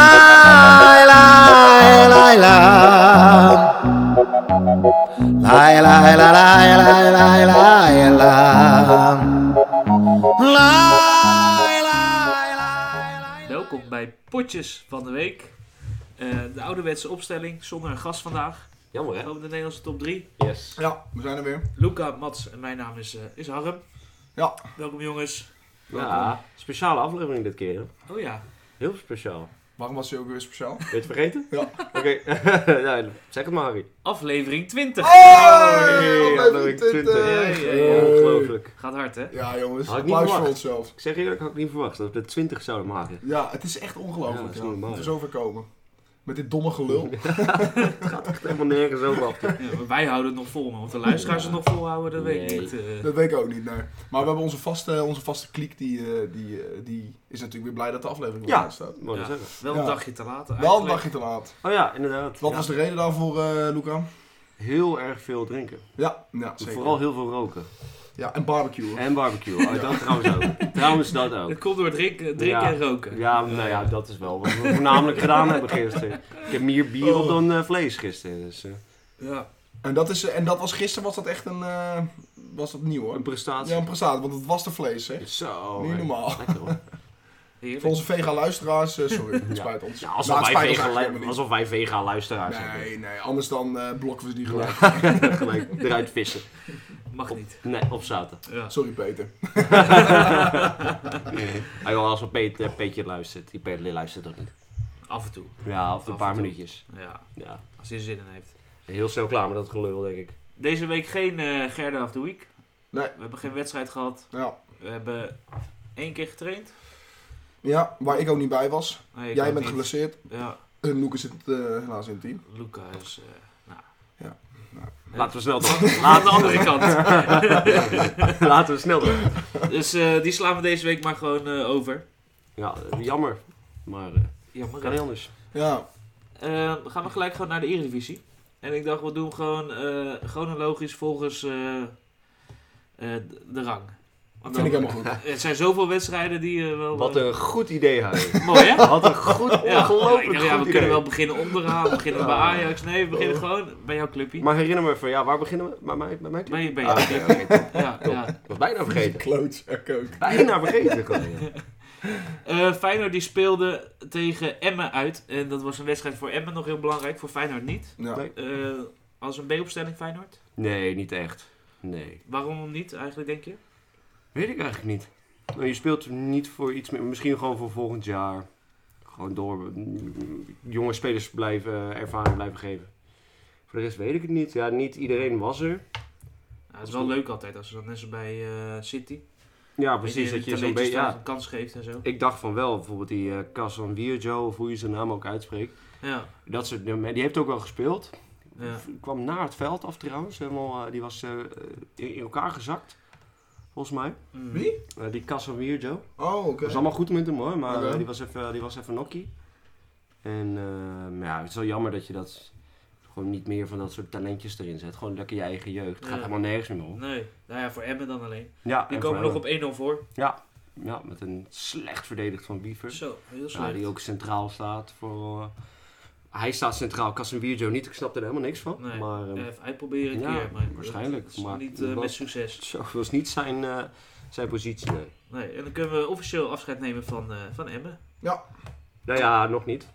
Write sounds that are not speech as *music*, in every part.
Lai, lai, lai, la. Lai, lai, la, lai, lai, lai, lai, la. Lai, lai, lai, lai. Welkom bij Potjes van de Week. Eh, de ouderwetse opstelling zonder een gast vandaag. Jammer hè? Over de Nederlandse top 3. Yes. Ja, we zijn er weer. Luca, Mats en mijn naam is, eh, is Harm. Ja. Welkom jongens. Ja, speciale aflevering dit keer. hè? Oh ja, Heel speciaal. Waarom was hij ook weer speciaal? Ben je het vergeten? Ja. Oké, *laughs* ja, zeg het maar Harry. aflevering 20. Oh! Hey, aflevering 20. Ja, ja, ja. Ongelooflijk. Gaat hard hè? *laughs* Ja jongens, Had ik niet applaus voor verwacht. onszelf. Ik zeg eerlijk, had ik niet verwacht dat we de 20 zouden maken. Ja, het is echt Ja, ongelooflijk. het is Ja, niet normaal, het is hè. overkomen. Met dit domme gelul. *laughs* Echt helemaal nergens over af. Ja, maar wij houden het nog vol, man. Of de luisteraars het nog volhouden, dat weet ik Nee. niet. eh. Dat weet ik ook niet, nee. Maar we hebben onze vaste, onze vaste kliek, die, eh, die, eh, die is natuurlijk weer blij dat de aflevering Ja. online staat. Mooi Ja. zeggen. Wel een Ja. dagje te laat. Wel een eigenlijk. dagje te laat. Oh ja, inderdaad. Wat Ja. was de reden daarvoor, eh Luca? Heel erg veel drinken. Ja, ja zeker. Vooral heel veel roken. Ja, en barbecue. En barbecue. Oh, dat trouwens *laughs* ook. Trouwens dat ook. Het komt door drinken, drinken Ja. en roken. Ja, nou ja, dat is wel wat we voornamelijk gedaan hebben gisteren. Ik heb meer bier Oh. op dan eh, vlees gisteren. Dus, eh, Ja. En, dat is, eh, en dat was gisteren, was dat echt een, eh, was dat nieuw hoor. een prestatie. Ja, een prestatie, want het was de vlees zeg. Zo. Niet hè. normaal. Lekker hoor. *laughs* heerlijk. Voor onze vega-luisteraars, eh, sorry, het spijt ons. Ja, Nou, het alsof, wij spijt ons vega, eigenlijk helemaal niet. alsof wij vega luisteraars zijn. Nee, nee, anders dan eh, blokken we ze niet gelijk. *laughs* Gelijk eruit vissen. Mag niet. Nee, op zaten. *laughs* Ja. Sorry Peter. Hij wil als een Peet, eh, Peetje luistert. Die Peetje luistert toch niet. Af en toe. Ja, of en een paar toe. minuutjes. Ja, Ja. als je er zin in heeft. Heel snel klaar met dat gelul, denk ik. Deze week geen eh Gerda of the Week. Nee. We hebben geen wedstrijd gehad. Ja. We hebben één keer getraind. ja, waar ik ook niet bij was. Nee, ik Jij ook bent niet. geblesseerd Ja, en Noeke zit eh, helaas in het team. Luca is... eh, nou. Ja, nou. Laten we snel Eh, *laughs* door. Aan Laten de we, andere kant. *laughs* laten we snel door. Dus eh, die slaan we deze week maar gewoon eh, over. Ja, eh, jammer. Maar eh Jammer. kan hè? niet anders. Ja, Eh, gaan we gelijk gewoon naar de Eredivisie. En ik dacht, we doen gewoon eh, chronologisch volgens eh, eh, de- de rang. Want dat vind ik dan- helemaal *laughs* goed. Er zijn zoveel wedstrijden die eh, wel... Wat eh, een goed idee, Harry. *laughs* Mooi, hè? Wat een goed, ik dacht, ongelooflijk ja, we goed idee. Oh. kunnen wel beginnen onderaan, we beginnen bij Ajax. Nee, we beginnen gewoon bij jouw clubje. Maar herinner me even, ja, waar beginnen we? Bij mij? Bij mij? Bij, bij Ah, jouw oké, clubje. *laughs* oké, top. Ja, ja. Ik was bijna vergeten. Kloot, ik ook. Bijna vergeten gewoon. ja. Eh, Feyenoord die speelde tegen Emmen uit. En dat was een wedstrijd voor Emmen nog heel belangrijk, voor Feyenoord niet. Ja. Eh als een B-opstelling Feyenoord. Nee, niet echt. Nee. Waarom niet eigenlijk, denk je? Weet ik eigenlijk niet. Nou, je speelt niet voor iets meer. Misschien gewoon voor volgend jaar. Gewoon door jonge spelers blijven, eh, ervaring blijven geven. Voor de rest weet ik het niet. Ja, niet iedereen was er. Nou, het is wel leuk altijd als ze dan net zo bij eh, City. Ja, Weet precies. je, Dat die je zo'n talentjes beetje. thuis Ja, een kans geeft en zo. ik dacht van wel, bijvoorbeeld die eh Casan Vierjo, of hoe je zijn naam ook uitspreekt. Ja, Dat soort nummer- Die heeft ook wel gespeeld. ja. V- Kwam naar het veld af trouwens. Helemaal, eh, die was eh, in, in elkaar gezakt. Volgens mij. Mm. Wie? Eh, die Casan Vierjo. Oh, oké. Het was allemaal goed met hem hoor, maar Oké. eh, die was even, die was even nokkie. En eh, maar ja, het is wel jammer dat je dat gewoon niet meer van dat soort talentjes erin zet. Gewoon lekker je eigen jeugd. Het gaat Ja. helemaal nergens meer om. Nee, nou ja, voor Emmen dan alleen. Ja, Die en komen nog Verheugen. op 1-0 voor. Ja, met een slecht verdedigd van Wiever. Zo, heel Ja, slecht. die ook centraal staat voor. eh, hij staat centraal, Casemiro niet. Ik snap er helemaal niks van. Nee, Maar eh, Even uitproberen een Ja, keer, maar waarschijnlijk, dat is nog maar niet eh, dat- met succes. zo, dat was niet zijn, eh, zijn positie. Nee. Nee, en dan kunnen we officieel afscheid nemen van, eh, van Emmen. Nou ja, nog niet.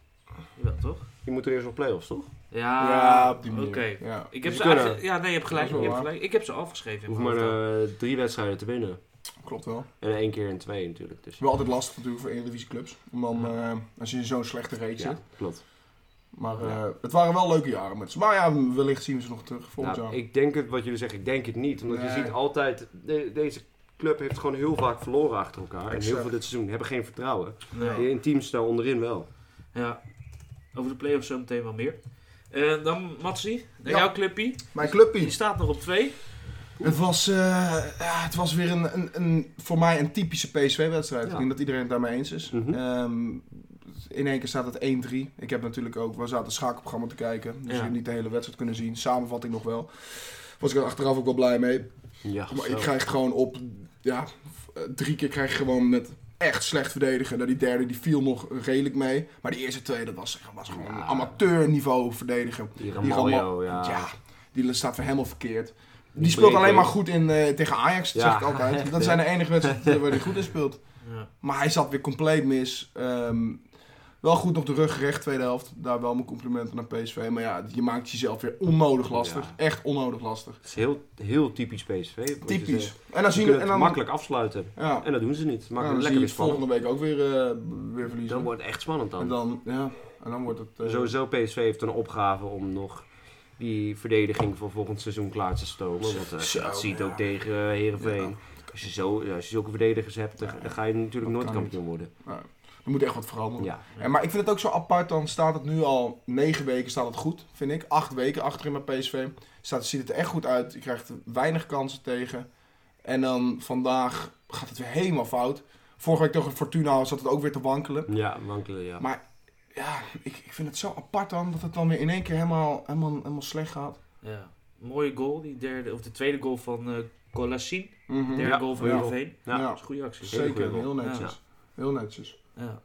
Jawel, toch? Je moet er eerst nog play-offs, toch? Ja, Ja, op die Ah, oké. manier. Ja. Ik heb Dus ze we kunnen. eigenlijk- Ja, nee, je hebt gelijk. Dat Je is wel hebt waar. gelijk. Ik heb ze afgeschreven. Je in hoeft maar mijn hoofd. eh, drie wedstrijden te winnen. Klopt wel. En één keer en twee natuurlijk. Dus. Het is wel altijd lastig natuurlijk voor Eredivisie clubs. Om dan, eh, als je in zo'n slechte reeks Ja, zit. klopt. Maar eh, het waren wel leuke jaren met ze. Maar ja, wellicht zien we ze nog terug volgend Nou, jaar. ik denk het, wat jullie zeggen, ik denk het niet. Omdat je Nee. ziet altijd, de- deze club heeft gewoon heel vaak verloren achter elkaar. En heel Exact. veel dit seizoen hebben geen vertrouwen. Nee. In teams daar onderin wel. Ja. Over de play-offs zo meteen wel meer. Eh, dan Matsi, naar Ja. jouw clubpie. Mijn Die clubpie. staat nog op 2. Het was, eh, ja, het was weer een, een, een, voor mij een typische PSV-wedstrijd. Ja. Ik denk dat iedereen het daarmee eens is. Mhm. Ehm, in één keer staat het 1-3. Ik heb natuurlijk ook, we zaten een schakelprogramma te kijken. Dus Ja. ik heb niet de hele wedstrijd kunnen zien. Samenvatting nog wel. Was ik er achteraf ook wel blij mee. Ja, Maar ik krijg gewoon op, ja, v- eh, drie keer krijg je gewoon met echt slecht verdedigen. Nou, die derde die viel nog redelijk mee. Maar die eerste twee, dat was, was gewoon Ja. amateurniveau verdedigen. Die Ramaljo, Ramaljo, ja. Ja, die Ehm, staat weer helemaal verkeerd. Die, Die speelt breekt alleen maar ook. goed in, eh, tegen Ajax, dat Ja. zeg ik *laughs* altijd. Dat Ja. zijn de *laughs* enige wedstrijden waar hij goed in speelt. Ja. Maar hij zat weer compleet mis. Ehm, wel goed op de rug gerecht, tweede helft. Daar wel mijn complimenten naar PSV. Maar ja, je maakt jezelf weer onnodig lastig. Ja. Echt onnodig lastig. Het is heel, heel typisch PSV. wat je Typisch. zegt. En dan Ze zien kunnen we... En het dan, makkelijk afsluiten. Ja, En dat doen ze niet. Ze Nou, maken dan het zie je lekker het weer spannend. volgende week ook weer, eh, weer verliezen. Dan wordt het echt spannend dan. En dan, ja, en dan wordt het... eh, Sowieso PSV heeft een opgave om nog die verdediging voor volgend seizoen klaar te stomen. Want eh, Zo, dat ziet ja. ook tegen eh, Heerenveen. Als, je zo, als je zulke verdedigers hebt, dan, dan ga je natuurlijk Dat nooit kan kampioen worden. Er moet echt wat veranderen. Ja. En, maar ik vind het ook zo apart, dan staat het nu al negen weken staat het goed, vind ik. Acht weken achterin bij PSV. Staat, ziet het er echt goed uit. Je krijgt weinig kansen tegen. En dan vandaag gaat het weer helemaal fout. Vorige week tegen Fortuna zat het ook weer te wankelen. Ja, wankelen, ja. Maar- Ja, ik, ik vind het zo apart dan dat het dan weer in één keer helemaal, helemaal, helemaal slecht gaat. Ja. Mooie goal, die derde, of de tweede goal van eh Colassin. Mhm. Derde Ja, goal van mooie Heerenveen. Ja, Ja. Dat is een goede actie. Hele goede zeker. goal. Heel netjes. Heel netjes. Ja.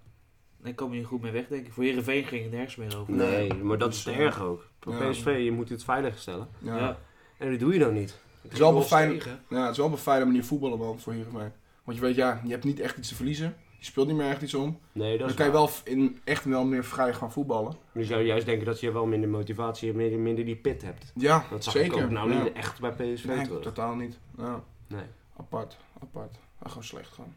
Daar kom je niet goed mee weg, denk ik. Voor Heerenveen ging het nergens meer over. Nee, maar dat is Dus, te eh, erg ook. Voor ja. PSV, je moet het veilig stellen. Ja. Ja. Ja. En dat doe je dan niet. Het is wel wel Goals fijn, tegen. Ja, het is wel op een fijne manier voetballen man, voor Heerenveen. Want je weet, ja, je hebt niet echt iets te verliezen. Je speelt niet meer echt iets om. Nee, dat Dan is kan je waar. wel in, echt wel meer vrij gaan voetballen. Je zou juist denken dat je wel minder motivatie en minder, minder die pit hebt. Ja, Dat zag zeker. ik ook nou ja. niet echt bij PSV Nee, terug. totaal niet. Ja, Nee. apart, apart. Ah, gewoon slecht gewoon.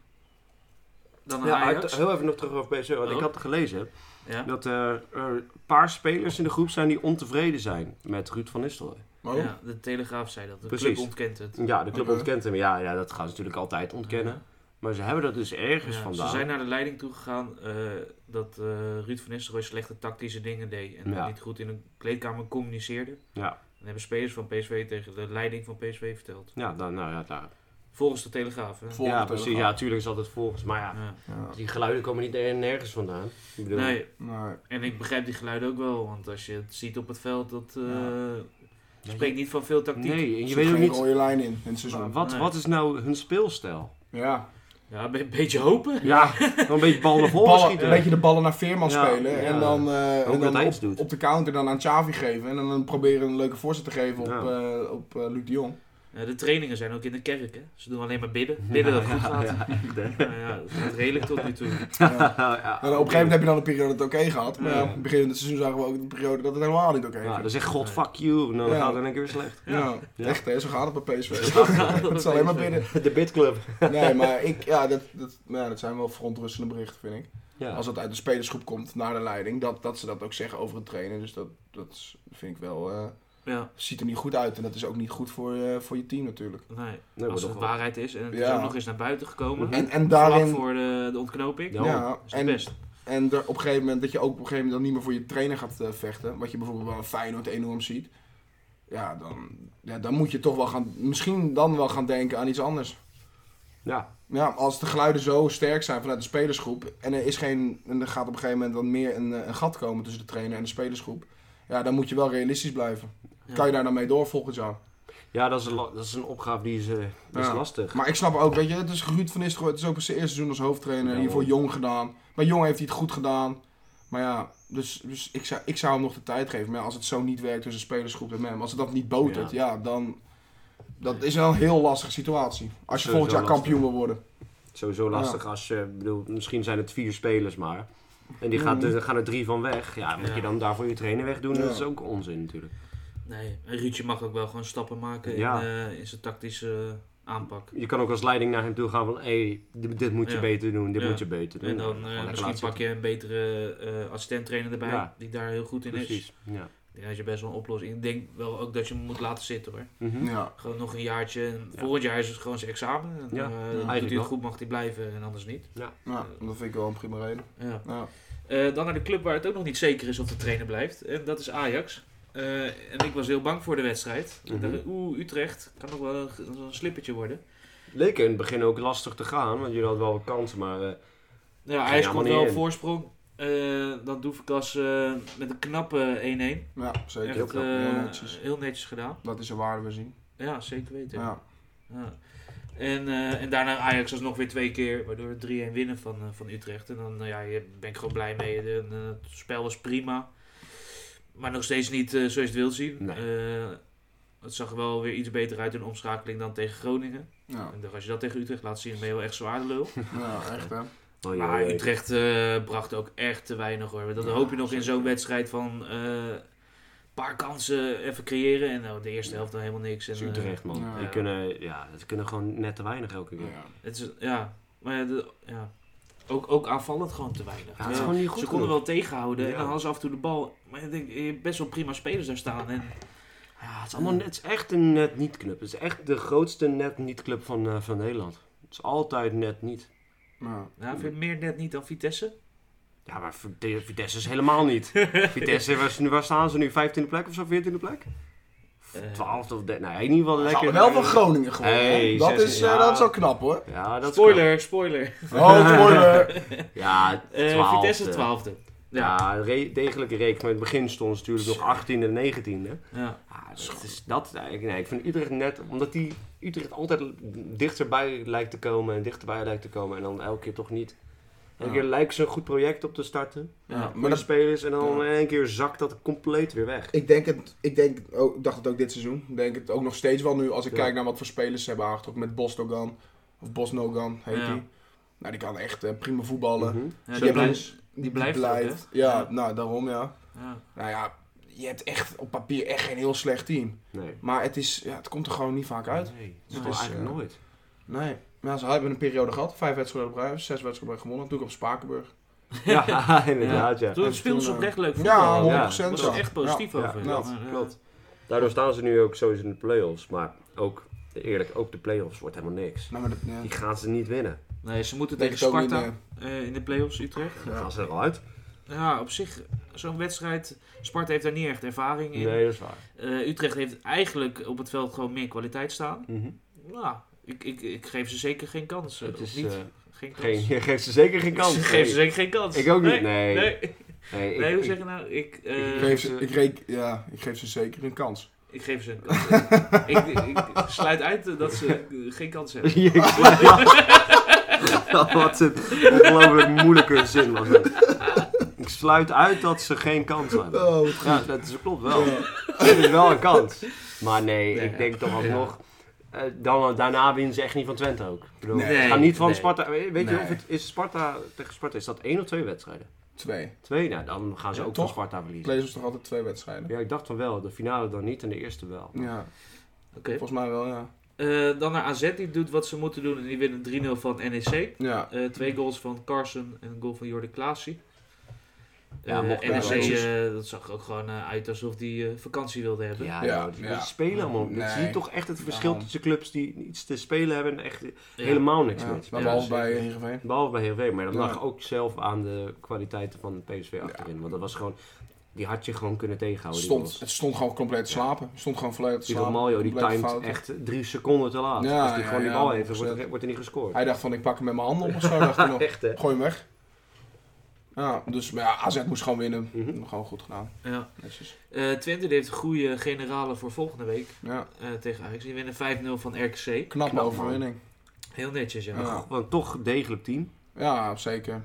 Dan Ja, Ajax. uit- heel even nog terug over PSV, want Oh. ik had gelezen Ja. dat eh, er een paar spelers in de groep zijn die ontevreden zijn met Ruud van Nistelrooy. Maar Ja, de Telegraaf zei dat. De Precies. club ontkent het. Ja, de club Oké. ontkent hem. Ja, ja, dat gaan ze natuurlijk altijd ontkennen. Maar ze hebben dat dus ergens Ja, vandaan. ze zijn naar de leiding toe gegaan eh, dat eh, Ruud van Nistelrooy slechte tactische dingen deed. En Ja. niet goed in de kleedkamer communiceerde. Ja, En hebben spelers van PSV tegen de leiding van PSV verteld. ja, dan, nou ja, daar. Volgens de Telegraaf. Hè? Volgens ja de precies. Telegraaf. Ja, tuurlijk is dat het volgens. Maar ja, Ja. Ja. die geluiden komen niet er- nergens vandaan. Ik bedoel, Nee, Nee. en ik begrijp die geluiden ook wel. Want als je het ziet op het veld, dat eh, Ja, spreekt niet van veel tactiek. Nee, en Er je zit weet ook geen niet. rode lijn in, in het seizoen. Wat, Nee. wat is nou hun speelstijl? Ja. Ja, een beetje hopen. Ja, dan een beetje bal naar voren Ballen, schieten. een beetje de ballen naar Veerman Ja, spelen. ja. En dan, eh, en dat dan hij iets op, doet. *laughs* op de counter dan aan Xavi geven. En dan proberen een leuke voorzet te geven op, Ja. eh, op eh, Luc de Jong. Ja, de trainingen zijn ook in de kerk. Hè? Ze doen alleen maar bidden. Bidden dat het goed gaat. Ja, *laughs* ja, dat gaat redelijk tot nu toe. Ja. ja, Nou, op een gegeven moment heb je dan een periode dat het oké gaat. Maar ja, Ja. aan het begin van het seizoen zagen we ook een periode dat het helemaal niet oké Ja, ging. dan zegt God fuck you, en dan Ja. gaat het in één keer weer *laughs* slecht. Ja, Ja. echt hè, zo gaat het bij PSV. Zo gaat *laughs* het bij het is alleen maar PSV. binnen. De bitclub. Nee, maar ik, ja, dat, dat, nou ja, dat zijn wel verontrustende berichten, vind ik. Ja. Als dat uit de spelersgroep komt naar de leiding, dat, dat ze dat ook zeggen over het trainen. Dus dat, dat is- vind ik wel, eh, Ja, ziet er niet goed uit. En dat is ook niet goed voor, eh, voor je team natuurlijk. nee. Nee, Als maar het toch wel. waarheid is. En het is Ja. ook nog eens naar buiten gekomen. En, en Hm? Vlak daarin, voor de, de ontknoping. Ja. ja, Dat is het en, best. en er op een gegeven moment dat je ook op een gegeven moment dan niet meer voor je trainer gaat eh, vechten. Wat je bijvoorbeeld wel een Feyenoord enorm ziet. Ja, dan, ja, dan moet je toch wel gaan, misschien dan wel gaan denken aan iets anders. Ja, Ja, als de geluiden zo sterk zijn vanuit de spelersgroep en er, is geen, en er gaat op een gegeven moment dan meer een, eh, een gat komen tussen de trainer en de spelersgroep, ja, dan moet je wel realistisch blijven. Ja. Kan je daar dan mee door volgend jaar? ja dat, is een, la- dat is een opgave die is, eh, die is Ja. lastig. Maar ik snap ook, weet je, het is Ruud van Nistelrooy, het is ook zijn eerste seizoen als hoofdtrainer, Ja, hiervoor hoor. jong gedaan. Bij jong heeft hij het goed gedaan. Maar ja, dus, dus ik, zou, ik zou hem nog de tijd geven. Maar ja, als het zo niet werkt tussen spelersgroep en mem, als het dat niet botert, ja, dan... Dat is wel een heel lastige situatie. Als je Sowieso volgend jaar lastig. kampioen wil worden. Sowieso lastig als je, ik bedoel, misschien zijn het vier spelers maar. En die gaat, Mhm. er gaan er drie van weg. Ja, moet Ja. je dan daarvoor je trainer weg doen? Ja. Dat is ook onzin natuurlijk. Nee, en Ruudje mag ook wel gewoon stappen maken Ja. in, eh, in zijn tactische eh, aanpak. Je kan ook als leiding naar hem toe gaan van, hé, dit, dit moet je Ja. beter doen, dit Ja. moet je beter doen. En dan Gewoon eh, lekker misschien laten pak je een betere eh assistent-trainer erbij, Ja. die daar heel goed in zitten. is. Precies, ja. Ik denk dat je best wel een oplossing. Ik denk wel ook dat je hem moet laten zitten hoor. Mhm. Ja. Gewoon nog een jaartje. En Volgend jaar is het gewoon zijn examen. En, Ja, eh, doet hij eigenlijk het wel. goed, mag hij blijven en anders niet. ja, dat vind ik wel een prima reden. Ja. Ja. Eh, dan naar de club waar het ook nog niet zeker is of de trainer blijft. En dat is Ajax. Eh, en ik was heel bang voor de wedstrijd. Ik dacht, Mhm. Oeh, Utrecht kan nog wel een, een slippertje worden. Leek in het begin ook lastig te gaan, want jullie hadden wel wat kansen, maar eh, Nou, ja, Ging IJs helemaal komt niet wel op in. voorsprong. Eh, dan Doevekas eh met een knappe 1-1. Ja, zeker. Echt eh, Heel, heel, knap. heel netjes. heel netjes gedaan. Dat is een waarde we zien. Ja, zeker weten. Ja. Ja. En, eh, en daarna Ajax alsnog weer twee keer, waardoor we 3-1 winnen van, eh, van Utrecht. En dan nou ja, je- ben ik gewoon blij mee. En, eh, het spel was prima. Maar nog steeds niet eh, zoals je het wilt zien. Nee. Eh, het zag er wel weer iets beter uit in de omschakeling dan tegen Groningen. Ja, Ik dacht, als je dat tegen Utrecht laat zien, ben je wel echt zwaar de lul. ja echt hè. Maar Oh, jee. Nou, Utrecht eh, bracht ook echt te weinig hoor. Dat Ja, hoop je nog in zeker. zo'n wedstrijd van eh, een paar kansen even creëren. En nou, de eerste helft dan helemaal niks. En, Dat is eh, Utrecht, man. Ja. Die kunnen, ja, ze kunnen gewoon net te weinig elke keer. Ja, Ja. het is, ja, maar ja, de- ja. Ook, ook aanvallend gewoon te weinig. het is Ja. gewoon niet goed. Ze konden genoeg. wel tegenhouden en Ja. dan hadden ze af en toe de bal. Maar ik denk, je hebt best wel prima spelers daar staan. En, Ja, het, is allemaal, net- het is echt een net niet club. Het is echt de grootste net niet club van, eh, van Nederland. Het is altijd net niet. Ja. nou, vind je het meer net niet dan Vitesse? Ja, maar Vite- Vitesse is helemaal *laughs* niet. Vitesse, waar, waar staan ze nu? 15e plek of zo? 14e plek? Eh. 12e of 13 Nou, in ieder geval Ze lekker. hadden wel van Groningen gewonnen. hè. Hey, dat, zes- is, ja. eh, dat is wel knap hoor. *laughs* Ja, dat is spoiler, spoiler. Oh, spoiler. knap. Ja, Eh, 12e. Vitesse 12e. Ja. Ja, re- degelijke rekening. Maar in het begin stonden ze natuurlijk nog 18 en 19. Hè? Ja. Ja, Ah, dat is dat eigenlijk. Nee, ik vind Utrecht net, omdat die Utrecht altijd dichterbij lijkt te komen en dichterbij lijkt te komen en dan elke keer toch niet. Elke Ja. keer lijkt ze een goed project op te starten, Ja. maar maar de dat, spelers, en dan Ja. in één keer zakt dat compleet weer weg. ik denk het, ik denk, oh, ik dacht het ook dit seizoen. Ik denk het ook nog steeds wel nu als ik Ja. kijk naar wat voor spelers ze hebben aangetrokken. Met Bosdogan, of Bosnogan heet Ja. die. Nou, die kan echt eh, prima voetballen. Mhm. Ja, Die die hebben- blijft- die blijft ook, hè? ja, Ja. nou daarom ja. ja. Nou ja, je hebt echt op papier echt geen heel slecht team. Nee. Maar het, is, ja, het komt er gewoon niet vaak uit. Nee, dat is Nee, gewoon is, eigenlijk eh, nooit. Nee. Maar ze hebben een periode gehad. Vijf wedstrijden op rij, zes wedstrijden op rij gewonnen. Toen ik op Spakenburg. *laughs* Ja, *laughs* inderdaad, ja. Toen En speelden ze toen, eh, oprecht leuk ja, voetbal. 100% Daar zo. was ik echt positief Ja, over. ja, klopt, Maar, eh, klopt. Daardoor staan ze nu ook sowieso in de play-offs, maar ook, eerlijk, ook de play-offs wordt helemaal niks. Nou, maar dat, ja. Die gaan ze niet winnen. Nee, ze moeten Denk tegen het ook niet, Sparta eh, in de play-offs Utrecht. Dan Ja. gaan ze er al uit. Ja, op zich, zo'n wedstrijd. Sparta heeft daar niet echt ervaring in. Nee, dat is waar. Eh, Utrecht heeft eigenlijk op het veld gewoon meer kwaliteit staan. Mhm. Nou, ik, ik, ik geef ze zeker geen kans. eh, Het of is niet. eh, geen kans. geen, je *laughs* geeft ze zeker geen kans. Ik geef Nee. ze zeker geen kans. Ik ook niet, nee. Nee, nee. Nee, Nee, ik- hoe ik- *laughs* zeg je nou? Ik, eh, Ik geef, ze, ik, reek, ja, ik geef ze zeker een kans. ik geef ze een kans. ik, ik sluit uit eh, dat ze *laughs* eh, geen kans hebben. *laughs* Ja, Wat een ongelooflijk moeilijke zin was dat. Ik sluit uit dat ze geen kans hebben. Oh, Ja, dat is- klopt wel. Het is wel een kans. Maar nee, Nee, ik denk toch ja. alsnog... eh, dan, daarna winnen ze echt niet van Twente ook. Ik bedoel, Nee, ze gaan niet van nee. Sparta... Weet je, Nee. of het is Sparta tegen Sparta, is dat één of twee wedstrijden? Twee. Twee, nou dan gaan ze Ja, ook toch? van Sparta verliezen. Blazers toch altijd twee wedstrijden? Ja, ik dacht van wel. De finale dan niet en de eerste wel. Ja, Oké. volgens mij wel, ja. Eh, dan naar AZ, die doet wat ze moeten doen en die winnen 3-0 van NEC. Ja, Eh, twee goals van Carson en een goal van Jordi Klaasie. Ja, Eh, mocht NEC, wel. eh, dat zag er ook gewoon eh, uit alsof die eh, vakantie wilde hebben. Ja, Ja, joh, die ja. spelen allemaal. Nee. Je ziet toch echt het verschil man. tussen clubs die iets te spelen hebben en echt Ja. helemaal niks ja. meer te maar spelen. behalve dus- bij eh, Heerenveen. Behalve bij Heerenveen, maar dat Ja. lag ook zelf aan de kwaliteiten van de PSV achterin. Want dat was gewoon, die had je gewoon kunnen tegenhouden. Nou, die Stond, goals. het stond gewoon compleet te slapen. Stond gewoon volledig te Die slapen. Romaglio, die Complete timed fouten. echt drie seconden te laat. Ja, Als die ja, gewoon die ja, bal heeft, dan wordt er, 100%. wordt er niet gescoord. Hij dacht van, ik pak hem met mijn handen op of zo, dacht *laughs* hij nog. Echt hè? Gooi hem weg. Ja, dus maar ja, AZ moest gewoon winnen. Mhm. Gewoon goed gedaan. Ja. Netjes. Eh, Twente die heeft goede generalen voor volgende week Ja, eh, tegen Ajax. Die winnen 5-0 van RKC. knappe man. overwinning. Heel netjes, ja. Ja. Want toch degelijk team. Ja, zeker.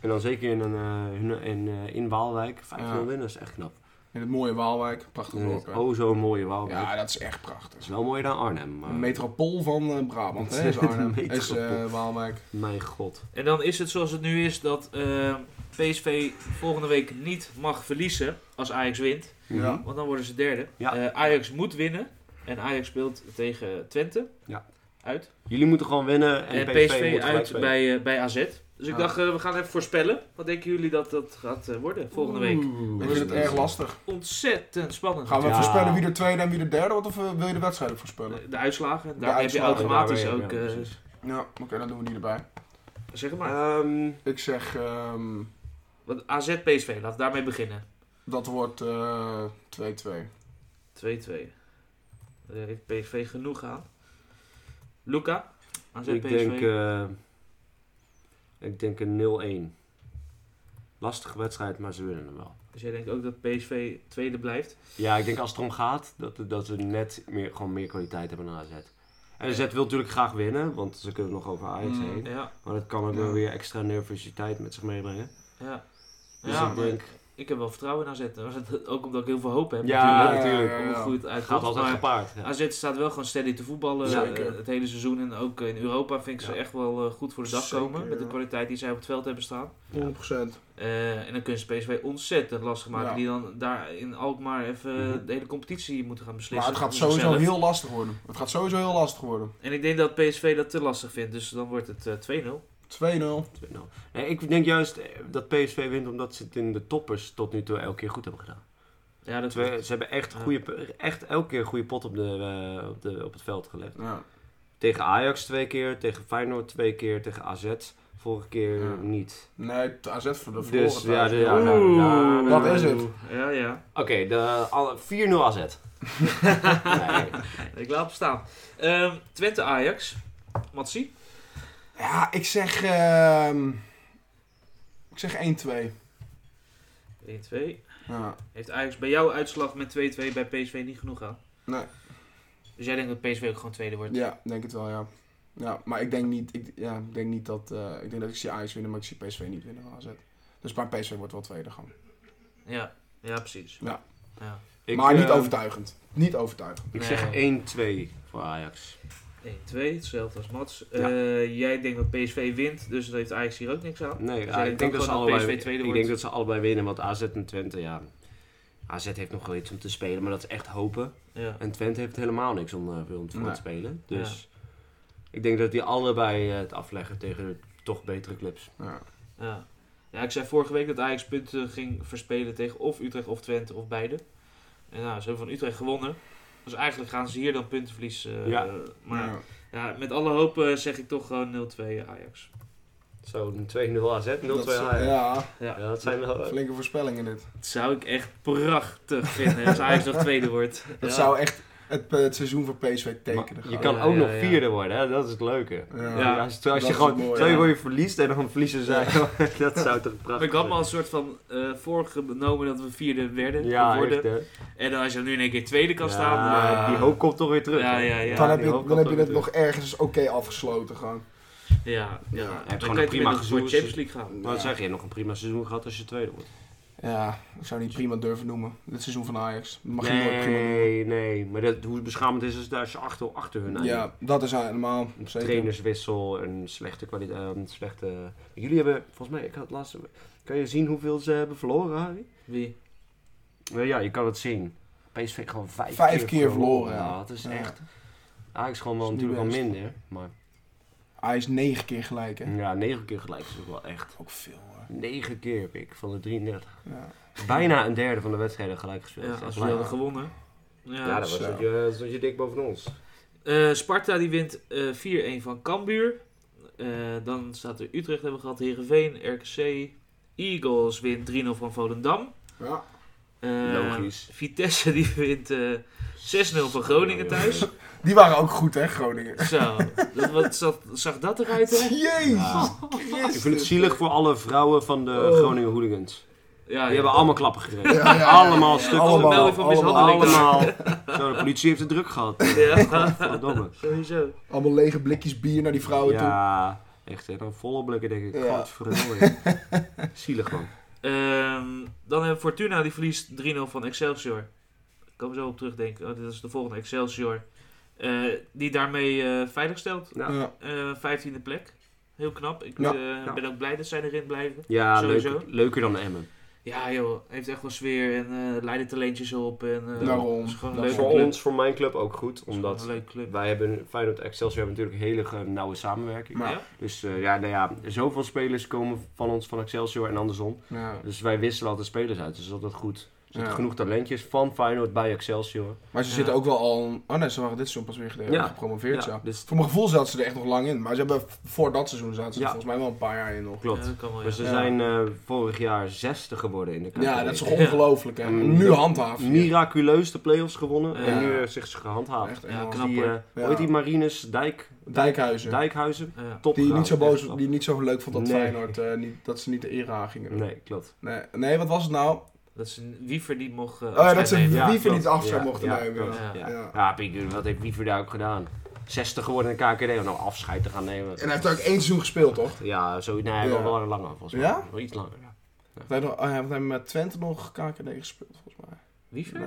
En dan zeker in, een, eh, hun- in, eh, in Waalwijk, 5-0 Ja. winnen, dat is echt knap. In het mooie Waalwijk. Prachtig In het dorp. hè. oh zo'n mooie Waalwijk. Ja, dat is echt prachtig. Dat is wel mooier dan Arnhem. Een Maar... metropool van eh, Brabant, hè, is Arnhem. Metropool. Is eh, Waalwijk. Mijn god. En dan is het zoals het nu is dat eh, PSV volgende week niet mag verliezen als Ajax wint. Mhm. Ja. Want dan worden ze derde. Ja. Eh, Ajax moet winnen. En Ajax speelt tegen Twente. Ja. Uit. Jullie moeten gewoon winnen en, En PSV, PSV moet gelijk uit spelen. Ah. bij, eh, bij AZ. Dus ik Ja. dacht, eh, we gaan even voorspellen. Wat denken jullie dat dat gaat eh, worden volgende week? Oeh, Ik vind het erg lastig. Ontzettend spannend. Gaan we Ja. voorspellen wie de tweede en wie de derde wordt? Of eh, wil je de wedstrijd ook voorspellen? De uitslagen. De Daar heb je uitslagen, automatisch daar ben je- ook... ja, eh, precies. Ja, oké, dan doen we die erbij. zeg maar. Ehm, Ik zeg, ehm, Want AZ PSV, laten we daarmee beginnen. 2-2. dat wordt eh, 2-2. Daar heeft PSV genoeg aan. Luca, AZ ik, PSV. denk, eh, ik denk een 0-1. Lastige wedstrijd, maar ze winnen hem wel. Dus jij denkt ook dat PSV tweede blijft. Ja, ik denk als het erom gaat, dat, dat we net meer, gewoon meer kwaliteit hebben dan AZ. En NZ wil natuurlijk graag winnen, want ze kunnen nog over Ajax Mm. heen. Ja, Maar dat kan ook wel Ja. weer extra nervositeit met zich meebrengen. ja. Dus ja, ik maar denk, ik heb wel vertrouwen in AZ. Maar dat- *laughs* Ook omdat ik heel veel hoop heb. Ja, natuurlijk, natuurlijk. Om het goed uit het gaat altijd maar gepaard. Ja. AZ staat wel gewoon steady te voetballen Ja. eh, Zeker. het hele seizoen. En ook eh, in Europa vind ik ze Ja. echt wel eh, goed voor de dag Zeker, komen. Met de ja. kwaliteit die zij op het veld hebben staan. 100%. Eh, en dan kunnen ze PSV ontzettend lastig maken. Ja. Die dan daar in Alkmaar even eh, Mhm. de hele competitie moeten gaan Maar beslissen. het gaat voor sowieso zichzelf. heel lastig worden. Het gaat sowieso heel lastig worden. En ik denk dat PSV dat te lastig vindt. Dus dan wordt het eh, 2-0. 2-0. 2-0. nou. Nee, ik denk juist eh, dat PSV wint omdat ze het in de toppers tot nu toe elke keer goed hebben gedaan. Ja, dat Ze, ze hebben echt, Ja. goede, echt elke keer een goede pot op, de, eh, op, de, op het veld gelegd. Ja. Tegen Ajax twee keer, tegen Feyenoord twee keer, tegen AZ vorige keer Ja. niet. Nee, de AZ voor de Dus verloren ja, de- ja, thuis. nou, Oeh, nou, dat nou, is het. Ja, ja. Oké, de alle- 4-0 AZ. *laughs* nee. Ik laat hem staan. Ehm, Twente Ajax. Matsi? Ja, ik zeg... ehm, ik zeg 1-2. 1-2. Ja. Heeft Ajax bij jouw uitslag met 2-2 bij PSV niet genoeg aan? Nee. Dus jij denkt dat PSV ook gewoon tweede wordt? ja, denk het wel, ja. Ja, maar ik denk niet, ik, ja, ik denk niet dat... eh, ik denk dat ik zie Ajax winnen, maar ik zie PSV niet winnen van AZ. Dus maar PSV wordt wel tweede gewoon. Ja, ja precies. Ja. ja. Ik, maar niet eh, overtuigend. Niet overtuigend. Ik Nee. zeg 1-2 voor Ajax. 1-2, hetzelfde als Mats. Ja. Eh, jij denkt dat PSV wint, dus dat heeft Ajax hier ook niks aan. Nee, Dus ja, jij denkt ik, denk dat ook ze gewoon dat allebei, PSV tweede ik wordt? denk dat ze allebei winnen, want AZ en Twente, ja... AZ heeft nog wel iets om te spelen, maar dat is echt hopen. Ja. En Twente heeft helemaal niks om, eh, om te, om Nee. te spelen. Dus ik denk dat die allebei eh, het afleggen tegen toch betere clubs. Ja. Ja. ja, ik zei vorige week dat Ajax punten ging verspelen tegen of Utrecht of Twente of beide. En nou, ze hebben van Utrecht gewonnen. Dus eigenlijk gaan ze hier dan puntenverlies. eh, Ja. eh, maar Ja. ja. met alle hoop eh, zeg ik toch gewoon 0-2 Ajax. Zo, een 2-0 AZ, 0-2 Dat is- Ajax. Ja. Ja, Ja. dat zijn wel... eh, flinke voorspellingen dit. Dat zou ik echt prachtig vinden als Ajax nog tweede wordt. Dat Ja. zou echt het, het seizoen voor PSV tekenen. Maar je gewoon. kan Ja, ook ja, nog ja. vierde worden, hè? dat is het leuke. Ja. Ja. als je, als dat je is gewoon mooi, twee ja. gooien verliest en dan verliezen zij, *laughs* dat zou toch prachtig Maar ik had me al een soort van eh voorgenomen dat we vierde werden. Ja, worden. echt, hè? En dan als je nu in één keer tweede kan Ja, staan. maar- Die hoop komt toch weer terug. Ja, hè? ja, ja. dan heb die je, hoop dan komt heb je toch het weer nog ergens oké afgesloten gewoon. Ja, ja. Ja, je dan hebt kan gewoon je een prima prima voor gezoen. Champions League gaan. terug. Maar wat zeg je, nog een prima seizoen gehad als je tweede wordt. Ja, ik zou niet prima durven noemen. Dit seizoen van Ajax. Dat mag je nooit prima noemen. nee, nee. Maar dat, hoe beschamend is het als je achter, achter hun eindigt. Ja, dat is helemaal Een zeker. trainerswissel, een slechte kwaliteit, een slechte... Jullie hebben, volgens mij, ik had het laatste... Kan je zien hoeveel ze hebben verloren, Harry? Wie? Nou ja, je kan het zien. PSV gewoon vijf, Vijf keer verloren, ja. Ja, dat is Ja. echt... Ajax gewoon wel Is niet natuurlijk wel best. minder, maar... Ajax negen keer gelijk, hè? Ja, negen keer gelijk is ook wel echt. Ook veel, hoor. Negen keer heb ik van de 33. Ja. Bijna een derde van de wedstrijden gelijk gespeeld. Ja, Dat is als echt we Ja. lijp. hadden gewonnen. Ja. Ja, dat was zo. dat je, dat je dik boven ons. Eh, Sparta die wint eh 4-1 van Cambuur. Eh, dan staat er Utrecht hebben we gehad, Heerenveen, RKC. Eagles wint 3-0 van Volendam. Ja. Eh, Logisch. Vitesse die *laughs* wint eh, 6-0 van Groningen thuis. Die waren ook goed, hè, Groningen? *laughs* Zo, dat, wat zat- zag dat *laughs* eruit hè? Jezus! Ja. Christus. Ik vind het zielig voor alle vrouwen van de Oh. Groningen hooligans. Ja, Die ja. hebben allemaal klappen gekregen. Ja, ja, ja. Allemaal stuk. Allemaal, Allemaal van allemaal, mishandeling. Allemaal. *laughs* Zo, de politie heeft het druk gehad. Ja, Verdomme. sowieso. Allemaal lege blikjes bier naar die vrouwen toe. Ja, echt. En dan volle blikken denk ik. Ja. Godverdomme. *laughs* Zielig man. Ehm, dan hebben we Fortuna, die verliest 3-0 van Excelsior. Ik kan er zo op terugdenken. Oh, dit is de volgende, Excelsior. Eh, die daarmee eh, veilig stelt. Ja, Ja. Eh, 15e plek. Heel knap. Ik Ja, eh, ja. ben ook blij dat zij erin blijven. ja Sowieso. leuker, leuker dan Emmen. Ja joh, heeft echt wel sfeer en eh leiden talentjes op. En, eh, Daarom. is gewoon een Daarom. leuke Voor club. voor mijn club ook goed. Is gewoon een leuke club. wij hebben, Feyenoord en Excelsior hebben natuurlijk hele ge- nauwe samenwerking. Maar- Ja. Dus eh, ja, nou ja, zoveel spelers komen van ons, van Excelsior en andersom. Ja. Dus wij wisselen altijd spelers uit, dus dat is goed. Er zitten Ja. genoeg talentjes van Feyenoord bij Excelsior. Maar ze Ja. zitten ook wel al... Oh nee, ze waren dit seizoen pas weer gede- Ja. gepromoveerd, ja. dus Voor mijn gevoel zaten ze er echt nog lang in. Maar ze hebben voor dat seizoen zaten ze er Ja. volgens mij wel een paar jaar in nog. Ja, klopt. dat kan wel, ja. Maar ze Ja. zijn eh, vorig jaar zesde geworden in de KKD. Ja, dat is toch Ja. ongelooflijk, hè? Mm, Nu dat- handhaven. Miraculeus de play-offs gewonnen Ja. en nu eh, zich ze gehandhaafd. Echt Ja, enorm. knap. Die, hoor. eh, Ja. hoe heet die Marinus Dijk, Dijkhuizen. Dijkhuizen? Ja. Top Die gedaan. niet, zo Echt boos, top. die niet zo leuk vond dat Nee. Feyenoord eh, niet, dat ze niet de eer aan gingen. Nee. Nee, klopt. Nee, wat was het nou? Dat is een wiever die mocht eh, Oh ja, dat afscheid ze- nemen. Ja. Wiever klopt. niet afscheid mochten ja, nemen. klopt. Ja. Ja, Ja. Ja, Pieter, wat heeft Wiever daar ook gedaan? 60 geworden in de KKD. Om nou afscheid te gaan nemen. En hij heeft ook één seizoen gespeeld, toch? Ja, zo, nee, hij Ja. wel wel een lange volgens mij. Ja? Wel iets langer, ja. Want Hij heeft, nog- oh, hij heeft met Twente nog KKD gespeeld, volgens mij. Wie ver?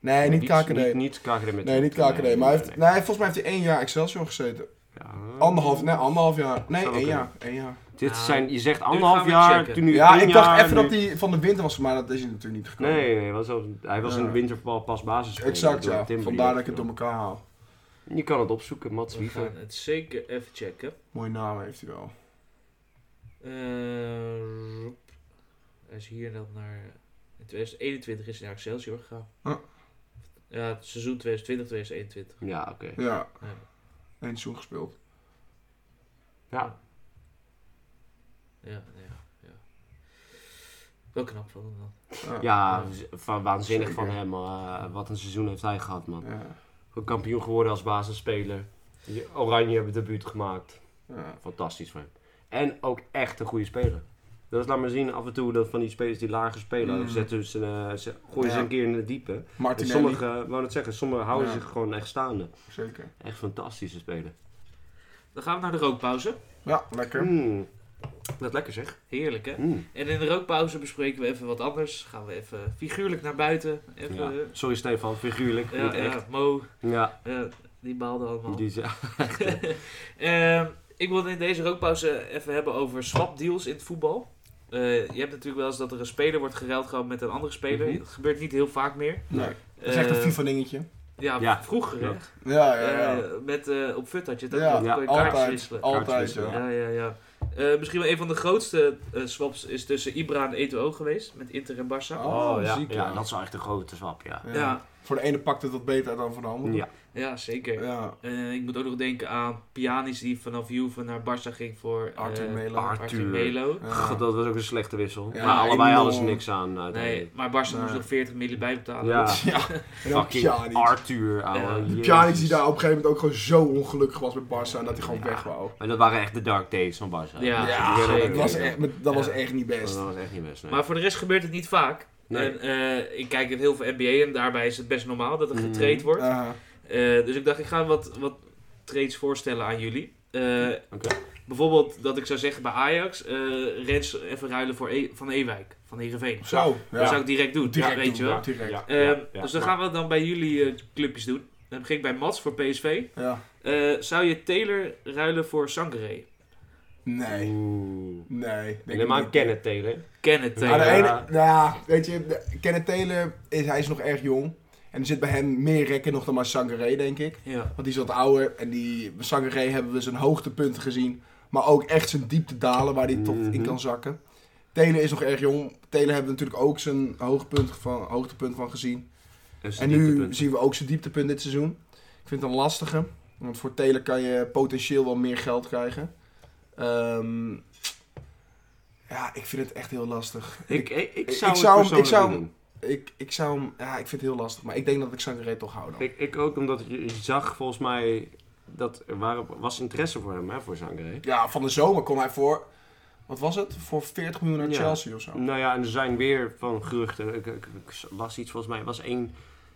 Nee, nee niet KKD. Niet, niet KKD met nee, niet KKD. maar hij heeft, nee. volgens mij heeft hij één jaar Excelsior gezeten. Ja. Anderhalf, nee, anderhalf jaar. Nee, Zou één wel jaar. één jaar. Dit zijn, je zegt gaan anderhalf we jaar, checken. toen nu Ja, één ik dacht jaar, even nu- dat hij van de winter was, maar dat is hij natuurlijk niet gekomen. Nee, nee, was al, hij was in Ja. de winterval pas basis. Exact, ja. Vandaar dat ik het door elkaar haal. Je kan het opzoeken, Mats We Wiever. gaan het zeker even checken. Mooie naam heeft hij wel. Eh, roep. hij is hier dan naar. In 2021 is hij naar Excelsior gegaan. Ah. Ja, het seizoen 2020, 2021. Ja, oké. Ja. Ja. Eén seizoen gespeeld. Ja. Ja, ja, ja. Wel knap van hem dan. Ja. Ja, z- va- waanzinnig Zeker. van hem. eh, wat een seizoen heeft hij gehad, man. Ja. Ook Kampioen geworden als basisspeler. Je- Oranje hebben debuut gemaakt. Ja. Fantastisch voor hem. En ook echt een goede speler. Dat is, laat maar zien, af en toe dat van die spelers die lager spelen, Mm. zetten ze, eh, ze, gooien ze Ja. een keer in de diepe. En Martinelli. sommige, eh, wou net zeggen, sommige houden Ja. zich gewoon echt staande. Zeker. Echt fantastische spelen. Dan gaan we naar de rookpauze. Ja, lekker. Mm. Dat is lekker zeg. Heerlijk, hè? Mm. En in de rookpauze bespreken we even wat anders. Gaan we even figuurlijk naar buiten. Even, Ja. eh, Sorry Stefan, figuurlijk. ja, niet ja, Oh. echt. Mo, Ja, eh, die baalde allemaal. die is- *laughs* Ehm, ik wil het in deze rookpauze even hebben over swapdeals in het voetbal. Eh, je hebt natuurlijk wel eens dat er een speler wordt geruild gewoon met een andere speler. Mhm. Dat gebeurt niet heel vaak meer. Nee, dat is echt een Eh, FIFA-dingetje. Ja, Ja, vroeger. hè. klopt. Ja, ja, ja. Eh, met, eh, op FUT had je dat. Ja, dat kon je ja, kaartjes altijd. wisselen. Altijd, Kaartjes, Ja, ja. ja, ja. Eh, misschien wel een van de grootste eh, swaps is tussen Ibra en Eto'o geweest. Met Inter en Barça. Oh, ja. ziek, ja, ja. dat is wel echt een grote zwap, ja. Ja. Ja, Voor de ene pakt het wat beter dan voor de andere. Ja, ja, zeker. Ja. Eh, ik moet ook nog denken aan Pjanic die vanaf Juve naar Barça ging voor eh, Arthur Melo. Arthur Arthur. Melo. Ja. God, dat was ook een slechte wissel. Ja, maar allebei enorm. hadden ze niks aan. Nee, uiteindelijk. maar Barça Nee. moest nog 40 miljoen bijbetalen. Ja. Ja. En dan Fucking Pjanic. Arthur, Ja. ouwe. Die Jezus. Pjanic die daar op een gegeven moment ook gewoon zo ongelukkig was met Barca en dat hij gewoon Ja. weg wou. Maar dat waren echt de dark days van Barca. Ja, Ja, zeker. dat, was echt, dat was Ja. echt niet best. Dat was echt niet best, nee. Maar voor de rest gebeurt het niet vaak. Nee. En, eh, ik kijk in heel veel NBA en daarbij is het best normaal dat er Mhm. getraind wordt. Eh, Eh, dus ik dacht, ik ga wat, wat trades voorstellen aan jullie. Eh, Oké. Bijvoorbeeld dat ik zou zeggen bij Ajax, eh Rens even ruilen voor E- Van Ewijk, van Heerenveen. zo, ja. Dat zou ik direct doen, Direct weet doen, je wel. ja. direct. Ja, Eh, ja, ja. dus dan gaan we dan bij jullie eh, clubjes doen. Dan begin ik bij Mats voor PSV. Ja. Eh, zou je Taylor ruilen voor Sangaré? Nee, Oeh. nee. denk Neem ik maar niet. Kenneth Taylor. Kenneth Aan de Taylor. Ja. ene, nou ja, weet je, de- Kenneth Taylor, is, hij is nog erg jong. En er zit bij hem meer rekken nog dan maar Sangaré, denk ik. Ja. Want die is wat ouder en die Sangaré hebben we zijn hoogtepunten gezien. Maar ook echt zijn diepte dalen waar hij tot in Mhm. kan zakken. Taylor is nog erg jong. Taylor hebben we natuurlijk ook zijn hoogtepunt van, hoogtepunt van gezien. En nu zien we ook zijn dieptepunt dit seizoen. Ik vind het een lastige. Want voor Taylor kan je potentieel wel meer geld krijgen. Ehm, ja, ik vind het echt heel lastig. Ik, ik, ik ik zou zou hem- het persoonlijk ik zou doen. hem- Ik, ik zou hem... Ja, ik vind het heel lastig. Maar ik denk dat ik Sangaré toch hou dan. Ik, ik ook, omdat je, je zag volgens mij dat er waren, was interesse voor hem, hè, voor Zangeré. Ja, van de zomer kon hij voor... Wat was het? Voor 40 miljoen naar Ja. Chelsea of zo. Nou ja, en er zijn weer van geruchten. Ik, ik, ik las iets volgens mij, was één,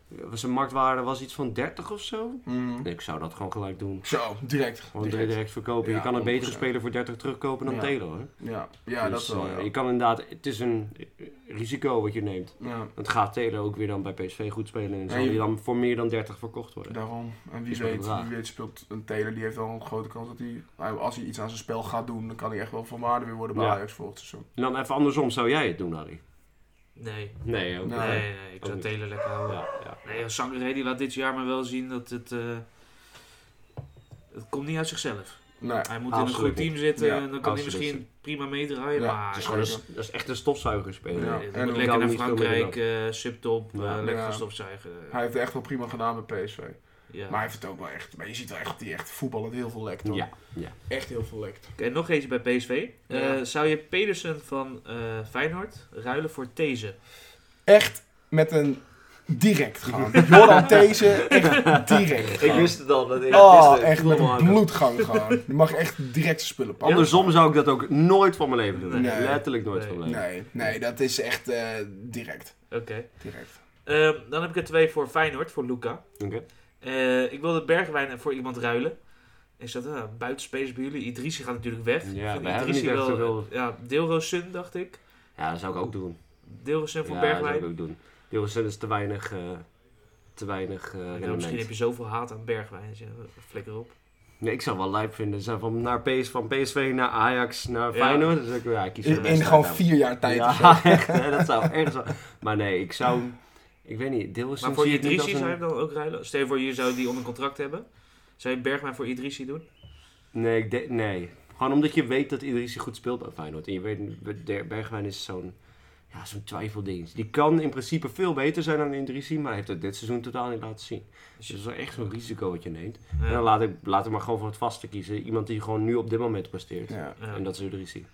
was een marktwaarde was iets van 30 of zo. Mm. Nee, ik zou dat gewoon gelijk doen. Zo, direct. Gewoon direct, Direct. verkopen. Ja, je kan een betere 100%. speler voor 30 terugkopen dan Ja. Taylor. Hoor. Ja, ja Dus, dat wel. eh, Ja. Je kan inderdaad, het is een eh, risico wat je neemt. Ja, Het gaat Taylor ook weer dan bij PSV goed spelen en zal En je- hij dan voor meer dan 30 verkocht worden. daarom. En wie Is wel weet, raar. wie weet speelt een Taylor. Die heeft wel een grote kans dat hij... hij- Als hij iets aan zijn spel gaat doen, dan kan hij echt wel van waarde weer worden bij Ja. Ajax volgend seizoen. En dan even andersom, zou jij het doen, Harry? Nee. Nee, ook Nee. niet. Nee, nee, ik zou Nou, Ook Taylor lekker houden. Ja, ja. Nee, Sangaré die laat dit jaar maar wel zien dat het... eh, het komt niet uit zichzelf. Nee. Hij moet in een Absoluut goed team zitten Ja, en dan kan hij absoluut misschien prima meedraaien. Ja, maar Dat is, gewoon gewoon een- een, dat is echt een stofzuiger spelen. Ja. Nee, het en moet dan lekker kan naar niet veel meer Frankrijk, eh, subtop, eh, Ja. lekker Ja. stofzuigen. Hij heeft het echt wel prima gedaan bij PSV. ja. Maar hij heeft het ook wel echt. Maar je ziet wel echt dat hij echt voetballend heel veel lekt. Hoor. Ja. Echt heel veel lekt. Oké, nog eentje bij PSV. Eh, Ja. zou je Pedersen van eh, Feyenoord ruilen voor These? Echt met een *laughs* direct gaan. Jordan These, echt direct. *laughs* Ik gaan. wist het al. Dat ik wist Oh, het. echt met een Kom aan. bloedgang gaan. Je mag echt direct zijn spullen pakken. Andersom zou ik dat ook nooit van mijn leven doen. Nee. Letterlijk nooit Nee. van mijn leven. Nee, nee, dat is echt eh, direct. Oké. Direct. Ehm, dan heb ik er twee voor Feyenoord, voor Luca. Oké. Eh, ik wilde Bergwijn voor iemand ruilen. Ik zat, ah, buitenspelers bij jullie. Idrissi gaat natuurlijk weg. Ja, Ik vind wij hebben Idrissi niet echt wel- eh, zoveel. Ja, Deelroosun, dacht ik. Ja, dat zou ik ook doen. Deelroosun voor ja, dat Bergwijn. zou ik ook doen. Dilrosun is te weinig, eh, te weinig eh, Ja, rendement. misschien heb je zoveel haat aan Bergwijn. Dus ja, flikker op. Nee, ik zou wel lijp vinden. Zijn van, naar PS, van PSV naar Ajax naar Ja. Feyenoord. Dus ik, ja, ik kies voor de In, beste in gewoon uit, vier jaar tijd. Ja, of zo. *laughs* echt. Hè, dat zou echt zo... Maar nee, ik zou... Ik weet niet, Dilrosun Maar voor zie ik niet Idrissi als zou je een- hem dan ook ruilen? Stel je voor, je zou die onder contract hebben. Zou je Bergwijn voor Idrissi doen? Nee, ik denk- nee. Gewoon omdat je weet dat Idrissi goed speelt bij Feyenoord. En je weet, Der- Bergwijn is zo'n ja, zo'n twijfelding. Die kan in principe veel beter zijn dan Idrissi, maar hij heeft het dit seizoen totaal niet laten zien. Dus dat is wel echt zo'n risico wat je neemt. En dan Ja. laat ik, laat ik maar gewoon voor het vaste kiezen. Iemand die gewoon nu op dit moment presteert. Ja, Ja, En Oké. dat is Idrissi.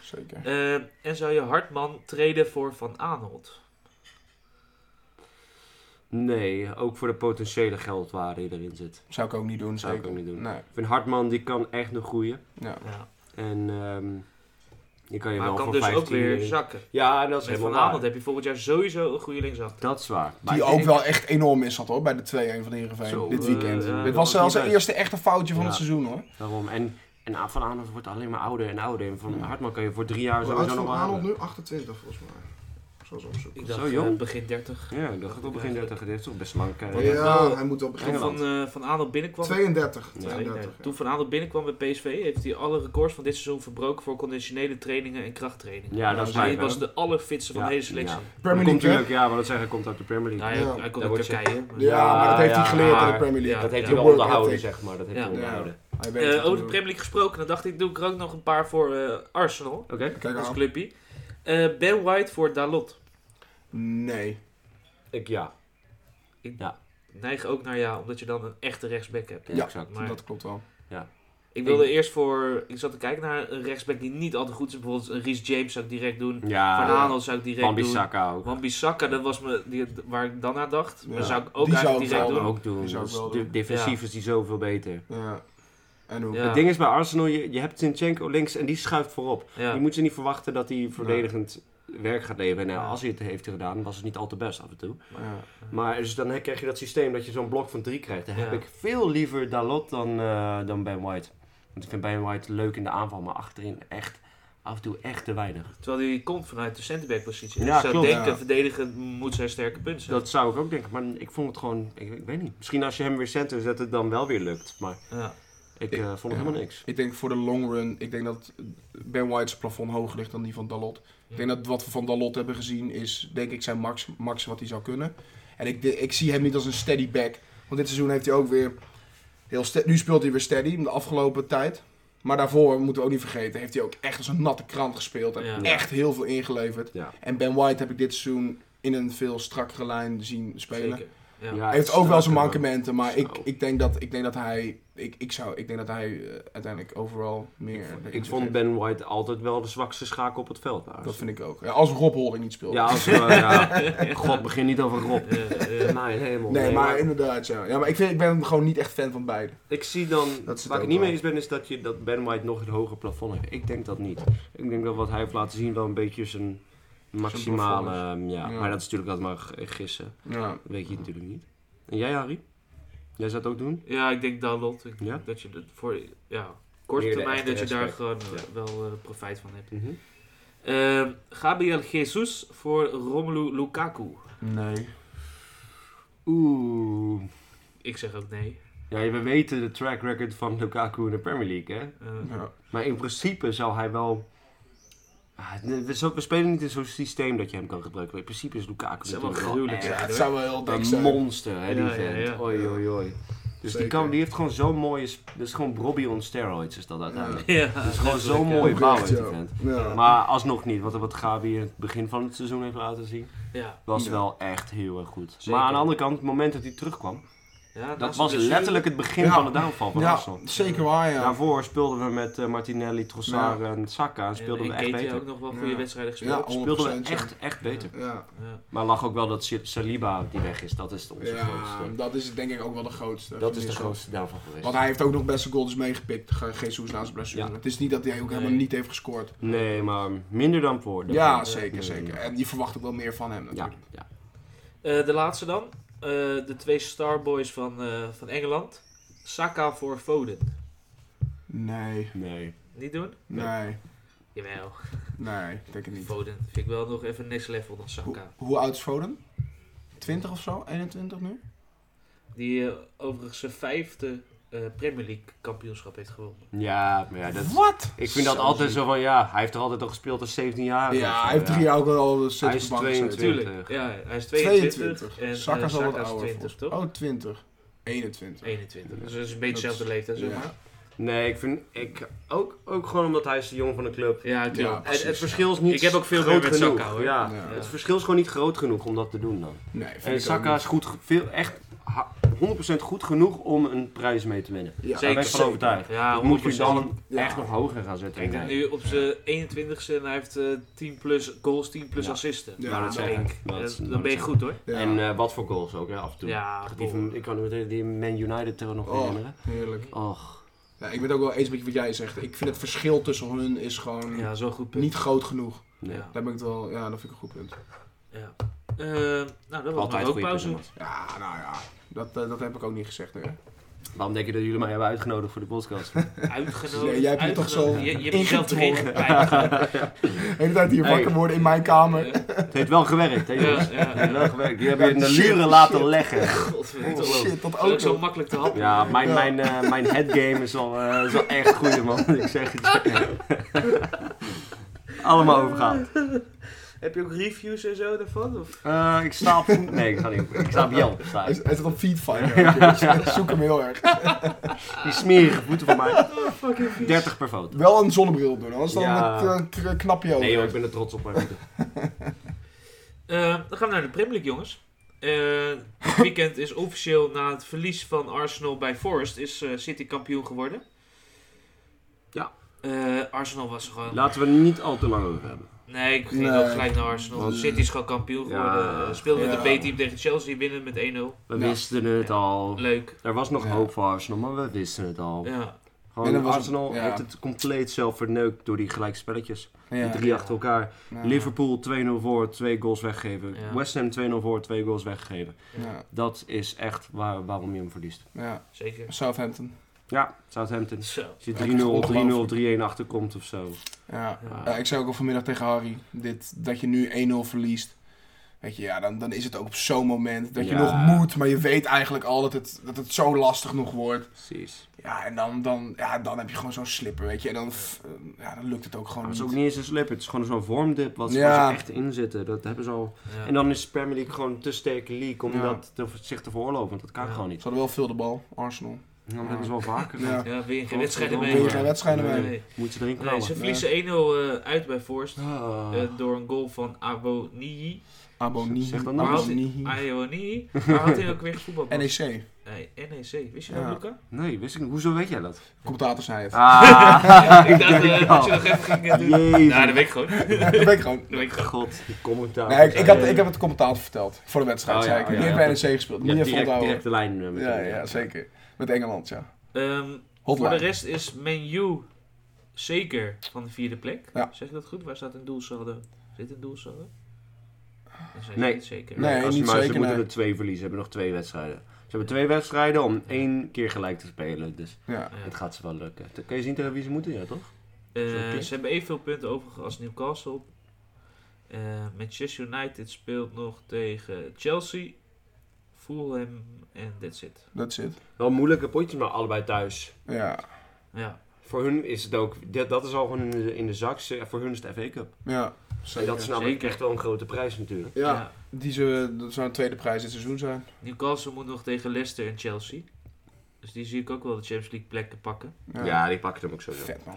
zeker. Eh, en zou je Hartman treden voor Van Aanholt? Nee, ook voor de potentiële geldwaarde die erin zit. Zou ik ook niet doen, Zou ik zeker. ook niet doen. Nee, Ik vind Hartman, die kan echt nog groeien. ja. Ja. En ehm die kan je Maar wel kan voor dus 15... ook weer in- zakken. Ja, dat Met is helemaal Van waar. Aanholt heb je volgend jaar sowieso een goede linksachter. Dat is waar. Maar Die ik- ook ik- wel echt enorm is had hoor, bij de 2-1 van Heerenveen Zo, dit eh, weekend. ja, dat dit was was zelfs niet zijn best. eerste echte foutje van Ja. het seizoen hoor. Daarom. En, en Van Aanholt wordt alleen maar ouder en ouder. En van Hartman kan je voor drie jaar sowieso nog wel houden. nu? 28 volgens mij. Zoals opzoeken. Ik dacht, Zo jong? eh, begin 30. Ja, dat gaat op begin 30 dit is toch best lang. eh, Ja, nou, hij moet wel Toen Engeland. van, eh van Aanholt binnenkwam... 32. Ja, 32, Toen Van Aanholt binnenkwam bij PSV... heeft hij alle records van dit seizoen verbroken... voor conditionele trainingen en krachttrainingen. Dus Ja, dat is hij waar. was de allerfitste van Ja, de hele selectie. ja. Premier Dat League, komt natuurlijk, hè? ja, maar dat zeggen komt uit de Premier Nou, League. hij, Ja. hij komt Daar uit word je- Turkije. maar- Ja, maar dat heeft hij Ja, geleerd in de maar- Premier League. Ja. Dat heeft de hij wel work onderhouden, ethic. zeg maar. Dat heeft Ja. hij onderhouden. Hij weet Eh, het over de wel. Premier League gesproken... dan dacht ik, doe ik er ook nog een paar voor eh, Arsenal. Oké. Kijk Als aan. clubje. Eh, ben White voor Dalot. Nee. Ik ja. Neig ook naar ja, omdat je dan een echte rechtsback hebt. Ja, Ja. exact. Maar Dat klopt wel. ik wilde eerst voor... Ik zat te kijken naar een rechtsback die niet altijd goed is. Bijvoorbeeld een Reece James zou ik direct doen. Van Ja, Aanholt zou ik direct Van doen. Bissaka ook. Want Bissaka, dat was me, die, waar ik dan aan dacht. Maar Ja. zou ik ook Die zou eigenlijk ik direct wel doen. ook doen. Die zou ik Dus wel de- doen. Defensief is die zoveel beter. Ja. En hoe? Ja. Het ding is bij Arsenal, je, je hebt Zinchenko links en die schuift voorop. Ja. Je moet ze niet verwachten dat hij verdedigend werk gaat leveren. Nou, Ja. als hij het heeft gedaan, was het niet al te best af en toe. Ja. Maar dus dan krijg je dat systeem dat je zo'n blok van drie krijgt. Dan heb Ja. ik veel liever Dalot dan, eh, dan Ben White. Want ik vind Ben White leuk in de aanval, maar achterin echt af en toe echt te weinig. Terwijl hij komt vanuit de centerback-positie. Ja, Dus ik zou klopt. denken, Ja. verdedigen moet zijn sterke punt zijn. Dus Dat zou ik ook denken, maar ik vond het gewoon, ik, ik weet niet. Misschien als je hem weer center zet, het dan wel weer lukt. Maar Ja. ik eh, vond het ja. helemaal niks. Ik denk voor de long run, ik denk dat Ben White's plafond hoger ligt dan die van Dalot. Ik denk dat wat we van Dalot hebben gezien is, denk ik, zijn max, max wat hij zou kunnen. En ik, ik zie hem niet als een steady back. Want dit seizoen heeft hij ook weer heel ste- Nu speelt hij weer steady, de afgelopen tijd. Maar daarvoor moeten we ook niet vergeten, heeft hij ook echt als een natte krant gespeeld. En Ja. echt heel veel ingeleverd. Ja. En Ben White heb ik dit seizoen in een veel strakkere lijn zien spelen. Zeker. Ja. Ja, Hij het heeft ook wel zijn staken, mankementen, maar Zo. ik, ik, denk dat, ik denk dat hij, ik, ik zou, ik denk dat hij eh, uiteindelijk overal meer... maar Ik vond Ben White altijd wel de zwakste schakel op het veld. bij Dat Arsenal. vind ik ook. Ja, als Rob Holding niet speelt. Ja, als we, *laughs* *laughs* ja. God, begin niet over Rob. Eh, eh, Nee, helemaal nee, maar inderdaad, ja. ja maar ik, vind, ik ben gewoon niet echt fan van beide. Ik zie dan, Dat is het waar ik ook niet wel. mee eens ben, is dat, je, dat Ben White nog een hoger plafond heeft. Ik denk dat niet. Ik denk dat wat hij heeft laten zien wel een beetje zijn maximale... ehm, ja. Ja. maar dat is natuurlijk altijd maar g- gissen. Ja. Dat weet je natuurlijk niet. En jij, Harry? Jij zou het ook doen? ja, ik denk Dalot. Ik denk Ja? Dat je dat voor ja, korte Meer de termijn echte dat je daar rechtsback. gewoon eh, wel eh, profijt van hebt. Mhm. Eh, Gabriel Jesus voor Romelu Lukaku. Nee. Oeh. Ik zeg ook nee. Ja, we weten de track record van Lukaku in de Premier League, hè? Eh, Ja. Maar in principe zou hij wel... Ah, We zo- we spelen niet in zo'n systeem dat je hem kan gebruiken. In principe is Lukaku Zou wel natuurlijk gruwelijk echt zijn. het zou wel heel dik Een zijn. monster, hè, die Ja, ja, vent. ja. Oei, oei, oei. Dus die, Zeker. kan, die heeft gewoon zo'n mooie... sp- Dat is gewoon Robbie on steroids, is dat uiteindelijk. *laughs* ja, Dat is gewoon zo'n letterlijk, ja. mooie Ook bouw echt, heeft die ja. vent. Ja. Maar alsnog niet, want wat Gabi in het begin van het seizoen heeft laten zien, Ja, was Ja. wel echt heel erg goed. Zeker. Maar aan de andere kant, het moment dat hij terugkwam, Ja, dat naast was de blessure- letterlijk het begin Ja. van de downfall van Ja, Arsenal. zeker waar, ja. Daarvoor speelden we met eh, Martinelli, Trossard en Saka en speelden en we echt Ketia beter. ook nog wel goede Ja. wedstrijden Ja, gespeeld. Speelden we 100%. echt, echt beter. Ja. Ja. Maar lag ook wel dat Saliba die weg is, dat is onze ja, grootste. dat is denk ik ook wel de grootste. Dat is de Van grootste downfall geweest. Want hij heeft ook nog best een goals meegepikt, Ge- Jesus naast blessure. Ja. Het is niet dat hij ook helemaal Nee. niet heeft gescoord. Nee, maar minder dan voor. ja, Ja. zeker, Ja. zeker. En je verwacht ook wel meer van hem Ja, natuurlijk. ja. Eh, de laatste dan. eh, de twee Starboys van, eh, van Engeland. Saka voor Foden. Nee, Nee. Niet doen? nee, Jawel. nee, denk ik niet. Foden vind ik wel nog even next level dan Hoe, Saka. hoe oud is Foden? 20 of zo? 21 nu? Die eh, overigens zijn vijfde eh, Premier League kampioenschap heeft gewonnen. Ja, maar ja, dat, Wat? ik vind dat Zo altijd ziek. zo van, ja, hij heeft er altijd al gespeeld als 17 jaar. Ja, hij heeft drie jaar ook al de Hij is op de bank gezeten. 22. Tuurlijk. Ja, hij is 22. 22. En Saka eh, is al wat Saka is ouder. 20, volgens- toch? Oh, 20. 21. Oh. 21. Dus dat is een beetje Dat is- dezelfde leeftijd, zeg ja. maar. Nee, ik vind, ik, ook, ook gewoon omdat hij is de jong van de club. Ja, natuurlijk. En het, Ja. precies, verschil is niet Ik heb ook veel groot meer met genoeg. Saka, hoor. Ah, Ja. Ja. Het verschil is gewoon niet groot genoeg om dat te doen dan. Nee, vind En ik Saka ook is goed, ge- veel, echt ha- 100% goed genoeg om een prijs mee te winnen. niet. Ja, Daar ben ik van zeker. overtuigd. Ja, dat moet je 100%. dan Ja. echt nog hoger gaan zetten. Kijk, hij Nee. nu op zijn 21ste en hij heeft eh, 10 plus goals, 10 plus Ja. assisten. Ja, Nou, dat dat zeg Kijk, ik. eh, Dat- dan dat ben je zeg goed hoor. Ja. En eh, wat voor goals ook, hè, af en toe. Ja, Die van- bol. ik kan me meteen die Man United er nog Oh. herinneren. Heerlijk. Och. Ja, ik ben het ook wel eens met wat jij zegt. Ik vind het verschil tussen hun is gewoon ja zo goed punt. niet groot genoeg. Nee. Ja. Daar ben ik het wel, ja, dat vind ik een goed punt. Ja. Eh, nou, dat was Altijd een goede rookpauze. punten, Ja, nou ja, dat, eh, dat heb ik ook niet gezegd. Hè. Mats. Waarom denk je dat jullie mij hebben uitgenodigd voor de *laughs* podcast? Uitgenodigd. Nee, jij hebt je toch zo uitgenodigd. Je, je hebt jezelf erin ingedrongen. gepijpt. De hele tijd hier Hey. wakker worden in mijn kamer. het heeft wel gewerkt, hè Ja, jongens? ja, ja. Het heeft wel gewerkt. Die hebben je in de shit, luren laten shit. leggen. Godverdomme. Ongelooflijk. Oh, Shit, dat Zo- ook Zo nog. makkelijk te handen. Ja, mijn, Ja. mijn, eh, mijn headgame is al, eh, is al echt goed, man. Ik zeg het je. *laughs* Allemaal overgaan. *laughs* Heb je ook reviews en zo daarvan? Of? Eh, ik sta op... Nee, ik ga niet. Ik sta op Yelp. sta Hij ik. hij zit op Feedfire. Zoek hem heel erg. Die smerige voeten van mij. Oh, fucking vies. 30 per foto. Wel een zonnebril doen, anders dan Ja. met eh, k- knapje over. Nee joh, ik ben er trots op. mijn voeten. Eh, dan gaan we naar de Premier League, jongens. Eh, *laughs* het weekend is officieel na het verlies van Arsenal bij Forest is eh, City kampioen geworden. Ja. Eh, Arsenal was gewoon... Laten we er niet al te lang over hebben. Nee, ik ging Nee. ook gelijk naar Arsenal. Want- City is gewoon kampioen Ja. geworden. Eh, speelde met Ja. de B-team tegen Chelsea, winnen met 1-0. We Ja. wisten het al. Leuk. Er was nog Ja. hoop voor Arsenal, maar we wisten het al. Ja. Gewoon, En er was- Arsenal ja. heeft het compleet zelf verneukt door die gelijke spelletjes. Ja. Die drie achter elkaar. Ja. Liverpool 2-0 voor, twee goals weggegeven. Ja. West Ham 2-0 voor, twee goals weggegeven. Ja. Dat is echt waar, waarom je hem verliest. ja, Zeker. Southampton. Ja, Southampton. Zo. Als je Ja, het is 3-0, 3-0, ongelooflijk. 3-1 achterkomt of zo. Ja. Ja. Ja, ik zei ook al vanmiddag tegen Harry, dit, dat je nu 1-0 verliest. Weet je, ja, dan, dan is het ook op zo'n moment dat je Ja. nog moet, maar je weet eigenlijk al dat het, dat het zo lastig nog wordt. Precies. Ja, en dan, dan, ja, dan heb je gewoon zo'n slipper, weet je. En dan, f- ja, dan lukt het ook Maar gewoon het is niet. ook niet eens een slip. Het is gewoon zo'n vormdip wat ze Ja. waar ze echt in zitten. Dat hebben ze al. Ja. En dan is de Premier League gewoon een te sterke league om Ja. dat te, zich te veroorloven. Want dat kan Ja. gewoon Ze niet. hadden wel veel de bal, Arsenal. Ja, maar dat is wel vaker. Ja. Ja, win je geen wedstrijden Dan mee. win je geen wedstrijden Nee. mee. Nee. Moet je erin komen. Nee, ze verliezen 1-0 eh, uit bij Forest. Ah. eh, door een goal van Abonii. Abonnie. Zeg dat nou. Abonnie. Abonii. Waar had hij ook weer voetbal? NEC. Nee, NEC. Wist je dat, Ja. Luca? Nee, wist ik niet. Hoezo weet jij dat? Commentator zei het. *laughs* *laughs* Ah, *laughs* ik dacht denk eh, het dat je wel. nog even ging eh, doen. Jezus. Nou, dat weet ik gewoon. *laughs* Dat Ja, *laughs* dat ben ik gewoon. weet ik gewoon. God, die commentaar. eh, Nee, ik, ik, had, ik heb het commentator verteld. Voor de wedstrijd, Oh, ja, zei ik. oh, ja, Nu heb ja. NEC E gespeeld. Ja, Niet even direct, onthouden. direct de lijn eh, met Ja, hem. ja, zeker. Met Engeland, ja. Ehm, voor de Hotline. rest is menu zeker van de vierde plek. Ja. Zeg ik dat goed? Waar staat een doelsaldo? Zit een doelsaldo? Dan zijn Nee. ze niet zeker. Nee, als ze niet maar, zeker, Ze moeten nee. er twee verliezen. Ze hebben nog twee wedstrijden. Ze hebben twee wedstrijden om één keer gelijk te spelen. Dus Ja. Ja. het gaat ze wel lukken. Dan kun je zien tegen wie ze moeten, ja toch? Eh, Oké. ze hebben evenveel punten over als Newcastle. Eh, Manchester United speelt nog tegen Chelsea, Fulham en that's it. Dat zit. Wel moeilijke potjes, maar allebei thuis. Ja. Ja, Voor hun is het ook, dat, dat is al gewoon in de, in de zak. Ze- Voor hun is de FA Cup. Ja. En dat is namelijk Zeker. echt wel een grote prijs natuurlijk. Ja, ja. Die zou, dat zou een tweede prijs dit seizoen zijn. Newcastle moet nog tegen Leicester en Chelsea. Dus die zie ik ook wel de Champions League plekken pakken. Ja. die pakken hem ook zo. Vet man.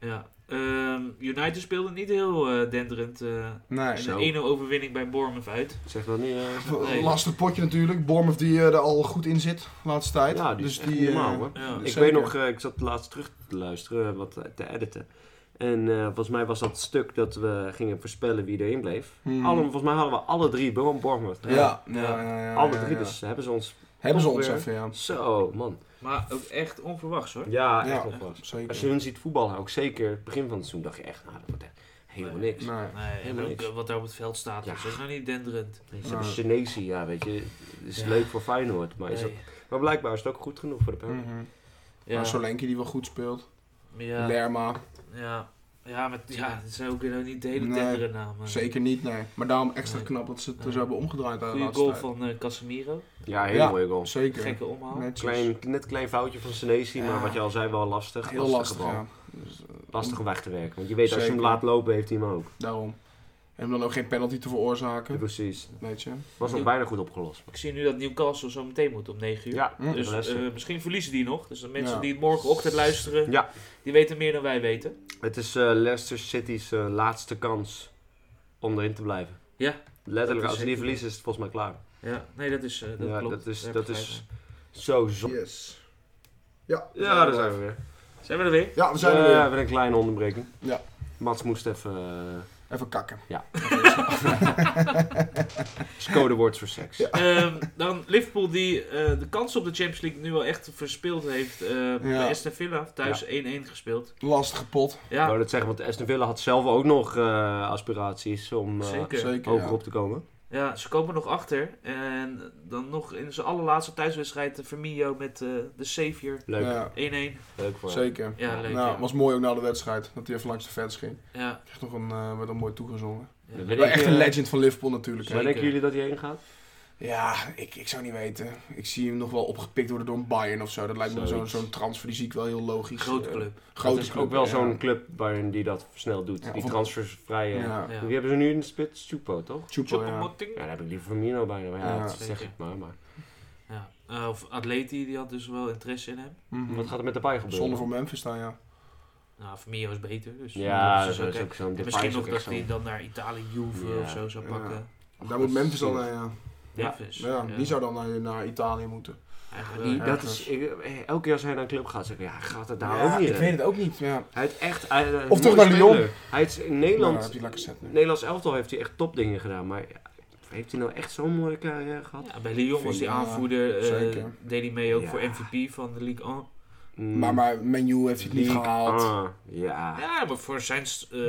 Ja. Ehm, United speelde niet heel eh, denderend. eh, Nee. en Zo. een 1-0 overwinning bij Bournemouth uit. Zeg dat niet. eh, Nee. Lastig potje natuurlijk. Bournemouth die eh, er al goed in zit, laatste tijd. Ja, die dus is echt die, niet eh, normaal, hoor. Ja. Ik Zeker. weet nog, eh, ik zat laatst terug te luisteren, eh, wat eh, te editen. En eh, volgens mij was dat stuk dat we gingen voorspellen wie erin bleef. Mhm. Alle, volgens mij hadden we alle drie Bo- Bournemouth. Ja. Ja, Ja. ja, ja, ja, alle ja, drie, ja. dus hebben ze ons... Hebben ze toch ons weer. even, ja. Zo, man. Maar ook echt onverwachts hoor. Ja, Ja. echt nog wel. Zeker. Als je hun ziet voetballen, ook zeker het begin van het seizoen, dacht je echt... Nou, dat wordt echt Helemaal niks. Nee. Nee, en Helemaal ook niks. eh, wat daar op het veld staat, Ja. dat is nou niet denderend. Ze Ja. hebben Senesi, ja, weet je. Dat is Ja. leuk voor Feyenoord. Maar, is dat, Nee. maar blijkbaar is het ook goed genoeg voor de Premier Mhm. Ja, Maar Solenki die wel goed speelt. ja, ja, Lerma, ja, maar ja, het zijn ook weer nou niet de hele Nee, tendere namen. zeker niet, nee. Maar daarom extra Nee. knap dat ze het Nee. zo hebben omgedraaid aan de Goede laatste goal tijd. van eh, Casemiro. Ja, heel Ja. mooie goal. Zeker. eh, Gekke omhaal. Netjes. Klein, net een klein foutje van Senesi, Ja. maar wat je al zei, wel lastig. Heel lastig, bal. ja. Dus, eh, Lastig om weg te werken. Want je weet, als je hem Zeker. laat lopen, heeft hij hem ook. daarom. En om dan ook geen penalty te veroorzaken, Precies. weet je. Was nog Ja. bijna goed opgelost. Ik zie nu dat Newcastle zo meteen moet om 9 uur. Ja, Hm. Dus de rest- eh, misschien verliezen die nog. Dus de mensen Ja. die het morgenochtend luisteren, Ja. die weten meer dan wij weten. het is eh, Leicester City's eh, laatste kans om erin te blijven. Ja. Dat Letterlijk, is als ze niet zeker. verliezen, is het volgens mij klaar. Ja, nee, dat is. eh, dat Ja, klopt. dat is- Daar dat begrijp is- ik. Zo zon. Yes. Ja, Ja, daar zijn we weer. Zijn we er *laughs* weer? Ja, we zijn Eh, er weer. weer een kleine onderbreking. Ja. Mats moest even. eh, Even kakken. is codewoord voor seks. Ja. Ehm, dan Liverpool die eh, de kans op de Champions League nu al echt verspeeld heeft. eh, Bij Aston Villa thuis 1-1 gespeeld. Lastige pot. Ik Ja, wou dat zeggen, want Aston Villa had zelf ook nog eh, aspiraties om eh, zeker. Zeker, hoger ja. op te komen. Ja, ze komen nog achter. En dan nog in zijn allerlaatste thuiswedstrijd eh, Firmino met eh, de Savior 1-1. Leuk, Ja, leuk voor hem. zeker. Ja, leuk. nou, ja. was mooi ook na de wedstrijd. Dat hij even langs de fans ging. Ja, Kreeg nog een, eh, werd nog mooi toegezongen. ja. Dat Maar weet Wel ik, echt eh, een legend van Liverpool natuurlijk. hè. Waar Zeker. denken jullie dat hij heen gaat? Ja, ik, ik zou niet weten. Ik zie hem nog wel opgepikt worden door een Bayern of zo. Dat lijkt me zo'n Zoiets. zo'n transfer, die zie ik wel heel een logisch. grote Eh, club. Grote dat is club, ook wel ja. zo'n club waarin die dat snel doet. Ja, die of- transfersvrije. Ja. Ja. Wie hebben ze nu in de spits? Chupo, toch? Chupo, ja. Choupo-Moting. Ja, daar heb ik liever Firmino bijna. Maar ja, Ja. dat zeg Zeker. ik maar. maar. Ja. Eh, of Atleti, die had dus wel interesse in hem. Mhm. Wat gaat er met de paai gebeuren? Zonde voor Memphis dan, ja. Nou, Firmino is beter. Dus Ja, dat is dat ook, is hè. ook zo'n En Depay misschien is nog ook dat echt hij zo'n- dan naar Italië, Juve Ja. of zo zou Ja. pakken. Daar moet Memphis dan naar, ja. Ja. Memphis. Ja, Die zou dan naar, naar Italië moeten. eh, Eigenlijk Die- wel, ja. eh, dat is, ik- eh, elke keer als hij naar een club gaat, zeg ik, ja, gaat het daar Ja, ook niet ik in? weet het ook niet. Ja. Hij heeft echt... hij- hij- Of toch mooie naar speler. Lyon. Hij heeft in Nou, heb Nederland... je lekker set nu. Nederlands elftal heeft hij echt topdingen gedaan, maar ja, heeft hij nou echt zo'n mooie carrière gehad? Ja, bij Lyon was die Ja, aanvoerder. eh, zeker. deed hij mee ook Ja. voor MVP van de League 1. Mm. Maar, maar Menu heeft het niet League gehaald. Ah, ja. Ja, maar voor zijn eh,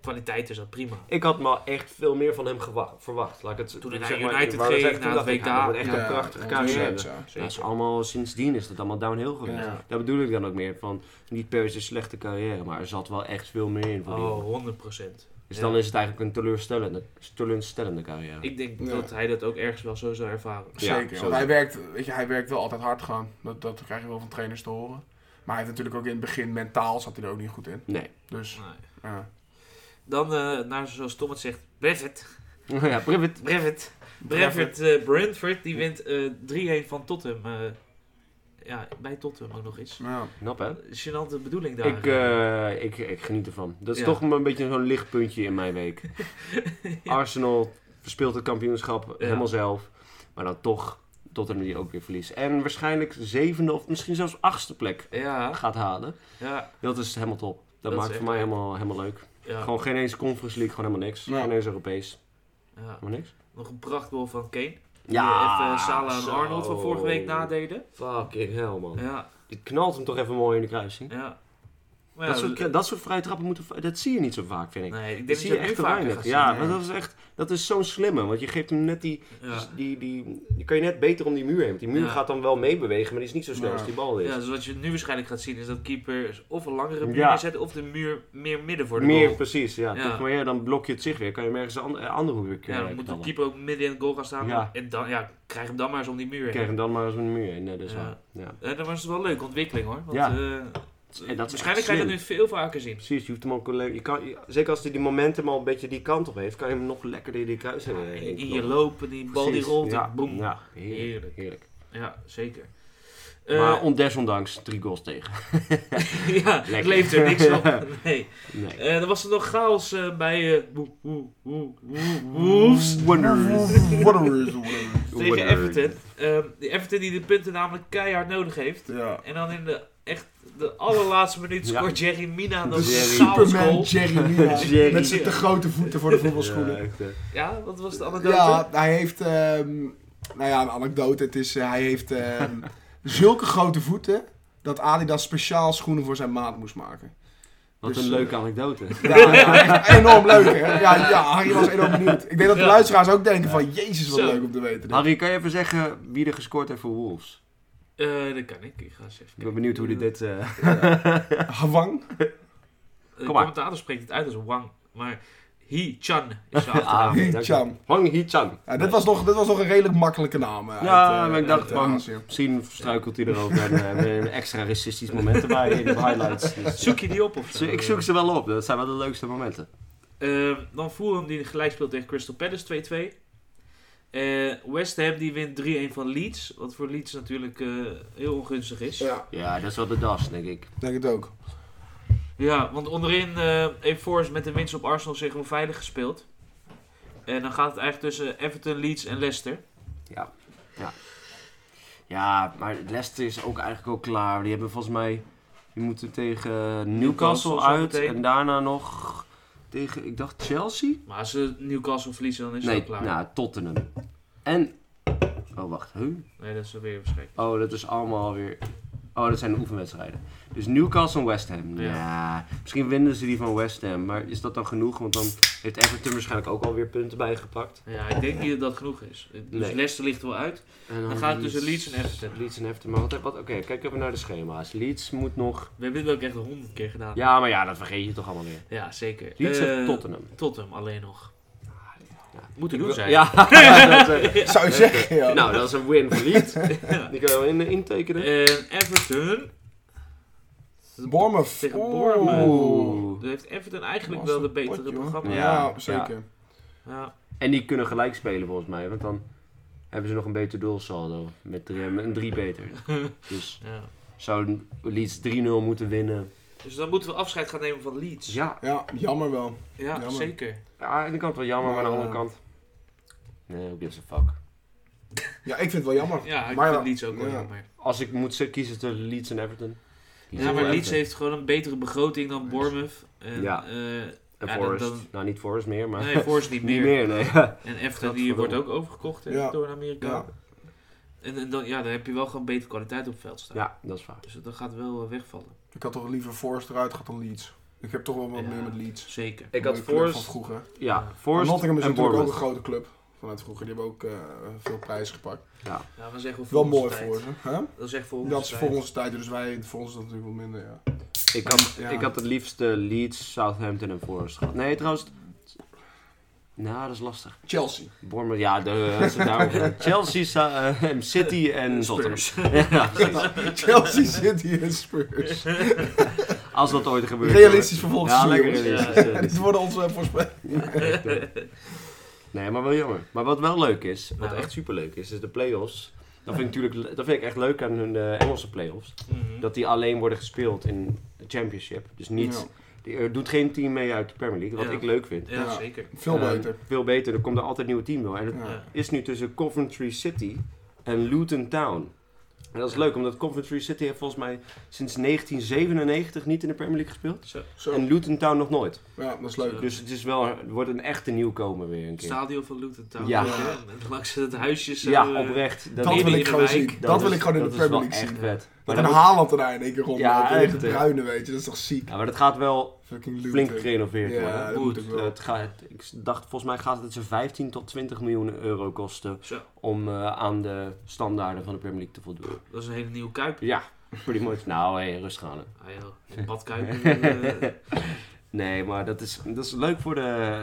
kwaliteit is dat prima. Ik had maar echt veel meer van hem gewa- verwacht. Laat ik het, Toen hij zeg naar maar, United ik wou ging, zeggen, toen naar het dacht ik, WK. ja, dat wordt echt Ja, een prachtige ja, carrière. zo, zo. Dat is allemaal, sindsdien is het allemaal downhill geweest. Ja. Daar bedoel ik dan ook meer van, niet per se slechte carrière, maar er zat wel echt veel meer in voor die jongen. Oh, 100%. Dus Ja. dan is het eigenlijk een teleurstellende, teleurstellende carrière. Ik denk Ja. dat hij dat ook ergens wel zo zou ervaren. Ja, Zeker. zo. want hij werkt, weet je, hij werkt wel altijd hard gewoon. Dat, dat krijg je wel van trainers te horen. Maar hij heeft natuurlijk ook in het begin mentaal zat hij er ook niet goed in. Nee. Dus Nee. ja. Dan, eh, naar zoals Tom het zegt, Brevett. *laughs* ja, Privet. Brevett. Brevett, eh, Brentford, die wint eh 3-1 van Tottenham. eh, ja, bij Tottenham ook nog eens. Ja. Knap hè? Genante bedoeling daar. Ik, eh, ik, ik geniet ervan. Dat is Ja. toch een beetje zo'n lichtpuntje in mijn *laughs* week. Arsenal verspeelt het kampioenschap helemaal zelf. Maar dan toch Tottenham die ook weer verliest. En waarschijnlijk zevende of misschien zelfs achtste plek ja, gaat halen. ja, Dat is helemaal top. Dat, Dat is maakt echt voor mij leuk. helemaal, helemaal leuk. ja, Gewoon geen eens Conference League, gewoon helemaal niks. Ja. Geen eens Europees, ja. helemaal niks. Nog een prachtbal van Kane. Ja, Die even eh, Salah en zo. Arnold van vorige week nadeden. Fucking hell man. Ja, Dit knalt hem toch even mooi in de kruising. ja. Maar ja, Dat soort, dat soort vrije trappen moeten, dat zie je niet zo vaak, vind ik. Nee, ik denk Dat dat, zie je het je nu echt te vaker weinig. gaat Ja, zien, maar ja. dat is echt, dat is zo'n slimme. Want je geeft hem net die, zien. Ja. die, die, die kan je net beter om die muur heen. Want die muur Ja. gaat dan wel meebewegen, maar die is niet zo snel Ja. als die bal is. Ja, dus wat je nu waarschijnlijk gaat zien is dat keepers of een langere muur Ja. neerzetten of de muur meer midden voor de Meer goal. precies, ja. Ja. Toch, maar ja, dan blok je het zich weer. Kan je hem ergens een ander- een andere hoek weer Ja, dan krijgen. moet de dan keeper ook midden in het goal gaan staan. Ja. En dan, ja, krijg hem dan maar eens om die muur krijg heen. hem dan maar eens om de muur heen. Nee, dat is Ja. waar. Ja. Eh, dat was wel een leuke ontwikkeling hoor. Want, Ja. eh, En dat is waarschijnlijk echt ga je slim. dat nu veel vaker zien. Precies, je hoeft hem ook le- je kan, je- Zeker als hij die momentum al een beetje die kant op heeft, kan je hem nog lekkerder die kruising In, heen. in je knoppen. lopen, die bal die eh, Precies, rolt. Ja, en boem. Ja. ja heerlijk. Heerlijk. heerlijk. zeker. maar Eh, on- desondanks drie goals tegen. *laughs* ja, het Lekker. leeft er niks *laughs* op. Nee. Nee. Eh, dan was er nog chaos eh, bij eh, Wo- Wo- Wo- Wo- Wolves. Wonders. Wanderers. Tegen Everton. Ehm, die Everton die de punten namelijk keihard nodig heeft. Ja. En dan in de, echt de allerlaatste minuut Ja. scoort Jerry Mina De dat Jerry. Superman. Superman Jerry Mina. Jerry. Met zijn te grote voeten voor de voetbalschoenen. Ja, echt, hè. Ja, wat was de anekdote? Ja, hij heeft. ehm, nou ja, een anekdote. Het is, eh, hij heeft ehm, zulke grote voeten. dat Adidas speciaal schoenen voor zijn maat moest maken. Wat Dus, een eh, leuke anekdote. Ja, ja, echt enorm leuk, hè? Ja, ja, Harry was enorm benieuwd. Ik denk dat de Ja. luisteraars ook denken van, jezus, wat Zo. leuk om te weten. dit. Harry, kan je even zeggen wie er gescoord heeft voor Wolves? Eh, dat kan ik. Ik ga eens even Ik ben benieuwd hoe dit... dit eh, Hawang? Eh, De Kom maar. commentator spreekt het uit als Wang. Maar Hee Chan *laughs* is zijn achternaam. ah, oké, dank je. Hee-chan. Hwang Hee-chan. Ja, dit, was nog, dit was nog een redelijk makkelijke naam. eh, Ja, eh, maar ik dacht eh, van- Azië. Misschien struikelt hij erover en eh, weer een extra racistisch moment erbij in de *laughs* highlights. Dus, Zoek je die op of Zo- ik zoek ze wel op, dat zijn wel de leukste momenten. Ehm, dan Fulham die gelijk speelt tegen Crystal Palace 2-2. Eh, West Ham die wint 3-1 van Leeds. Wat voor Leeds natuurlijk eh, heel ongunstig is. Ja, Ja, Ja, dat is wel de das, denk ik. denk het ook. want onderin eh heeft Forest met de winst op Arsenal zich wel veilig gespeeld. En dan gaat het eigenlijk tussen Everton, Leeds en Leicester. Ja, ja. Ja, maar Leicester is ook eigenlijk al klaar. Die hebben volgens mij... Die moeten tegen Newcastle, Newcastle uit zometeen. en daarna nog tegen, ik dacht Chelsea? Maar als ze Newcastle verliezen, dan is het nee, al klaar. nou, Tottenham. En... Oh, wacht. Huh? Nee, dat is weer waarschijnlijk. Oh, dat is allemaal weer... Oh, dat zijn de oefenwedstrijden. Dus Newcastle en West Ham. Ja. Ja. misschien winnen ze die van West Ham. Maar is dat dan genoeg? Want dan heeft Everton waarschijnlijk ook alweer punten bijgepakt. Ja, ik denk niet dat dat genoeg is. Dus Nee. Leicester ligt er wel uit. En Dan gaat het tussen Leeds en Everton. Leeds en Everton. Maar wat, wat, oké, kijk even naar de schema's. Leeds moet nog... We hebben dit ook echt honderd keer gedaan. Ja, Ja, maar ja, dat vergeet je toch allemaal weer. zeker. Leeds Eh, en Tottenham. Tottenham alleen nog. ja. Moet er doen zijn. Ja, *laughs* dat, eh, Zou je zeggen, ja. nou, dat is een win voor Leeds. *laughs* Ja. Die kunnen we in, intekenen. En Eh, Everton. Bournemouth. Tegen Oeh. Bournemouth. Oeh. Daar heeft Everton eigenlijk Was wel een de betere potje, hoor. programma. Ja, Ja. zeker. Ja. En die kunnen gelijk spelen volgens mij, want dan hebben ze nog een beter doelsaldo. Met drie, met een 3 beter. *laughs* dus Ja. zou Leeds 3-0 moeten winnen. Dus dan moeten we afscheid gaan nemen van Leeds. Ja, Dus Ja, Ja, jammer wel. jammer. zeker. ja, aan de ene kant wel jammer, maar aan de andere Ja. kant. Nee, who gives a fuck. Ja, ik vind het wel jammer. Ja, ik Maar vind ja, Leeds ook wel ja. jammer. Als ik moet ze- kiezen tussen Leeds en Everton. kies Ja, maar ik voor Leeds Everton. heeft gewoon een betere begroting dan Bournemouth. En, Ja. eh, En ja, dan- Forest. dan- Nou, niet Forest meer, maar. nee, *laughs* Forest niet *laughs* niet meer. meer, nee. En Everton die wordt ook overgekocht hè, Ja. door een Amerikaan. Ja. En, en dan, ja, dan heb je wel gewoon betere kwaliteit op het veld staan. ja, dat is waar. Dus dat gaat wel eh, wegvallen. Ik had toch liever Forrest eruit gehad dan Leeds. Ik heb toch wel wat Ja. meer met Leeds. Zeker. Ik Mooie had club Forest. Van vroeger. Ja, Maar Forest. Nottingham is en natuurlijk ook een Bournemouth. grote club. Vanuit vroeger. Die hebben ook eh, veel prijzen gepakt. Ja, dat is echt wel voor Wel onze mooi tijd. voor ze. Hè? Dat is echt voor onze Dat is tijd. voor onze tijd. Dus wij, voor ons is dat natuurlijk wel minder. Ja. Ik had, Ja. ik had het liefst eh, Leeds, Southampton en Forest gehad. Nee, trouwens. Nou, dat is lastig. Chelsea. *laughs* Bournemouth, ja, de, als het daarover gaat. Chelsea, Sa- eh, City en Tottenham. Spurs. *laughs* Ja, precies. Chelsea City en Spurs. Als dat ooit *laughs* gebeurt. Realistisch vervolgens. Ja, lekker jongens. realistisch. eh, Dit worden onze voorspellingen. Nee, maar wel jammer. Maar wat wel leuk is, wat Nou. echt superleuk is, is de play-offs. Dat vind ik, natuurlijk, dat vind ik echt leuk aan hun eh, Engelse play-offs. Mhm. Dat die alleen worden gespeeld in de championship. Dus niet, er doet geen team mee uit de Premier League, wat Ja. ik leuk vind. Ja, Ja. zeker. Ja, veel Eh, beter. Veel beter, er komt er altijd een nieuw team door. En het Ja. Ja. is nu tussen Coventry City en Luton Town. En dat is leuk, omdat Coventry City heeft volgens mij sinds 1997 niet in de Premier League gespeeld. Zo. Zo. En Luton Town nog nooit. Ja, dat is leuk. Dus het is wel, het wordt een echte nieuwkomer weer een Het keer. stadion van Luton Town. Ja. Ja, met Langs het huisje zo. Ja, eh, opreekt. Dat, dat wil in ik de gewoon wijk. zien. Dat, wil ik gewoon in de dat Premier is League wel zien. echt vet. Maar Dat dat, een wordt- Haaland er in één keer rond. Ja, Ja, echt. echt, hè. Bruine, weet je. Dat is toch ziek. ja, maar dat gaat wel Fucking Luton. flink gerenoveerd Ja, worden. dat moet ook wel. Het gaat, ik dacht, volgens mij gaat het zo'n 15 tot 20 miljoen euro kosten Zo, om eh, aan de standaarden van de Premier League te voldoen. dat is een hele nieuwe kuip. Ja, pretty much. Nou, hé, rustig aan. hè. Ah, joh, een *laughs* badkuip. *laughs* eh, Nee, maar dat is, dat is leuk voor de,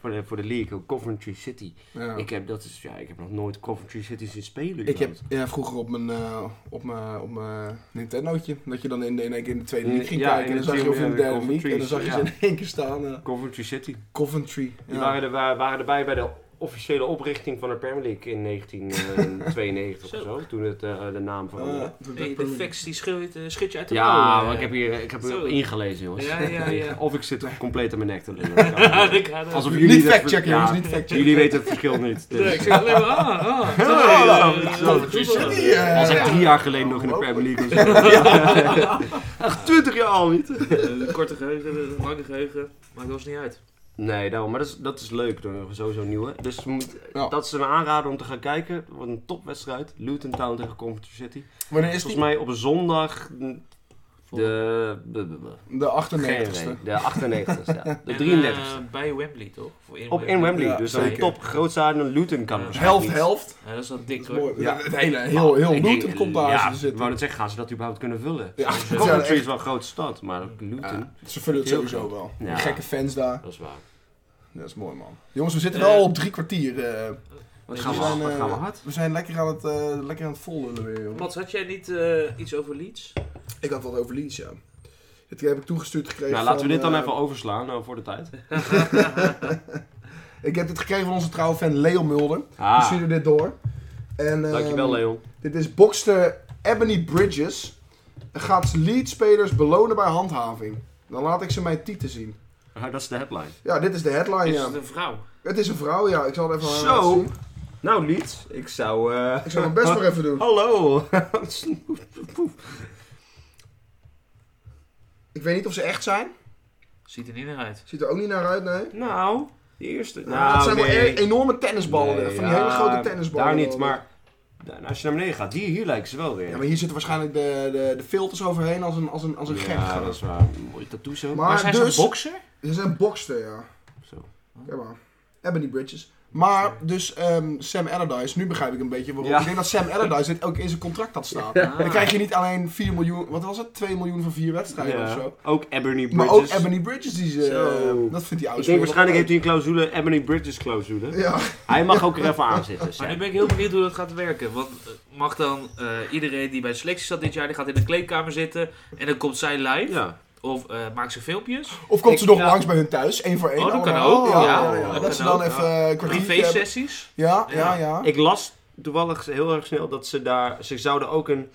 voor de, voor de league, ook Coventry City. Ja. Ik, heb, dat is, ja, ik heb nog nooit Coventry City zien spelen. eh, Ik heb überhaupt. ja, vroeger op mijn, eh, op mijn, op mijn Nintendootje, dat je dan in, in één keer in de tweede league ging Ja, kijken. in En dan de zag je of in de tweede, derde Coventry, league. En dan zag je ze ja. in één keer staan. eh, Coventry City. Coventry. Die Ja. waren, er, wa- waren erbij bij de officiële oprichting van de Premier *laughs* League in 1992 of Zo. zo. Toen het eh, de naam Eh, veranderde. hey, toen werd de Premier facts die schud, eh, schud je uit de mouw, ja, eh. maar ik heb hier, ik heb hier Zo. ingelezen, jongens. Ja, ja, ja. *laughs* Of ik *laughs* zit compleet aan mijn nek te Ja, lullen. ik ga er- Alsof League. jullie Niet dat- factchecken, ja, jongens, niet factchecken. Jullie weten het verschil niet. dus, Nee, ik eh. zeg alleen maar, ah, *laughs* ah. Ja, sorry, ja, eh, ja, dat is wel. City, eh, Als ik ja. drie jaar geleden nog in de Premier League was. *laughs* Echt twintig jaar al niet. Eh, Korte geheugen, eh, lange geheugen, maakt ons niet uit. Nee, daarom. Maar dat is, dat is leuk. Dan hebben we sowieso een nieuwe. Dus we moeten- Ja. dat is een aanrader om te gaan kijken. Het wordt een topwedstrijd. Luton Town tegen Coventry City. Wanneer is die? Volgens mij op een zondag. mm, De, de, de, de, De geen 98ste. idee. de 98ste, ja. De En, 33ste. eh, bij Wembley, toch? Of in Op in Wembley, Ja, dus zeker. een top groot stadion. Luton kan Ja. waarschijnlijk Helft, niet. helft. Ja, dat is wel dik, Dat is hoor. mooi. Ja. Het hele, heel, heel Ik Luton denk- komt daar ja, te Ik zitten. wou net zeggen, gaan ze dat überhaupt kunnen vullen? Ja, Ze- ja, Coventry echt. is wel een grote stad, maar ook Luton, Ze vullen het Heel sowieso goed. wel. Ja. Gekke fans daar. dat is waar. Dat is mooi, man. Jongens, we zitten Eh, wel op drie kwartier. eh. Wat Dus gaan we, we hard, wat eh, gaan we hard? we zijn lekker aan het, eh lekker aan het vollullen weer, jongen. Mats, had jij niet eh, iets over Leeds? Ik had wat over Leeds, ja. Dit heb ik toegestuurd gekregen Nou, laten van, we dit dan eh, even overslaan eh, voor de tijd. *laughs* Ik heb dit gekregen van onze trouwe fan Leo Mulder. Die Ah, stuurde dit door. En, Dus eh, dankjewel Leon. Dit is bokster Ebony Bridges. Gaat Leeds-spelers belonen bij handhaving. Dan laat ik ze mijn tieten zien. Ah, dat is de headline. Ja, dit is de headline, Is Ah, ja. het een vrouw? Het is een vrouw, ja. Ik zal het even aan haar Zo. laten zien. Nou Leeds, ik zou... eh, Ik zal *laughs* mijn best *laughs* maar even doen. Hallo! Ik weet niet of ze echt zijn. Ziet er niet naar uit. Ziet er ook niet naar uit, nee. *laughs* nou, de eerste. Nou, het zijn wel nee. e- enorme tennisballen. Nee, van die ja, hele grote tennisballen. Daar niet, maar daar- als je naar beneden gaat, hier, hier lijken ze wel weer. Ja, maar hier zitten waarschijnlijk de, de, de filters overheen als een, als een, als een gek. Ja, dat is waar. Mooie tattoos zo. Maar Maar, zijn dus- ze een bokser? Ze zijn bokster, ja. Zo. Kijk maar. Ebony Bridges. Maar, dus ehm, Sam Allardyce, nu begrijp ik een beetje waarom. Ja. Ik denk dat Sam Allardyce dit ook in zijn contract had staan. Ja. Dan krijg je niet alleen 4 miljoen, wat was het? 2 miljoen voor 4 wedstrijden Ja, of zo. Ook Ebony Bridges. Maar ook Ebony Bridges, die ze, eh, Zo. dat vindt hij oud. Ik denk waarschijnlijk heeft hij een clausule, Ebony Bridges clausule. Ja, Hij mag ook er even aan zitten. Maar nu Sam. ben ik heel benieuwd hoe dat gaat werken. Want eh, mag dan eh, iedereen die bij de selectie zat dit jaar, die gaat in de kleedkamer zitten en dan komt zij live? Ja. Of eh, maakt ze filmpjes? of komt Ik- ze nog ja. langs bij hun thuis, één voor één. Oh, dat kan allemaal. ook. Ja, Ja, ja, ja. dat dat kan ze dan ook. even eh, een kwartiertje hebben. Privé-sessies? Ja, ja, ja. Ik las toevallig heel erg snel dat ze daar, ze zouden ook een,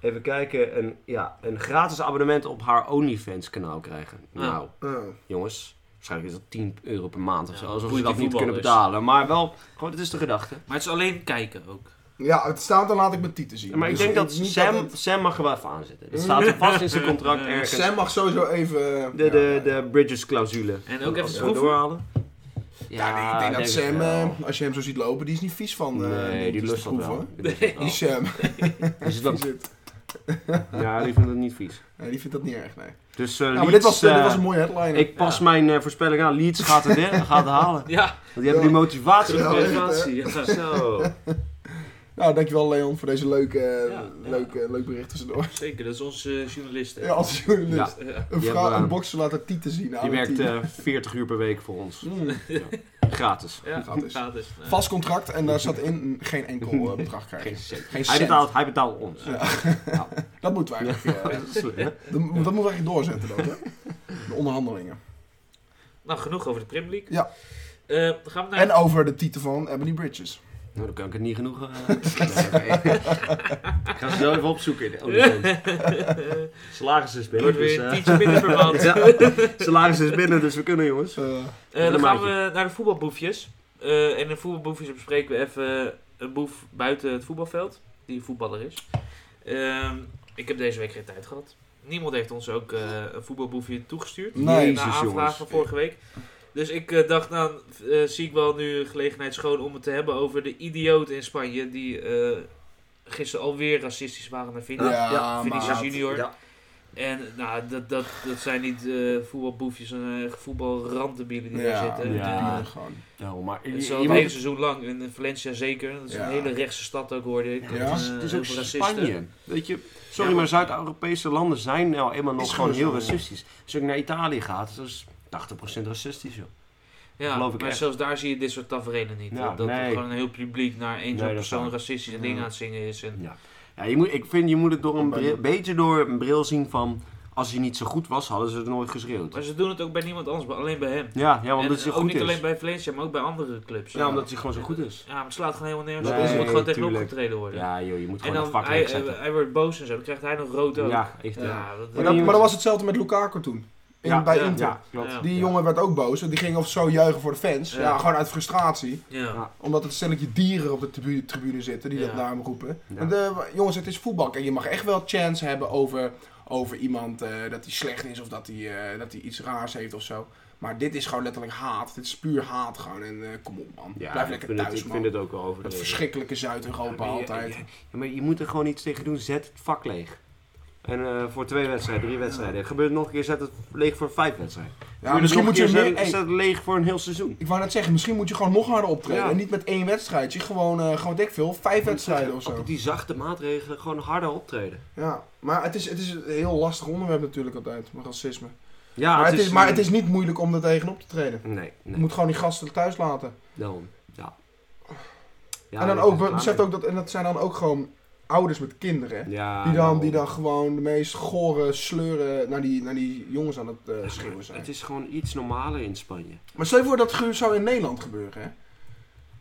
even kijken, een, ja, een gratis abonnement op haar OnlyFans kanaal krijgen. Ja. Nou, Ja. jongens, waarschijnlijk is dat 10 euro per maand of Ja, zo, alsof ze boeit dat die niet kunnen voetballers. betalen. Maar wel, gewoon, dat is de gedachte. Maar het is alleen kijken ook. Ja, het staat dan laat ik mijn tieten zien. Maar ik Dus denk dat niet Sam, het- Sam mag er wel even aan zitten. Dat staat er vast *laughs* in zijn contract Eh, ergens. Sam mag sowieso even... eh, de, ja, de, ja. de Bridges clausule. En ook even Als we schroeven? doorhalen. Ja, nee, ik denk dat het Sam, wel. eh, als je hem zo ziet lopen, die is niet vies van... eh, nee, die dingetjes lust te dat proeven, wel. hoor. Die *laughs* lust dat wel. Die Sam, Is het wel- die zit- Ja, die vindt het niet vies. nee, die vindt dat niet erg, nee. Dus eh Nou, maar dit Leeds, was, eh, dit eh, was een mooie headline. Ik pas mijn eh, voorspelling aan. Leeds gaat het, in, gaat het *laughs* halen. Want Ja, die hebben die motivatie. Ja. presentatie. *laughs* Ja. Zo. Nou, dankjewel Leon voor deze leuke, eh, Ja, ja. leuke, leuk bericht tussendoor. Zeker, dat is onze eh, journalist. hè. Ja, als journalist. Ja, eh, Ja. die Een vrouw, hebben we een aan. bokser laat haar tieten zien. Die oude werkt tieten. eh, 40 uur per week voor ons. Mm. Gratis. Ja, Gratis. gratis. gratis. Nou, *laughs* Vast contract en daar zat in geen enkel eh, bedrag *laughs* Geen krijgen. cent. Geen Hij cent. betaalt, hij betaalt ons. *laughs* Dat moeten *laughs* we eigenlijk, eh, Dat is slim, hè? dat, dat moeten we eigenlijk doorzetten dan, hè? De onderhandelingen. Nou, genoeg over de Premier League. Ja. Eh, dan gaan we naar... En over de titel van Ebony Bridges. Nou, dan kan ik het niet genoeg. *laughs* eh, nee, oké. ik ga ze zo even opzoeken. in de OnlyFans. *laughs* Salaris is binnen. Wordt Dus, weer een eh, tientje minder per maand. *laughs* ja, salaris is binnen, dus we kunnen, jongens. Eh, Eh, dan Een gaan maatje. we naar de voetbalboefjes. Eh, en in voetbalboefjes bespreken we even een boef buiten het voetbalveld, die voetballer is. Ehm, ik heb deze week geen tijd gehad. Niemand heeft ons ook eh, een voetbalboefje toegestuurd. Nee. na Jezus, aanvraag jongens. van vorige week. Dus ik eh, dacht, nou eh, zie ik wel nu een gelegenheid schoon om het te hebben over de idioot in Spanje. Die eh, gisteren alweer racistisch waren naar Vin- Ja, Vinicius maat. Junior. Ja. En nou, dat, dat, dat zijn niet eh, voetbalboefjes en eh, voetbalranddebielen die daar ja, zitten. ja. Eh, ja. gewoon. Nou, maar het is je- al je een moet- hele seizoen lang. En in Valencia zeker. Dat is Ja. een hele rechtse stad ook, hoorde ik. Ja, En, het is- eh, Het is heel ook veel racisten. Spanje. Weet je, sorry, Ja. maar Zuid-Europese landen zijn nou eenmaal nog gewoon gewoon heel zo, ja. racistisch. Als je ook naar Italië gaat, dat is 80% racistisch, joh. Ja, Geloof ik maar echt. zelfs daar zie je dit soort tafereelen niet. Ja, dat nee. er gewoon een heel publiek naar één zo'n dat is persoon waar. racistische Ja. dingen aan het zingen is. En, Ja. Ja, je moet, ik vind, je moet het door een bril- beetje door een bril zien van... Als hij niet zo goed was, hadden ze het nooit geschreeuwd. Maar ze doen het ook bij niemand anders, maar alleen bij hem. Ja, ja omdat en hij zo ook goed niet is. alleen bij Valencia, maar ook bij andere clubs. Ja, omdat hij gewoon zo goed is. Ja, maar het slaat gewoon helemaal nergens op. Nee, Ze moet gewoon tegenop tuurlijk. getreden worden. Ja, joh, je moet En gewoon het dan vak hij, recht zetten. hij wordt boos en zo, dan krijgt hij nog rood ook. Ja, echt. Ja, Ja, dat- Maar, dat, Ja. maar dat was hetzelfde met Lukaku toen. In, Ja, bij ja, Inter. ja klopt. Ja. Die Ja. jongen werd ook boos. want Die ging of zo juichen voor de fans. Ja. Ja. gewoon uit frustratie. ja. Omdat het stelletje dieren op de tribu- tribune zitten die dat Ja. naar hem roepen. Ja. Want, eh, jongens, het is voetbal. En je mag echt wel chance hebben over, over iemand eh, dat hij slecht is of dat hij, eh, dat hij iets raars heeft of zo. Maar dit is gewoon letterlijk haat. Dit is puur haat gewoon. En eh, kom op man. Ja, Blijf ik, lekker vind thuis het, ik man. vind het ook wel Dat overdreven. verschrikkelijke Zuid-Europa Ja, maar je- altijd. Ja, maar je moet er gewoon iets tegen doen. Zet het vak leeg. En eh, voor twee wedstrijden, drie wedstrijden. Gebeurt het nog een keer, zet het leeg voor vijf wedstrijden. Ja, misschien moet je zet, meer... zet hey, het leeg voor een heel seizoen. ik wou net zeggen, misschien moet je gewoon nog harder optreden. Ja. En niet met één wedstrijdje. Gewoon, eh gewoon denk ik veel, vijf wedstrijden of zo. Op die zachte maatregelen gewoon harder optreden. Ja, maar het is, het is een heel lastig onderwerp natuurlijk altijd, met racisme. Ja, eh, maar, het is, maar het is niet moeilijk om er tegenop te treden. Nee, Je nee. moet gewoon die gasten thuis laten. Daarom, ja. Ja, en dan ik ook, ben we- er besef klaar ook dat, en dat zijn dan ook gewoon ouders met kinderen. hè, mee. Ja, nou. Die dan, daarom. die dan gewoon de meest gore sleuren naar die, naar die jongens aan het eh, schreeuwen zijn. Het is gewoon iets normaler in Spanje. Maar stel je voor dat ge- zou in Nederland gebeuren, hè?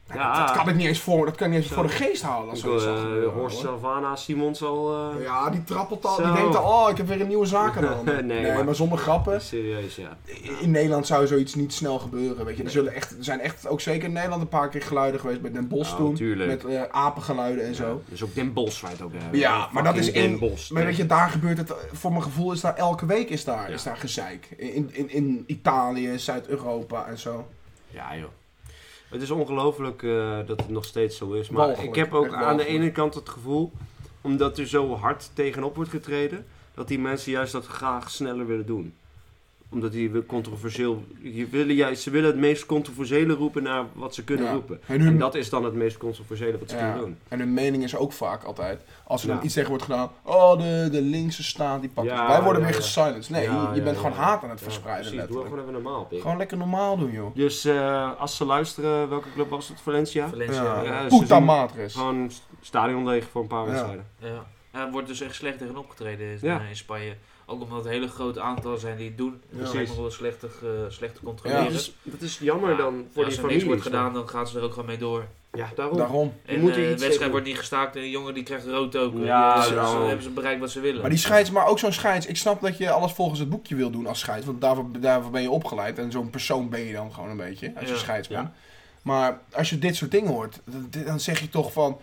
Nou, Ja. dat, dat kan ik niet eens voor, dat kan ik niet eens Zo. voor de geest halen. Als Ik, zoiets zou eh, gebeuren, Horst hoor. Salvana, Simons al... eh, Ja, die trappelt al, die Zo. denkt al, oh, ik heb weer een nieuwe *laughs* zaak aan. Nee, nee, nee, maar- maar zonder grappen. Serieus, ja. In Nederland zou zoiets niet snel gebeuren. Weet je. Er, zullen echt, er zijn echt ook zeker in Nederland een paar keer geluiden geweest met Den Bosch Ja, toen. tuurlijk. Met eh, apengeluiden en zo. Dus ook Den Bosch waar het ook hebben. Ja, maar dat is Fucking Den in- Bosch. Maar weet je, daar gebeurt het, eh, voor mijn gevoel is daar elke week is daar, Ja. is daar gezeik. In, in, in Italië, Zuid-Europa en zo. Ja, joh. Het is ongelooflijk eh, dat het nog steeds zo is. Maar Walgelijk, ik heb ook echt aan de walgelijk. ene kant het gevoel, omdat er zo hard tegenop wordt getreden, dat die mensen juist dat graag sneller willen doen. Omdat die wil- controversieel. Je willen juist, ze willen het meest controversiële roepen naar wat ze kunnen Ja. roepen. En En hun, dat is dan het meest controversiële wat ze Ja. kunnen doen. en hun mening is ook vaak altijd, als er Ja. dan iets tegen wordt gedaan, oh de, de linkse staat die pakt Ja, het. Wij worden ja, weer ja. gesilenced. Nee, Ja, je ja, bent ja, gewoon ja. haat aan het Ja, verspreiden Precies, doe letterlijk. gewoon even normaal, pik. Gewoon lekker normaal doen joh. Dus eh, als ze luisteren, welke club was het? Valencia? Valencia. Ja. Ja. dus- ze Puta doen- matres. Gewoon st- stadion leeg voor een paar Ja. wedstrijden. Ja. Er wordt dus echt slecht tegen opgetreden in, Ja. eh, in Spanje. Ook omdat het een hele groot aantal zijn die het doen. Ja. Dus zijn Precies. nog wel slechter, eh, slechter Ja. controleren. Dat, dus is, dat is jammer dan voor als die er niks familie. wordt gedaan, dan gaan ze er ook gewoon mee door. Ja, daarom. Daarom. En moet er eh, de iets wedstrijd tegen- wordt niet gestaakt en de jongen die krijgt rood ook. Ja, Eh, ze- daarom. ze hebben ze bereikt wat ze willen. Maar die scheids, maar ook zo'n scheids. Ik snap dat je alles volgens het boekje wil doen als scheids. Want daarvoor, daarvoor ben je opgeleid. En zo'n persoon ben je dan gewoon een beetje. Als je Ja. scheids bent. Ja. Maar als je dit soort dingen hoort. Dan, dan zeg je toch van...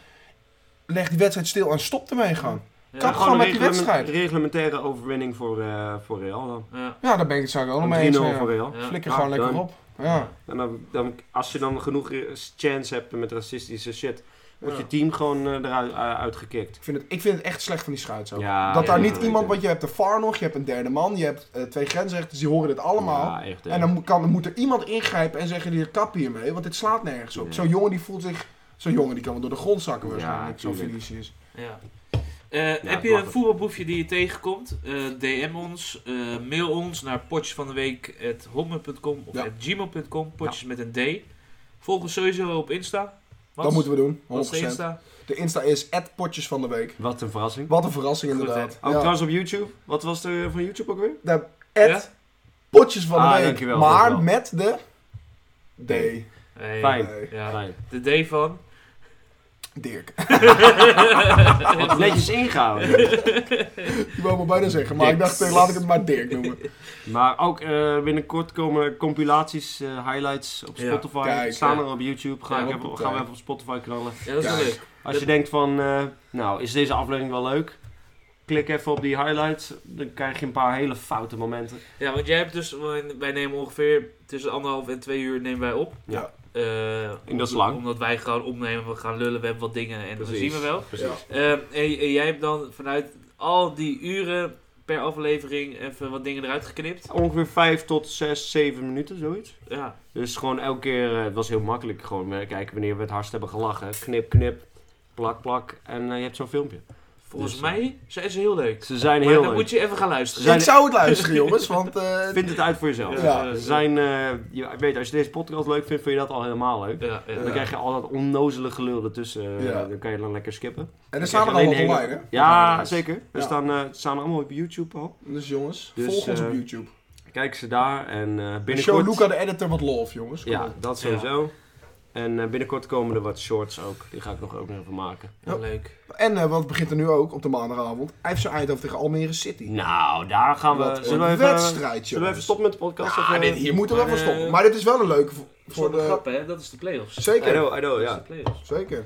Leg die wedstrijd stil en stop ermee gaan. Ja. kap Gewoon met een die reglement- wedstrijd. reglementaire overwinning voor, eh, voor Real dan. Ja. Ja, daar ben ik het zou ik wel Een 3-0 mee eens. ja. voor Real. Ja. Flikker Ja, gewoon lekker done. op. Ja. En dan, dan, als je dan genoeg eh, chance hebt met racistische shit, wordt Ja. je team gewoon eh, eruit eh, uitgekikt. Ik, vind het, ik vind het echt slecht van die scheids ook. Ja, dat ja, daar ja, niet ja, iemand... ja. Want je hebt de VAR nog. Je hebt een derde man. Je hebt eh, twee grensrechters. Die horen dit allemaal. Ja, echt, hè. En dan moet, kan, moet er iemand ingrijpen en zeggen, hier, kap hiermee, want dit slaat nergens op. Ja. Zo'n jongen die voelt zich... Zo'n jongen die kan wel door de grond zakken waarschijnlijk, zo'n tuurlijk. Vinicius. Ja. Eh, Ja, heb je mag een het. voetbalboefje die je tegenkomt? Eh, DM ons, eh, mail ons naar potjesvandeweek.hommen.com of Ja. at gmail.com. Potjes met een D. Volg ons sowieso op Insta. Wat? Dat moeten we doen, 100%. Wat is de Insta? De Insta is potjes van de week. Wat een verrassing. Wat een verrassing Goed, inderdaad. Ook ja. trouwens op YouTube. Wat was er eh, van YouTube ook weer? Ja? At potjes van de Ah, week, dankjewel, maar dankjewel. met de... D. Hey. Fijn. Nee. Ja. Fijn. De D van. *laughs* Dirk. *laughs* Wat netjes ingehouden. Ik wou maar bijna zeggen, maar ik Dirk. dacht, eh, laat ik het maar Dirk *laughs* noemen. maar ook eh, binnenkort komen er compilaties, eh, highlights op Ja. Spotify. Kijk, Staan ja. er op YouTube. Ga Ja, ik wat even, een gaan we tijd. even op Spotify knallen. Ja, dat is wel Kijk. leuk. Als je denkt van, eh, nou, is deze aflevering wel leuk? Klik even op die highlights. Dan krijg je een paar hele foute momenten. Ja, want jij hebt dus, wij nemen ongeveer tussen anderhalf en twee uur nemen wij op. Ja. Eh, En dat is lang. Omdat wij gewoon opnemen, we gaan lullen, we hebben wat dingen en dat zien we wel. Ja. Ehm, en, en jij hebt dan vanuit al die uren per aflevering even wat dingen eruit geknipt. Ongeveer 5 tot 6, 7 minuten, zoiets. Ja, Dus gewoon elke keer, eh, het was heel makkelijk. Gewoon eh, kijken wanneer we het hardst hebben gelachen. Knip, knip, plak, plak. En eh, je hebt zo'n filmpje. volgens Dus, eh, mij zijn ze heel leuk. Ze zijn maar heel dan leuk. moet je even gaan luisteren. Zijn- Ik zou het *laughs* luisteren jongens, want... eh, Vind het uit voor jezelf. Ja. Ze zijn, eh, je weet, als je deze podcast leuk vindt, vind je dat al helemaal leuk. Ja, ja. Dan Ja. krijg je al dat onnozele gelul ertussen. eh, Ja. Dan kan je dan lekker skippen. en er staan er Alleen allemaal hele- online hè? Ja, zeker. Er Ja. staan, eh, ze staan allemaal op YouTube al. Dus jongens, Dus, volg ons eh, op YouTube. Kijk ze daar en eh, binnenkort... Show Luca de editor wat love jongens. Kom Ja, op. dat sowieso. En eh, binnenkort komen er wat shorts ook. Die ga ik nog ook nog even maken. Ja, leuk. En eh, wat begint er nu ook op de maandagavond? IJfse Eindhoven tegen Almere City. Nou, daar gaan Wat we... een Zullen we even, wedstrijd, zullen we even jongens. stoppen met de podcast? Ja, of, dit, hier moeten we maar, even eh, stoppen. Maar dit is wel een leuke voor, voor Voor de de... grappen, hè? Dat is de play-offs. I Zeker, know, I know, Dat is de ja. play-offs. zeker.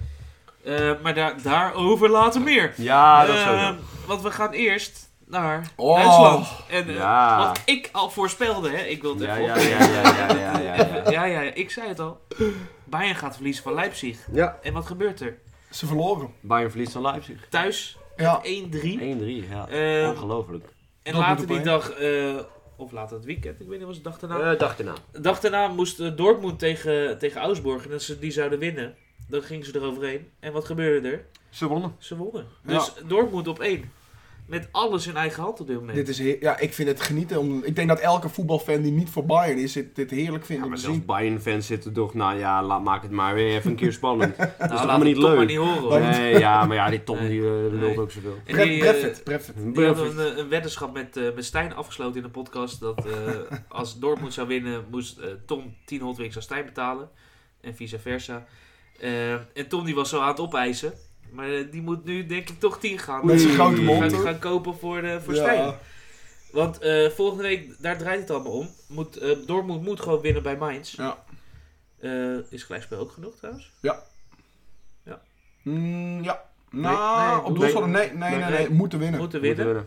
Eh, maar daar, daarover later meer. Ja, dat Ehm, sowieso. Want we gaan eerst naar Oh. Duitsland. En eh, Ja. wat ik al voorspelde, hè? Ik wil het Ja, even ja, ja, op- ja, ja, ja, ja. ja, ja, ik zei het al. Bayern gaat verliezen van Leipzig. Ja, En wat gebeurt er? Ze verloren. Bayern verliest van Leipzig. Thuis Ja, 1-3. 1-3, ja. Ehm, Ongelooflijk. en Dat later moet die erbij. dag, eh, of later het weekend, ik weet niet, was het dag daarna? Eh, dag erna. De dag daarna moest eh, Dortmund tegen, tegen Augsburg en als ze die zouden winnen, dan gingen ze eroverheen. En wat gebeurde er? Ze wonnen. Ze wonnen. Dus Dortmund op één. Met alles in eigen hand op dit moment. dit is heer- ja, ik vind het genieten. Om, ik denk dat elke voetbalfan die niet voor Bayern is, dit, dit heerlijk vindt Ja, om maar te zelfs zien. Bayern-fans zitten toch, nou ja, laat, maak het maar weer even een keer *laughs* spannend. Dat is Nou, toch laat allemaal het niet toch maar leuk? niet horen. hoor. Nee, ja, maar ja, die Tom Nee. die eh, lult Nee. ook zoveel. En Bref- die, eh, Breffet, Breffet. Die hadden een, een weddenschap met, eh, met Stijn afgesloten in de podcast. Dat eh, als Dortmund zou winnen, moest eh, Tom 10 hotwings aan Stijn betalen. En vice versa. Eh, en Tom die was zo aan het opeisen. Maar eh, die moet nu denk ik toch 10 gaan. Met zijn Die grote gaan- mond, die hoor. gaan kopen voor, de, voor Stijn. Ja. Want eh, volgende week, daar draait het allemaal om. Moet, eh, Dortmund moet gewoon winnen bij Mainz. Ja. Eh, is gelijkspel ook genoeg trouwens? Mm, ja. nee, Nou, op nee, doelsaldo, nee, nee, nee, nee, nee, nee. moeten winnen. Moeten winnen.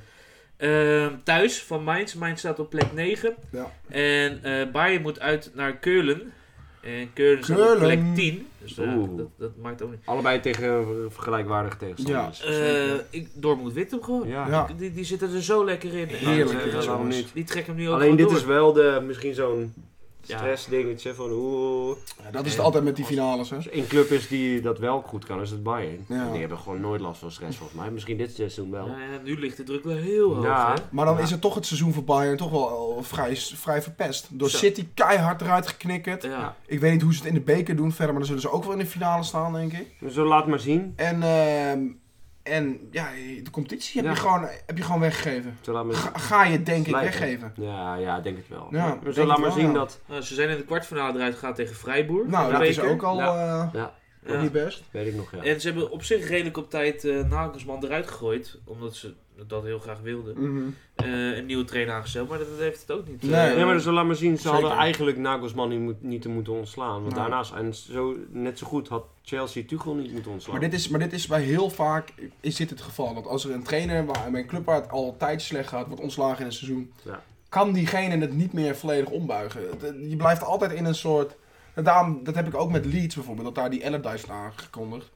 Eh, thuis van Mainz. Mainz staat op plek 9. Ja. En eh Bayern moet uit naar Keulen. En Keulen staat op Keulen. plek 10. Dus eh, Oeh. dat, dat maakt ook niet. Allebei tegen eh, vergelijkwaardige tegenstanders. Eh ik, Dortmund wint hem gewoon. Ja. Ja. Die, die zitten er zo lekker in. Heerlijk, Eh, Ja, waarom niet? Die trekken hem nu ook Alleen dit gewoon is door. wel de, misschien zo'n Ja. stressdingetje van hoe... Ja, dat is het altijd met die finales, hè. Als er één club is die dat wel goed kan, is het Bayern. Ja. Die hebben gewoon nooit last van stress volgens mij. Misschien dit seizoen wel. Nou ja, nu ligt de druk wel heel hoog. Ja. hè? Maar dan Ja. is het toch het seizoen voor Bayern toch wel eh, vrij, vrij verpest. Door Zo. City keihard eruit geknikkerd. Ja. Ik weet niet hoe ze het in de beker doen verder, maar dan zullen ze ook wel in de finale staan, denk ik. Dus zo laat maar zien. En, ehm, en ja, de competitie heb, Ja. je gewoon, heb je gewoon weggegeven. Zo laat maar Ga, ga je het, denk ik Slijpen. weggeven. Ja, ja, denk het wel. Ja, Maar we denk zullen laat het maar wel, zien ja. dat... Nou, ze zijn in de kwartfinale eruit gegaan tegen Freiburg. Nou, De dat is beker. ook al eh, Ja. ook niet best. Weet ik nog, ja. En ze hebben op zich redelijk op tijd eh Nagelsman eruit gegooid. Omdat ze dat heel graag wilden. eh, een nieuwe trainer aangesteld, maar dat dat heeft het ook niet. eh, Nee. Ja, maar dus laat maar zien, ze Zeker. Nou. hadden eigenlijk Nagelsman niet, moet- niet te moeten ontslaan. Want Ja. daarnaast, en zo, net zo goed had Chelsea Tuchel niet moeten ontslaan. Maar dit, is, maar dit is bij heel vaak is dit het geval. Dat als er een trainer waar, bij een club waar het altijd slecht gaat, wordt ontslagen in een seizoen, Ja. kan diegene het niet meer volledig ombuigen. Het- het- Je blijft altijd in een soort. en daarom, dat heb ik ook met Leeds bijvoorbeeld, dat daar die Allardyce van aangekondigd.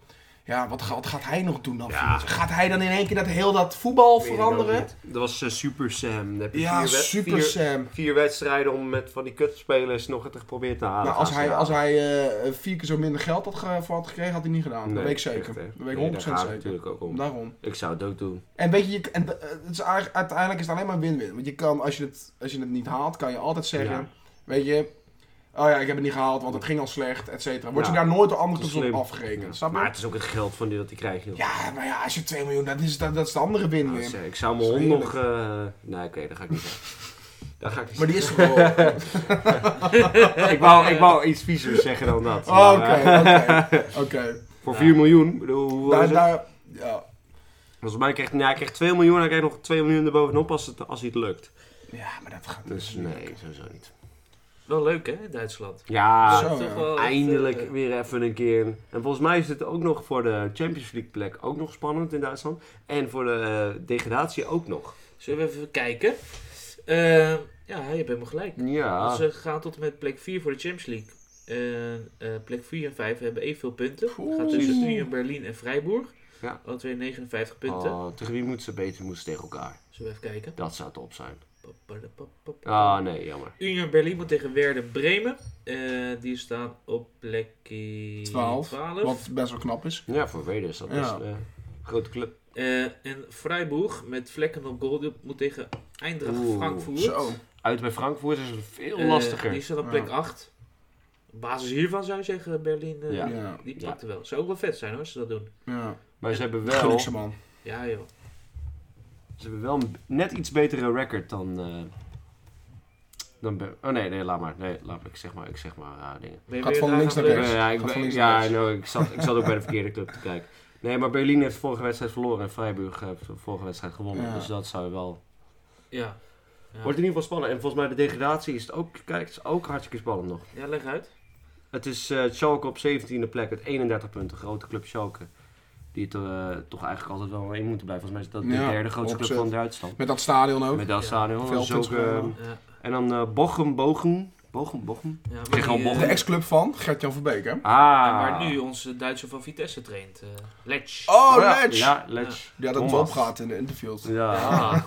Ja, wat, ga- wat gaat hij nog doen dan? Ja. Gaat hij dan in één keer dat heel dat voetbal Weet ik ook veranderen? niet. Dat was eh, Super Sam. Dan heb je Ja, vier wed- super vier, Sam. vier wedstrijden om met van die kutspelers nog het te proberen te halen. Nou, als Gaan hij, ze als halen. hij eh, vier keer zo minder geld had ge- voor had gekregen, had hij niet gedaan. dat Nee, weet ik echt, zeker. hè. dat weet ik Nee, 100% daar gaat het zeker. natuurlijk ook om. Daarom. Ik zou het ook doen. En weet je, je en, eh, het is eigenlijk- uiteindelijk is het alleen maar win-win. Want je kan, als je, het, als je het niet haalt, kan je altijd zeggen, Ja. weet je, oh ja, ik heb het niet gehaald, want het ging al slecht, et cetera. Word Ja. je daar nooit door andere Dat is clubs op slim. afgerekend, Ja. snap je? Maar het is ook het geld van die dat hij krijgt. joh. Ja, maar ja, als je 2 miljoen, dat is, dat, dat is de andere Nou, win-win. dat is, eh, ik zou mijn Dat is hond nog... eh, nee, oké, dat ga ik niet zeggen. *laughs* Dat ga ik niet maar die *laughs* is er wel. zeggen. Ik wou, ik wou iets viezer zeggen dan dat. Oh, Maar, eh, Oké, oké, oké. Voor Ja. 4 miljoen. Ik Bedoel, hoeveel is Daar, het? daar, ja. Volgens mij krijgt nou, hij krijgt 2 miljoen en hij krijgt nog 2 miljoen erbovenop als het, als hij het lukt. ja, maar dat gaat Dus nee, sowieso niet. Wel leuk hè, in Duitsland. Ja, Zo, Dat is ja. wel echt, eindelijk eh, weer even een keer. En volgens mij is het ook nog voor de Champions League plek ook nog spannend in Duitsland. En voor de eh, degradatie ook nog. zullen we even kijken? Eh, ja, je hebt helemaal gelijk. Ja. eh, Ze gaan tot en met plek 4 voor de Champions League. En, eh, plek 4 en 5 hebben evenveel punten. Het gaat tussen Oeh. Union Berlin en Freiburg. Ja. Al twee 59 punten. Oh, tegen wie moeten ze beter? Moeten ze tegen elkaar. Zullen we even kijken? Dat zou top zijn. Papadapapapa. Ah, nee, jammer. Union Berlin moet tegen Werder Bremen. Eh, die staan op plek 12. Twaalf. Wat best wel knap is. Ja, voor Werder is dat Ja. best een eh, grote club. Eh, en Freiburg met vlekken op goal die moet tegen Eindracht Oeh, Frankfurt. Zo. Uit bij Frankfurt is het veel Eh, lastiger. Die staat op plek Ja. 8. Op basis hiervan zou je zeggen Berlin. eh, Ja. Ja, Die Ja. pakte wel. Zou ook wel vet zijn hoor, als ze dat doen. ja. Maar ze hebben Gun wel... ik ze, man. Ja joh. Ze hebben wel een net iets betere record dan. eh, dan Be- oh nee, nee, laat maar. Nee, laat maar. Ik zeg maar, ik zeg maar rare dingen. Ben je Gaat weer van daar links aan naar het rechts. Eh, ja, ik, Gaat ben- van links naar ja, rechts. nou, ik, zat, ik zat ook bij de verkeerde club te kijken. Nee, maar Berlin heeft vorige wedstrijd verloren en Freiburg heeft de vorige wedstrijd gewonnen. Ja. Dus dat zou je wel. lezen? Ja. Ja. Wordt in ieder geval spannend. En volgens mij de degradatie is het ook, kijk, het is ook hartstikke spannend nog. ja, leg uit. Het is eh Schalke op 17e plek met 31 punten. Grote club Schalke. Die het eh, toch eigenlijk altijd wel in moeten blijven. Volgens mij is dat de Ja, derde grootste club van opzet. Duitsland. Met dat stadion ook. Met dat Ja. stadion. Dat is Veldpunt ook, eh, gewonnen. Ja. En dan eh Bochum, Bochum. Bochum, Bochum. Ja, maar Tegen die, Hamburg. eh, De ex-club van Gert-Jan Verbeek, hè? Ah. ja, maar nu onze Duitser van Vitesse traint. eh Lech. Oh, ja. Letch! Ja, Ja, Letch. die had het wel Thomas. opgehaald in de interviews. Ja. Ah.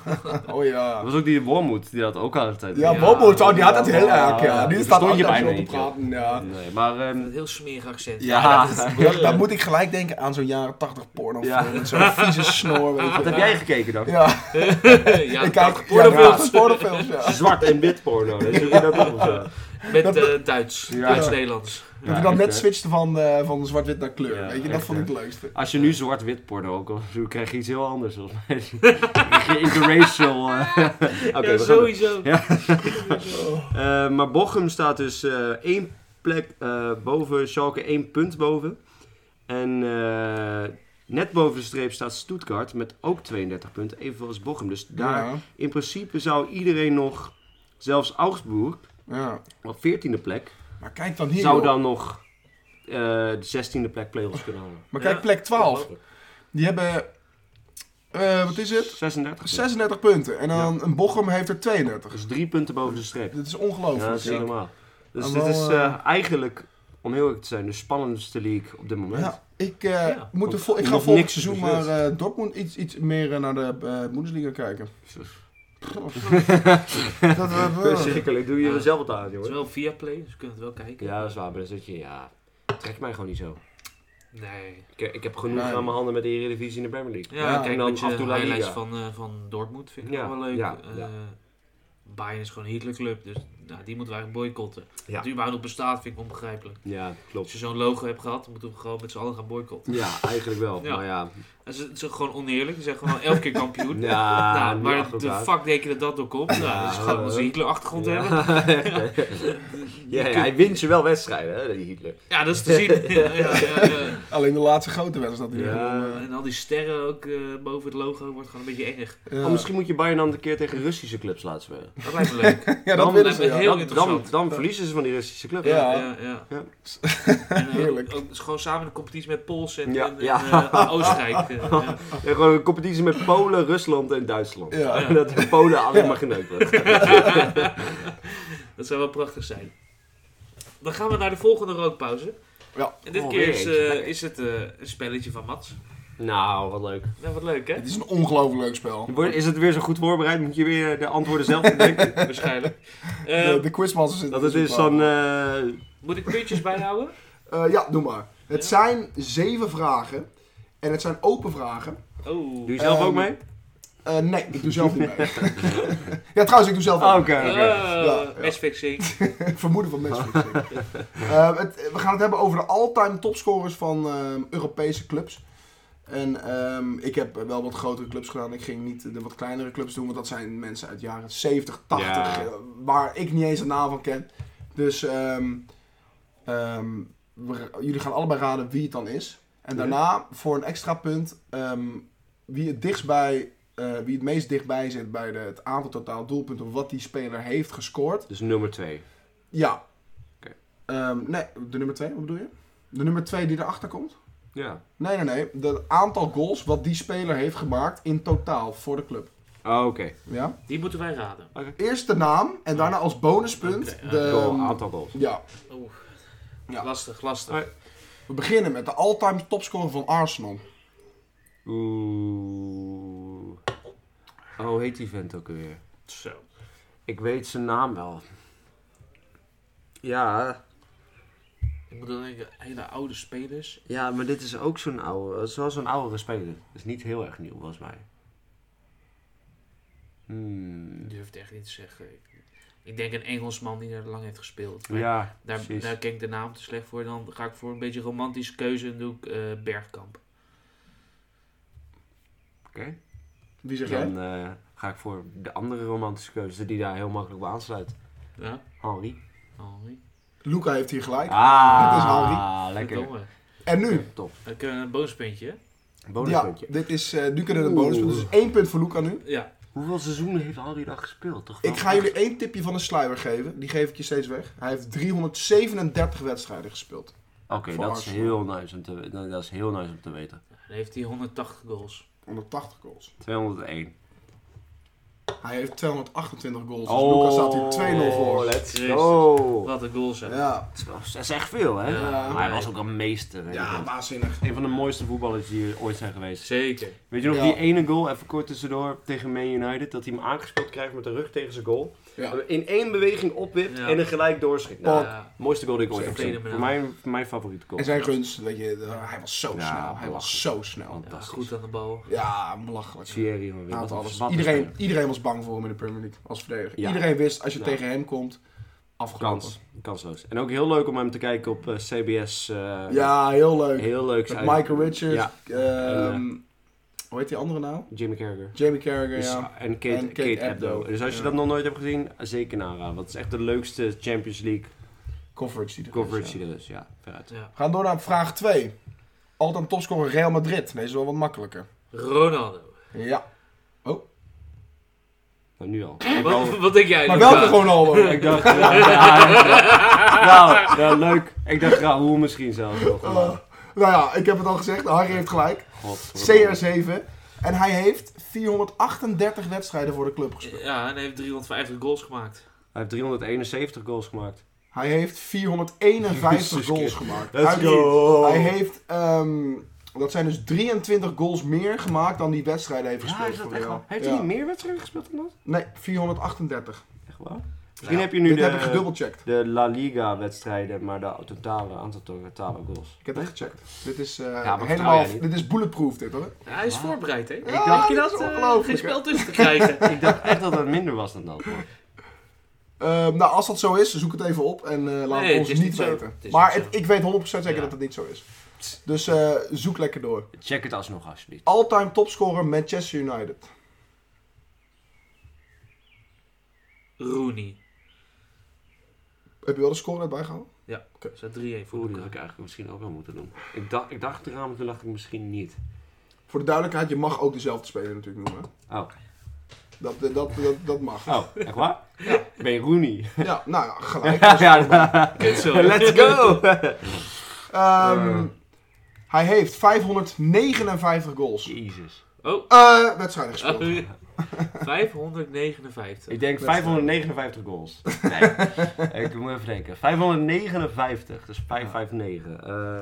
Oh Dat ja. was ook die Wormoed, die dat ook aan de tijd. Ja, Ja. Bobo, oh, die had het heel Ja. erg, ja. Die Daar staat stond ook je daar bijna zo te niet, joh. praten, ja. Nee, maar... ehm, Een heel smerig accent. Ja. *laughs* Ja, daar moet ik gelijk denken aan zo'n jaren 80 porno Ja. met zo'n vieze snor, weet je. wat heb jij gekeken dan? Ja, *laughs* ja, ik had pornofilms. pornofilms. *laughs* Pornofilms, ja. Zwart en wit porno. Dat je dat *laughs* ook wel zo. Met eh, Duits. Ja. Duits-Nederlands. Dat Ja, ik dan net echt, hè. switchte van, eh, van zwart-wit naar kleur, Ja, weet je. Dat echt, vond ik hè. het leukste. Als je nu zwart-wit porno ook al zoekt, krijg je iets heel anders. Volgens mij. *laughs* Krijg je *laughs* interracial. eh. Oké, ja, we gaan door. sowieso. Ja. Eh, maar Bochum staat dus eh, één plek eh, boven Schalke, één punt boven. En eh, net boven de streep staat Stuttgart met ook 32 punten, evenveel als Bochum. Dus daar, Ja, in principe zou iedereen nog, zelfs Augsburg, ja. op 14e plek, Maar kijk dan hier, zou joh. dan nog eh, de 16e plek play-offs kunnen halen. Maar kijk, Ja. plek 12. Die hebben, eh, wat is het? 36 punten. 36 punten. En dan een Bochum heeft er 32. Dus drie punten boven de streep. Dit is Ja, ongelooflijk. dat is niet Ja, normaal. Dus En dit wel, is eh, eh, eigenlijk, om heel eerlijk te zijn, de spannendste league op dit moment. Ja, ik, eh, Ja. moet er vol- ik ga Nog volgend niks seizoen maar gebeurd. eh, Dortmund iets, iets meer eh, naar de eh, Bundesliga kijken. Dat, Ah. eh, Verschrikkelijk, doe je jezelf het aan, Het is jongen. wel via play, dus we kunnen het wel kijken. Ja, dat is waar, maar dan zit je, ja, trek mij gewoon niet zo. Nee. Ik, ik heb genoeg Nee. aan mijn handen met de Eredivisie en de Premier League. Ja, Ja, kijk, en dan een beetje af en toe La highlights Liga. van, eh, van Dortmund vind ik Ja, wel leuk. ja, Eh, ja. Bayern is gewoon een Hitlerclub, dus nou, die moeten we eigenlijk boycotten. Ja. Dat die überhaupt nog bestaat vind ik onbegrijpelijk. Ja, Als klopt. je zo'n logo hebt gehad, dan moeten we gewoon met z'n allen gaan boycotten. Ja, eigenlijk wel. Ja. Maar ja, Dat is, dat is gewoon oneerlijk, ze zijn gewoon elke *laughs* keer kampioen. ja nou, niet maar achter de elkaar. fuck denk je dat dat door komt? Nou, dat is gewoon eh, onze Hitler-achtergrond *laughs* Ja, hebben. echt, hè. Ja, ja, hij wint je wel wedstrijden, hè, die Hitler. Ja, dat is te zien. *laughs* Ja, ja, ja, ja. Alleen de laatste grote wedstrijd dat hij Ja. gewonnen, eh, En al die sterren ook eh, boven het logo wordt gewoon een beetje engig. eh, ja. Oh, misschien moet je Bayern dan een keer tegen Russische clubs laten spelen. Dat lijkt me leuk. ja, dat Dan willen ze. hebben Ja. Heel dan, dan, interessant. dan verliezen ze van die Russische club. Ja. ja. ja. Ja. En, eh, Heerlijk. Ook, ook gewoon samen een competitie met Pools en, Ja, en- en, ja. eh, Oostenrijk. eh, ja. En gewoon een competitie met Polen, Rusland en Duitsland. Ja. Ja. Dat de Polen alleen maar geneukt wordt. dat zou wel prachtig zijn. Dan gaan we naar de volgende rookpauze. Ja. En dit Oh, keer weer is, eentje. eh, Lekker. is het eh, een spelletje van Mats. *laughs* Nou, wat leuk. Nou, wat leuk hè? Het is een ongelooflijk leuk spel. Word- Is het weer zo goed voorbereid? Moet je weer de antwoorden *laughs* zelf bedenken? Waarschijnlijk. Eh, de, de quizmaster zit Dat er het dus is op aan. dan... eh, moet ik puntjes bijhouden? Eh, ja, doe maar. Het Ja. zijn zeven vragen. En het zijn open vragen. Oh. doe je zelf Ehm, ook mee? Eh, nee, ik doe zelf *laughs* niet mee. ja, trouwens, ik doe zelf ook Ah, niet. Oké, oké. Eh, ja. matchfixing. Ik *laughs* vermoeden van mensen. Eh, het- we gaan het hebben over de all-time topscorers van ehm, Europese clubs. En ehm, ik heb wel wat grotere clubs gedaan. Ik ging niet de wat kleinere clubs doen, want dat zijn mensen uit de jaren 70, 80, Ja. eh, waar ik niet eens een naam van ken. Dus ehm, ehm, we- jullie gaan allebei raden wie het dan is. En Ja. daarna, voor een extra punt, ehm, wie het dichtst bij, eh, wie het meest dichtbij zit bij de, het aantal totaal doelpunten wat die speler heeft gescoord, Dus nummer 2. ja. Oké. Ehm, nee, de nummer 2, wat bedoel je? De nummer 2 die erachter komt? Ja. Nee, nee, nee. Het aantal goals wat die speler heeft gemaakt in totaal voor de club. Oh, oké. Ja? Die moeten wij raden. Eerst de naam en daarna als bonuspunt Oké, ja. de... Goal, aantal goals. Ja. Oeh. Ja. Lastig, lastig. We beginnen met de all-time topscorer van Arsenal. Oeh. Oh, hoe heet die vent ook weer? Zo. Ik weet zijn naam wel. Ja, Ik moet dan denken, hele oude spelers. ja, maar dit is ook zo'n oude, het is wel zo'n oudere speler. Het is niet heel erg nieuw, volgens mij. Hmm. Ik durf het echt niet te zeggen. Ik- Ik denk een Engelsman die er lang heeft gespeeld. Maar Ja, daar, precies. daar ken ik de naam te slecht voor. Dan ga ik voor een beetje romantische keuze en doe ik eh, Bergkamp. Oké. Wie zeg jij? Dan eh, ga ik voor de andere romantische keuze die daar heel makkelijk op aansluit. Ja, Henri. Henri. Luca heeft hier gelijk. Ah, Het is Henri. lekker. Verdomme. En nu? Top. Dan kunnen we eh, een bonuspuntje. hè? Ja, Bonuspuntje. dit is, eh, nu kunnen we een Oeh. bonuspunt. Dus één punt voor Luca nu. Ja. Hoeveel seizoenen heeft Henri daar gespeeld? Toch wel? Ik ga jullie één tipje van de sluier geven. Die geef ik je steeds weg. Hij heeft 337 wedstrijden gespeeld. Oké, voor dat, is Arsenal. heel nice om te- dat is heel nice om te weten. Dan heeft hij 180 goals. 180 goals. 201. Hij heeft 228 goals. Dus Oh, Luca staat hier 2-0 voor. Let's Jezus. go. Wat een goal zijn. Ja. Dat is wel- Dat is echt veel, hè? Ja. Maar hij was ook een meester. hè. ja, waanzinnig. Een van de mooiste voetballers die er ooit zijn geweest. Zeker. Weet je nog Ja. die ene goal, even kort tussendoor, tegen Man United, dat hij hem aangespeeld krijgt met de rug tegen zijn goal. Ja. In één beweging opwipt Ja. en een gelijk doorschiet. Nou, Ja. mooiste goal die ik ooit heb Zeker. gezien. Voor mij, voor mijn favoriete goal. En zijn gunst, weet je, eh, hij was zo Ja, snel. Hij was belachelijk. zo snel. Ja, Fantastisch. goed aan de bal. Ja, belachelijk. Thierry, man. Hij Wat had een- alles. wat een Iedereen, speler. iedereen was bang voor hem in de Premier League als verdediger. Ja. Iedereen wist, als je Ja. tegen hem komt, afgelopen. Kans, kansloos. En ook heel leuk om hem te kijken op eh, CBS. eh, Ja, heel leuk. Heel leuk. Met zijn- Michael Richards. Ja. ehm, En, hoe heet die andere nou? Jimmy Carragher. Jamie Carragher, Dus- ja. en Kate, En Kate, Kate Abdo. Abdo. Dus als je Ja. dat nog nooit hebt gezien, zeker nara. Dat is echt de leukste Champions League Coverage die er is, coverage ja. die er is. Ja, veruit. Ja. We gaan door naar vraag 2. Altijd topscorer Real Madrid. Deze is wel wat makkelijker. Ronaldo. Ja. Nou, nu *laughs* al. Wat, wat denk jij? Maar Luca? welke Ronaldo? ik dacht, *laughs* ja, ja, ja. nou, nou, leuk. Ik dacht Raoul misschien zelfs nog. Eh, *laughs* nou ja, ik heb het al gezegd. Harry heeft gelijk. God, CR7. En hij heeft 438 wedstrijden voor de club gespeeld. Ja, en hij heeft 350 goals gemaakt. Hij heeft 371 goals gemaakt. Hij heeft 451 Jezus goals Christus. gemaakt. Let's Uit- go. Hij heeft, ehm, dat zijn dus 23 goals meer gemaakt dan die wedstrijden heeft Ja, gespeeld is dat voor echt Real. waar? Heeft Ja. hij niet meer wedstrijden gespeeld dan dat? Nee, 438. Echt waar? Misschien Ja. heb je nu Dit de, heb ik gedubbelcheckt. de La Liga wedstrijden, maar de totale aantal totale goals. Ik heb het echt gecheckt. Dit is eh, maar vertrouw helemaal, jij niet? dit is bulletproof dit hoor. Ja, hij is voorbereid, hè? Ja, Dacht je dat dat? is eh, ongelooflijk, geen hè? spel tussen te krijgen. *laughs* *laughs* Ik dacht echt dat het minder was dan dat. man. Ehm, nou, als dat zo is, zoek het even op en eh, Nee, laat het het ons is niet, niet zo. weten. Het is Maar niet het- zo. ik weet 100% zeker Ja. dat het niet zo is. Dus eh, zoek lekker door. Check het alsnog alsjeblieft. All-time topscorer Manchester United. Rooney. Heb je wel de score net bijgehouden? Er staat 3-1 voor Oeh, dat had Luca. ik eigenlijk misschien ook wel moeten doen. Ik dacht, ik dacht eraan, maar toen dacht ik misschien niet. Voor de duidelijkheid, je mag ook dezelfde speler natuurlijk noemen. hè. Oh, Dat, dat, dat, dat mag. oh echt waar? Ben je Rooney? Ja, nou ja, *laughs* gelijk. Kut, zo. *laughs* Let's go! Ehm, Hij heeft 559 goals. *laughs* Jezus. Oh. *laughs* Eh, wedstrijden gespeeld. Oh, ja. 559. Ik denk 559 goals. Nee, ik moet even denken. 559, dus 559. Eh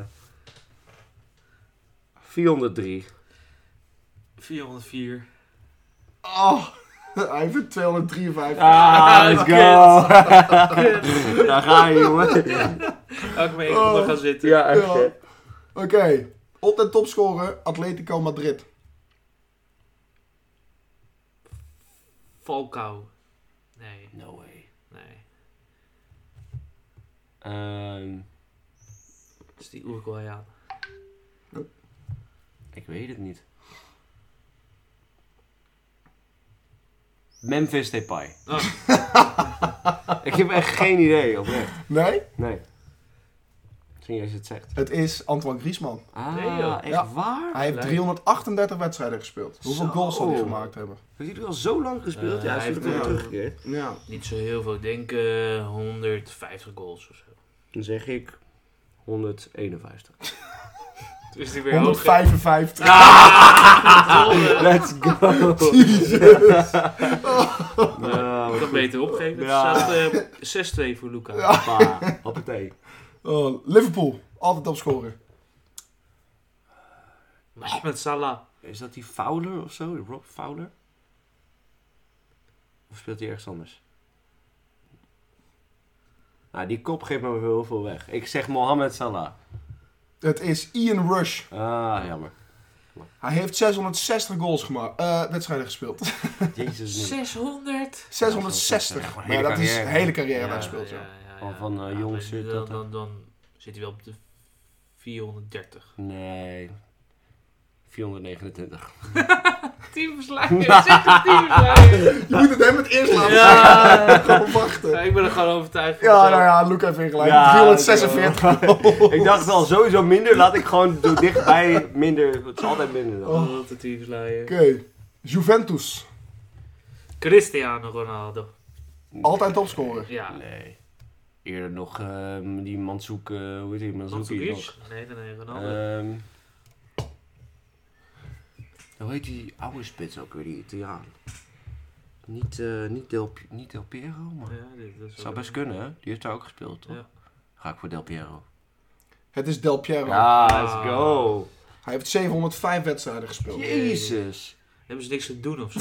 403. 404. Oh, *laughs* hij heeft er 253. Ah, let's go! Kut. *laughs* Daar ga je, jongen. Laat ik maar even onder gaan zitten. Ja, echt. Ja. hè. Oké, op en topscorer Atletico Madrid. Falcao. Nee, No way. nee. Ehm, Dat is die Uruguayan. ik weet het niet. Memphis Depay. Oh. *laughs* ik heb echt geen idee, oprecht. Nee, Nee. Misschien als je het zegt. het is Antoine Griezmann. Ah, Nee, joh. echt Ja. waar? Hij heeft Leuk. 338 wedstrijden gespeeld. Hoeveel Zo. goals zal hij gemaakt hebben? Heeft hij er al zo lang gespeeld? Eh, ja, hij hij heeft heeft weer wel- teruggekeerd. Ja. Niet zo heel veel. Ik denk eh, 150 goals of zo. Dan zeg ik 151. Toen is die weer hoog, hè? *laughs* 155. Ah! *laughs* Let's *laughs* go! Jezus. Nou, Ik kan beter opgeven. Ja. Het staat eh, 6-2 voor Luca. Papa, hoppatee. *laughs* Oh, Liverpool, altijd topscorer. Mohamed Salah. Is dat die Fowler of zo? Rob Fowler? Of speelt hij ergens anders? Nou, die kop geeft me heel veel weg. Ik zeg Mohamed Salah. Het is Ian Rush. Ah, *laughs* jammer. Hij heeft 660 goals gemaakt, eh, wedstrijden gespeeld. *laughs* Jezus. nee. 600? 660. Gewoon Maar hele ja, dat is carrière. een hele carrière Ja, bij gespeeld, ja. ja, Al van, eh, Ja, jong maar zit dan, dat dan, dan zit hij wel op de *laughs* 430. Nee. 429. Team *laughs* verslagen. Zegt team verslagen. Je moet het hem het eerst laten Ja. zien. *laughs* Gewoon wachten. Ik ben er gewoon overtuigd van. Ja, nou ja, Luca heeft weer gelijk. Ja, *laughs* 346 goals. Ik dacht al sowieso minder. Laat ik gewoon door dichtbij minder. Het is altijd minder dan. Oh. Wat een team verslagen. Oké, Juventus. Cristiano Ronaldo. Altijd topscorer. Ja. Nee. Eerder nog ehm, die Mansouk, eh, hoe heet die? Mansouk nog. Mandzukic? Nee, nee, nee, Ronaldo. Ehm hoe heet die oude spits ook weer, die Italiaan? Niet, eh, niet, Del, niet Del Piero, maar... Ja, dit, dat is Eh, Zou ook- best kunnen, hè? Die heeft daar ook gespeeld, toch? Ja. Ga ik voor Del Piero. Het is Del Piero. Ja, let's let's go. go. Hij heeft 705 wedstrijden gespeeld. Jezus. Hebben ze niks te doen *laughs* of zo?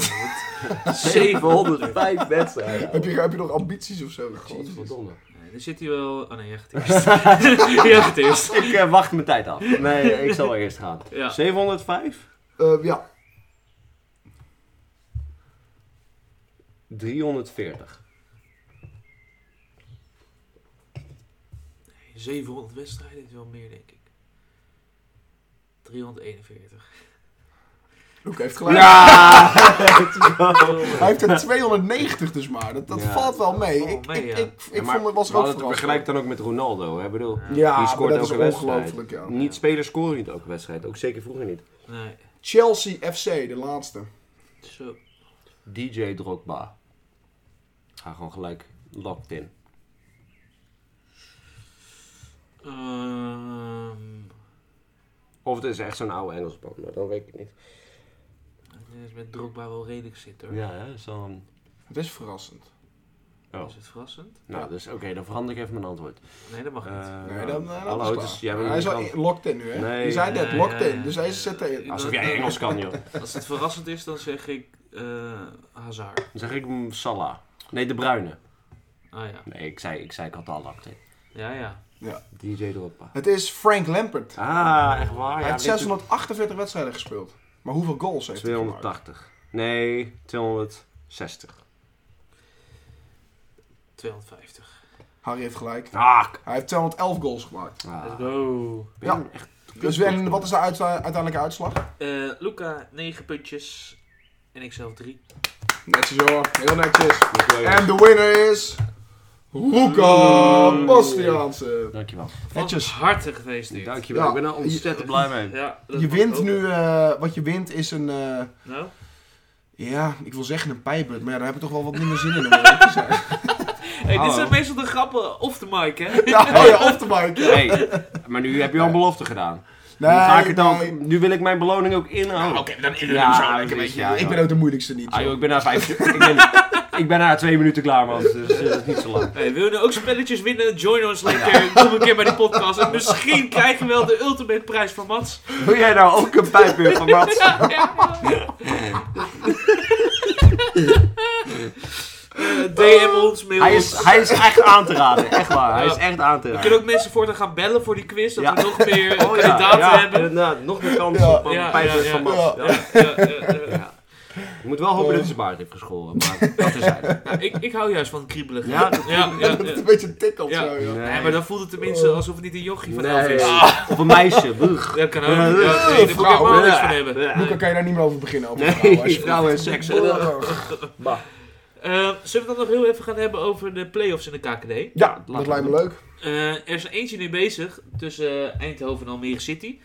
want- 705 wedstrijden. *laughs* Heb, je, heb je nog ambities of zo? Jezus. Godverdomme. Nee, er zit hier wel... Oh nee, jij gaat eerst. *laughs* jij gaat eerst. Ik eh, wacht mijn tijd af. Nee, ik zal wel eerst gaan. Ja. 705? Eh, ja, 340. 700 wedstrijden is wel meer, denk ik. 341. Luke heeft gelijk. *laughs* Ja! Hij heeft er 290 dus maar. Dat, dat Ja. valt wel mee. Valt ik mee, ik, ja. ik, ik Ja, maar vond het was we er hadden ook het verrast. vergelijk dan ook met Ronaldo. Hè? Ik bedoel, Ja, die maar scoort dat is elke wedstrijd. ongelooflijk, ja. Niet spelers scoren niet elke wedstrijd. Ook zeker vroeger niet. Nee, Chelsea FC, de laatste. zo. DJ Drogba. Ga gewoon gelijk locked in. Ehm, Of het is echt zo'n oude Engelsman, maar dan weet ik het niet. het is met Drogba wel redelijk zit, hoor. Ja, hè? Zo'n... Het is verrassend. Oh. Is het verrassend? Nou, dus oké, dan verander ik even mijn antwoord. Nee, dat mag niet. Eh, Nee, dan, eh, dat hallo, is het waar. is- jij bent hij is al Nederland. in- locked in nu, hè? Nee. je zei net, Nee, locked ja, in. ja. Dus hij zit erin. Ja. Alsof jij Engels kan, joh. Als het verrassend is, dan zeg ik eh Hazard. Dan zeg ik mm, Salah. Nee, De Bruyne. Ah ja. Nee, ik zei, ik zei ik had al lakt in. Ja, ja. DJ Drogba. Het is Frank Lampert. Ah, echt waar? hij ja, heeft dit- 648 wedstrijden gespeeld. Maar hoeveel goals heeft hij gemaakt? 280. Nee, 260. 250. Harry heeft gelijk. Ah, k- Hij heeft 211 goals gemaakt. Let's ah. go. Ben je Ja. echt Dus en wat is de uitsta- uiteindelijke uitslag? Eh, Luca, 9 puntjes. En ik zelf 3. Netjes hoor, heel netjes. Dankjewel. En de winner is... Luca Bastiaanse. Dankjewel. Netjes. Netjes. Hartig geweest dit. Dankjewel. Ja. Ik ben er ontzettend blij mee. Ja, dat Je mag wint ook. nu... eh, wat je wint is een... eh, Nou, ja, ik wil zeggen een pijput. Maar ja, daar heb ik toch wel wat minder zin in om eerlijk te zijn. hey, dit Hallo. zijn meestal de grappen off the mic, hè? *laughs* Ja, oh ja, off the *laughs* mic. ja. Hey, maar nu heb je al een belofte gedaan. Nu, ga ik het dan, nee. nu wil ik mijn beloning ook inhouden. Oké, dan in Ja, zo lekker, precies, weet je. ja, ik ja. ben ook de moeilijkste niet. Ah, *laughs* joh. joh, ik ben na vijf... ik, ben, ik ben na twee minuten klaar, man. Dus eh, dat is niet zo lang. Hey, wil je nou ook spelletjes winnen? Join ons Oh, lekker. Kom een keer bij de podcast. En misschien krijg je wel de ultimate prijs van Mats. *laughs* Wil jij nou ook een pijpbeurt van Mats? Eh, DM ons, mail Hij ons. is, hij is echt aan te raden. Echt waar. Hij Ja. is echt aan We te raden. kunnen ook mensen voortaan gaan bellen voor die quiz. Dat Oh, we Ja. nog meer kandidaten hebben. inderdaad. nog meer kans Ja. op een Ja, pijpbeurt ja, van ja. Mats. Ja. Ja, ja, ja. Ja. Ik moet wel hopen dat hij zijn baard heeft geschoren. *laughs* Maar dat is hij. Ik, ik hou juist van kriebelig. Ja, dat- Oh. ja, ja, Dat het ja. een beetje tikkelt Ja. zo, joh. Nee, maar dan voelt het tenminste alsof het niet een jochie van elf Nee. is. Of een meisje. Brug. Dat kan ook. Ja, Ja, nee, ja, daar moet ik vrouw, helemaal niks van Ja. hebben. Luca, kan je daar niet meer over beginnen? Over vrouwen, Nee, alsjeblieft. *laughs* vrouwen en seks. Ugh. Bah. Eh, zullen we het dan nog heel even gaan hebben over de play-offs in de KKD? *laughs* Ja, dat lijkt me leuk. Eh, er is er eentje nu bezig tussen eh, Eindhoven en Almere City.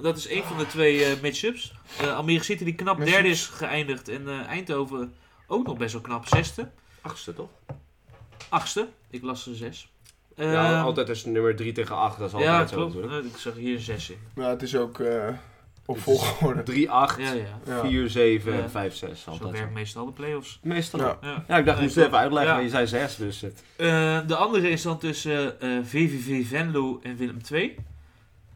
Dat is een van de twee eh, matchups. Eh, Almere City die knap Matchups. derde is geëindigd. En eh, Eindhoven ook nog best wel knap zesde. Achtste, toch? Achtste. Ik las er zes. Eh, Ja, altijd is nummer 3 tegen 8. Dat is altijd ja, zo klopt. natuurlijk. Eh, ik zag hier een zes in. Maar het is ook eh op volgorde. 3, 8, Ja, ja. 4, 7 Ja. en 5, 6. Zo Altijd. werkt meestal de play-offs. Meestal. Ja. Ja. Ja. ik dacht, ik moest het even uitleggen, Ja. maar je zei 6, dus het... Eh, de andere is dan tussen eh, VVV Venlo en Willem II.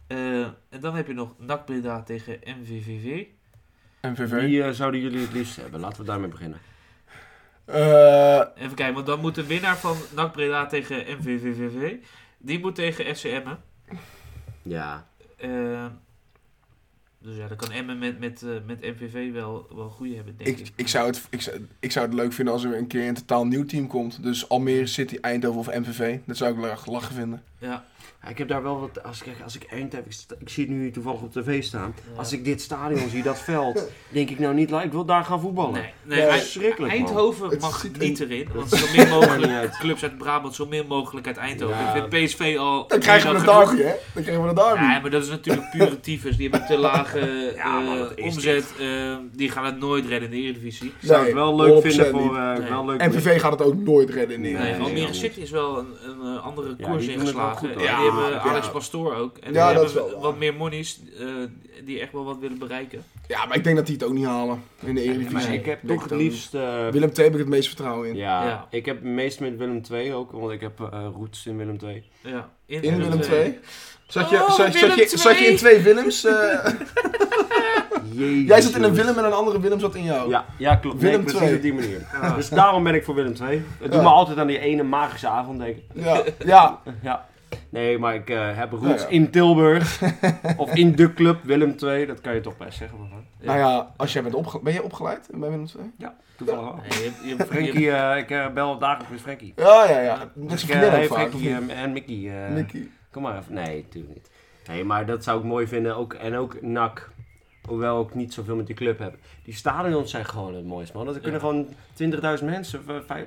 Eh, en dan heb je nog NAC Breda tegen MVVV. MVV. Wie eh, zouden jullie het liefst hebben? Laten we daarmee beginnen. Eh Even kijken, want dan moet de winnaar van NAC Breda tegen MVVVV... die moet tegen FC Emmen. Ja. Eh, dus ja, dan kan Emmen met, met, eh, met MVV wel, wel goede hebben, denk ik. ik, ik, zou het, ik, zou, ik zou het leuk vinden als er weer een keer een totaal nieuw team komt. Dus Almere City, Eindhoven of MVV. Dat zou ik lach- lachen vinden. Ja, Ja, Ik heb daar wel wat... Als ik, als ik Eindhoven... Ik, sta- ik zie het nu toevallig op tv staan. Ja. Als ik dit stadion zie, dat veld, denk ik nou niet... la- Ik wil daar gaan voetballen. nee, nee, Ja, Eind- verschrikkelijk, man. Eindhoven Het mag ziet niet er- erin. Want zo min Maar niet mogelijk uit. clubs uit Brabant, zo min mogelijk uit Eindhoven. Ja. Ik vind PSV al... Dan krijgen we meer een dan genoeg. derby, hè? Dan krijgen we een derby. Ja, maar dat is natuurlijk pure tyfus. Die hebben te lage *laughs* eh, Ja, maar wat is omzet. eh, die gaan het nooit redden in de Eredivisie. Ik zou het Nee, wel leuk 100% vinden voor... niet. eh, Nee. wel leuk MVV gaat het ook nooit redden in de Nee, Nee, Eredivisie. Almere nee. City is wel een, een eh, andere Ja, koers die doen het wel goed, geslagen. hoor. en Ja, die hebben ja. Alex Pastoor ook. En Ja, die dat hebben is wel waar. wat meer monies eh, die echt wel wat willen bereiken. Ja, maar ik denk dat die het ook niet halen in de Maar Eredivisie. ik heb Denk toch ik het dan. liefst... eh, Willem II heb ik het meeste vertrouwen in. ja, Ja. ik heb het meest met Willem 2 ook, want ik heb eh roots in Willem 2. Ja. In Willem II? Zat je, Oh, zat, zat Willem je, zat je in II. twee Willems? eh? *laughs* Jezus, jij zat in een jongens. Willem en een andere Willem zat in jou. Ja, ja klopt. Willem Willem nee, precies II. op die manier. Ja. Dus daarom ben ik voor Willem 2. Het doet Ja. me altijd aan die ene magische avond denken. ja. ja. Ja. Nee, maar ik eh, heb roots ja. in Tilburg. of in de club Willem II. Dat kan je toch best zeggen. Maar, Ja. Nou ja, als jij bent opgeleid. Ben jij opgeleid bij Willem II? ja, toevallig wel. Nee, je hebt- je hebt- Frankie, je eh, ik eh, bel dagelijks met Frankie. Ja, ja, ja. Dat Dus is ik, een eh, vriendin hey, ook vaak. Frankie eh, en Mickey. eh, Nicky. Kom maar even. Nee, natuurlijk niet. Nee, maar dat zou ik mooi vinden. Ook, en ook NAC. Hoewel ik niet zoveel met die club heb. Die stadions zijn gewoon het mooiste, man. Er kunnen gewoon 20.000 mensen, of eh, vijf-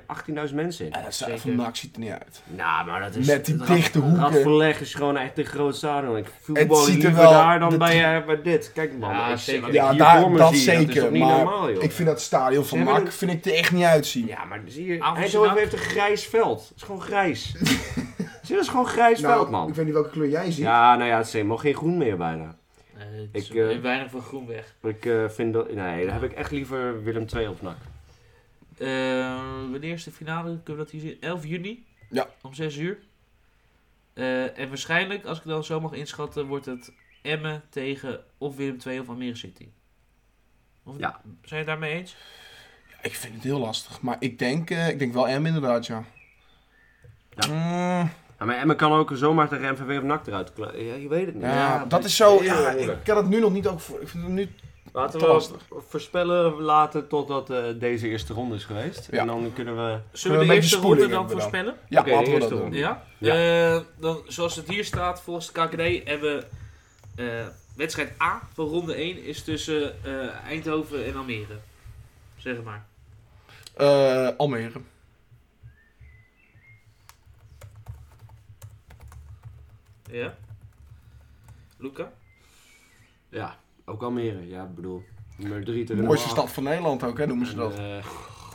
18.000 mensen in. Ja, dat Zeker. is van NAC ziet er niet uit. Nou, maar dat is... Met die dat- dichte Dat hoeken. verleg is gewoon echt een groot stadion. Ik Het voetbal ziet er liever wel- daar dan de- bij, eh, bij dit. Kijk man, Ja, ik- zeker. wat ik Ja, hier voor daar, me dat zie, zeker. dat is toch niet maar normaal, joh. ik vind dat stadion van Ze hebben NAC een- vind ik er echt niet uitzien. Ja, maar zie je, Avond Eindhoven Nak. heeft een grijs veld. Het is gewoon *laughs* grijs. Zie je, dat is gewoon grijs Nou, veld, man. Ik weet niet welke kleur jij ziet. Ja, nou ja, het is helemaal geen groen meer bijna. ik Ik, eh, weinig van groen weg. Ik eh, vind dat... Nee, dan heb ik echt liever Willem II op NAC. Eh, wanneer is de finale? Kunnen we dat hier zien? 11 juni. Ja. Om 6 uur. Eh, en waarschijnlijk, als ik het dan zo mag inschatten, wordt het Emmen tegen of Willem II of Almere City. Of, Ja. Zijn je het daarmee eens? Ik vind het heel lastig. Maar ik denk, eh, ik denk wel M inderdaad, ja. Ja. Mm, Ja, maar Emmen kan ook zomaar tegen MVV of NAC eruit. kla- Ja, je weet het niet. ja, Ja, dat is zo. heel Ja, ik moeilijk. kan het nu nog niet ook voor. Ik vind het nu. Laten te we lastig. voorspellen laten totdat eh, deze eerste ronde is geweest. Ja. En dan kunnen we... Zullen een we de beetje eerste ronde spoeling dan hebben dan. voorspellen? Ja, Oké, laten de we dat eerste doen. ronde. Ja. Eh, dan, zoals het hier staat, volgens het KKD hebben we eh, wedstrijd A van ronde 1 is tussen eh, Eindhoven en Almere. Zeg het maar. Eh, Almere. Ja. Luca? Ja, ook Almere. Ja, ik bedoel, nummer 3 te Mooiste stad van Nederland ook, hè, noemen ze dat.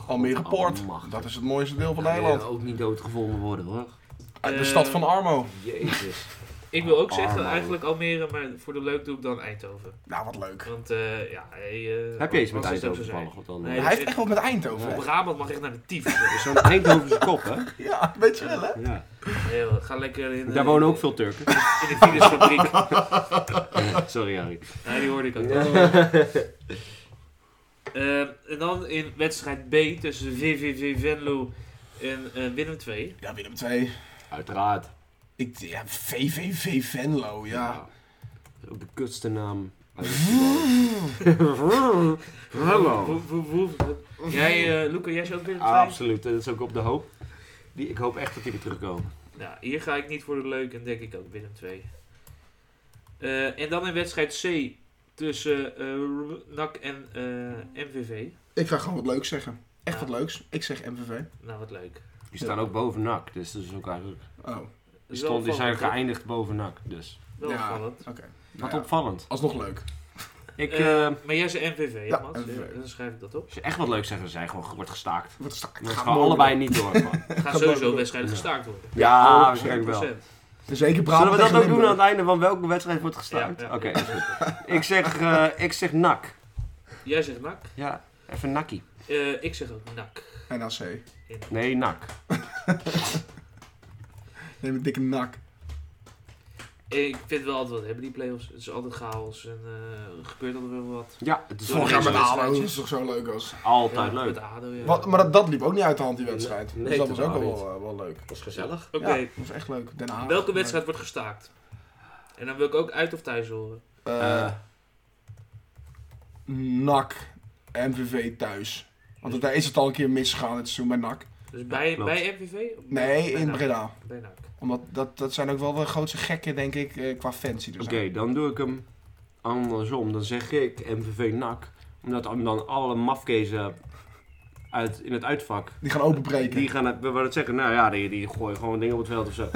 Almere Poort. Almachtig. Dat is het mooiste deel van Nederland. eh, ook niet doodgevonden worden hoor. Uit de Eh, stad van Armo. Jezus. Ik wil ook zeggen Armo. eigenlijk Almere, maar voor de leuk doe ik dan Eindhoven. Nou, wat leuk. Want eh, ja, hey, eh, *laughs* Heb je eens met wat is het ook Eindhoven zo toevallig? zijn? Want dan- Nee. Hij heeft echt wat met Eindhoven. hè? Brabant mag echt naar de tyfus. Dat is Zo'n Eindhovense kop hè? Ja, weet je wel, hè? Ja. Nee, joh, ga lekker in. eh, Daar wonen ook veel Turken. *laughs* In de Philipsfabriek. Sorry Harry. Ja, die hoorde ik ook. Eh, en dan in wedstrijd B tussen VVV Venlo en eh Willem 2. Ja, Willem II. Uiteraard. Ik, ja, VVV Venlo, ja. Ook de kutste naam. uit het voetbal. Hallo. Jij, eh Luca, jij is ook Willem 2? Absoluut, dat is ook op de hoop. Die, ik hoop echt dat die weer terugkomen. Nou, hier ga ik niet voor de leuk en denk ik ook Willem 2. Eh, en dan in wedstrijd C tussen eh NAC en eh, MVV. Ik ga gewoon wat leuks zeggen. Echt Ja. wat leuks. Ik zeg MVV. Nou, wat leuk. Die staan ook boven NAC, dus dat is ook eigenlijk... Oh, Die, stond, die zijn Wel opvallend, geëindigd boven NAC, dus... hè? Wel Ja. opvallend. oké. Wat Nou ja, opvallend. Alsnog leuk. Ik, Eh, eh, maar jij zei MVV, Ja, ja, Mats? MVV. Dan schrijf ik dat op. *laughs* als je echt wat leuk zeggen, zijn gewoon wordt gestaakt. Wat sta- Dat gaat gaan mooi allebei niet door, man. Het gaat Gaat sowieso door. waarschijnlijk Ja. gestaakt worden. Ja, 100%. waarschijnlijk wel. worden. Zeker Dus praten Zullen we dat ook tegen doen aan Limburg. het einde van welke wedstrijd wordt gestaakt? Ja, ja. Oké, is goed. ik, zeg, eh, ik zeg NAC. Jij zegt NAC. Ja, even nakkie. Eh, ik zeg ook NAC. NAC. Nee, NAC. Neem een dikke nak. Ik vind het wel altijd wat hebben, die playoffs. Het is altijd chaos en eh, er gebeurt altijd wel wat. Ja, het is Vorig Vorig jaar jaar met met ADO. ADO. Dat is toch zo leuk als... altijd Ja, leuk. Met ADO, ja. Wat, maar dat, dat liep ook niet uit de hand, die Nee, wedstrijd. nee, dus dat was ook totaal wel, niet. eh, wel leuk. Dat is gezellig. Oké, Ja, dat was echt leuk. Den Haag. Eh, welke wedstrijd wordt gestaakt? En dan wil ik ook uit of thuis horen. Eh, NAC. MVV thuis. Want daar is het al een keer misgegaan dit seizoen bij NAC. Dus bij, klopt. bij MVV? Of bij- Nee, bij in NAC? Breda. Bij NAC. Omdat dat, dat zijn ook wel de grootste gekken, denk ik, eh, qua fancy. Dus Oké, dan doe ik hem andersom. Dan zeg ik MVV NAC. Omdat dan alle mafkezen uit, in het uitvak... Die gaan openbreken. Die gaan het, we het zeggen, nou ja, die, die gooien gewoon dingen op het veld of zo.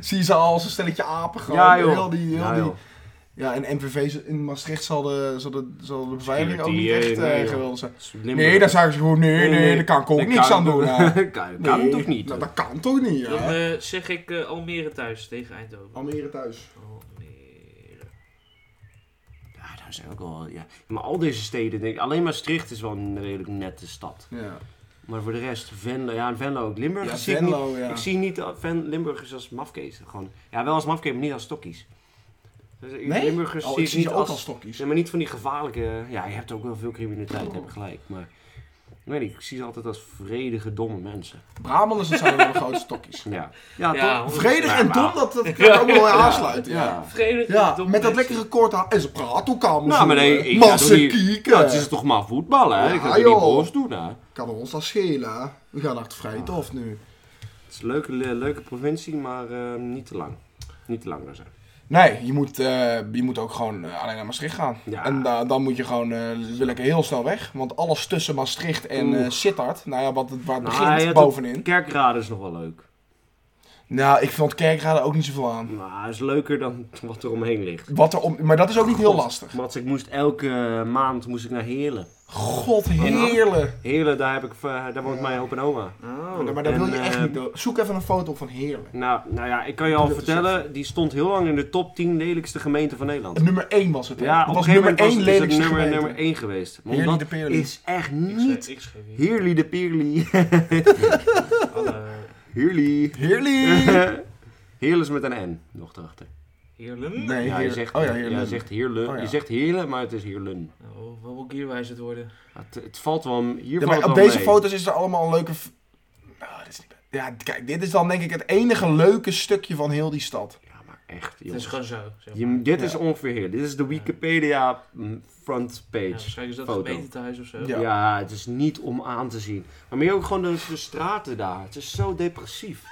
Zie je ze al als een stelletje apen *laughs* gewoon. Ja, joh. Heel die, heel Ja, die, joh. Ja, en MVV z- in Maastricht zal de, zal de, zal de beveiliging ook niet Security, echt eh, nee, eh, joh. geweldig zijn. Limburg. Nee, daar zou ik gewoon, nee, nee, Nee, nee. daar kan ik ook Dat niks kan- aan *laughs* doen. hè. Dat kan, dat kan Nee, toch niet? Dat, dat kan toch niet, Dan ja. eh, zeg ik eh, Almere thuis tegen Eindhoven. Almere thuis. Almere. Ja, daar zijn ook wel, ja. Maar al deze steden, denk ik, alleen Maastricht is wel een redelijk nette stad. Ja, Maar voor de rest, Venlo, ja, en Venlo ook. Limburg ja zie ik niet. Venlo, ja. Ik zie niet dat Ven, Limburgers als mafkees. Gewoon. Ja, wel als mafkees, maar niet als tokkies. Dus ik- Nee? Limburgers Oh, zie ik ik zie niet ze ook als... als stokjes. Nee, maar niet van die gevaarlijke... Ja, je hebt ook wel veel criminaliteit, heb ik gelijk. Maar ik weet niet, ik zie ze altijd als vredige, domme mensen. Brabanders, dat zijn wel de grootste stokjes. *laughs* Ja, ja, Ja, toch? Vredig *laughs* en Ja, maar- dom, dat, dat kan ik ook wel aansluiten, ja. Ja. Vredig *laughs* Ja, dom met mensen. dat lekkere kort haar. En ze praat ook aan. Nou, maar nee, ik- ja, doe Massen die- kieken. Ja, het is toch maar voetballen, hè? Ja, ik kan het niet joh. boos doen, hè? Kan ons dat schelen, hè? We gaan achter Vrijthof nu. Het is een leuke, le- leuke provincie, maar eh, niet te lang. Niet te lang dus. daar zijn. Nee, je moet, eh, je moet ook gewoon eh, alleen naar Maastricht gaan. Ja. En da- dan moet je gewoon eh wil ik heel snel weg. Want alles tussen Maastricht en eh Oeh. Sittard, nou ja, wat het, waar het Nou, begint, je hebt bovenin. Kerkrade is nog wel leuk. Nou, ik vond Kerkrade ook niet zoveel aan. Maar het is leuker dan wat er omheen ligt. Wat er om, maar dat is ook niet heel God, lastig. Mats, ik moest elke eh, maand moest ik naar Heerlen. God, heerlijk. Heerlen, daar, heb ik, eh, daar woont mijn opa en oma. Oh. maar daar wil je en, echt eh, niet door. Zoek even een foto op van heerlijk. Nou, nou ja, ik kan je al Dat is vertellen, die stond heel lang in de top 10 lelijkste gemeenten van Nederland. Nummer 1 was het. hè? Ja, het op was een gegeven nummer moment was, is 1 het lelijkste nummer, gemeente. nummer 1 geweest. Maar Heerly omdat de Peerly. is echt Ik schreef- niet... Ik schreef hier Heerly de *laughs* Peerly. alle Heerly. Heerlijk. *laughs* Heerlen is met een N, nog erachter. heerlen. Nee, Ja, je heer- zegt, oh ja, ja, heerlijk. je zegt Heerlen. Oh ja. Je zegt Heerlen, maar het is Heerlen. Oh, wat moet ik hier wijs het worden? Ja, Het, het valt wel, hier Ja, valt maar het op wel deze mee. foto's is er allemaal een leuke. f- Nou, dit is niet... Ja, kijk, dit is dan denk ik het enige leuke stukje van heel die stad. Ja, maar echt, Het is jongens. gewoon zo. Zeg maar. Je, dit Ja. is ongeveer Heerlen. Dit is de Wikipedia mm, front Ja, page. waarschijnlijk is dat foto. een gemeentehuis of zo. Ja. Ja. het is niet om aan te zien. Maar meer ook gewoon de, de straten daar. Het is zo *laughs* depressief.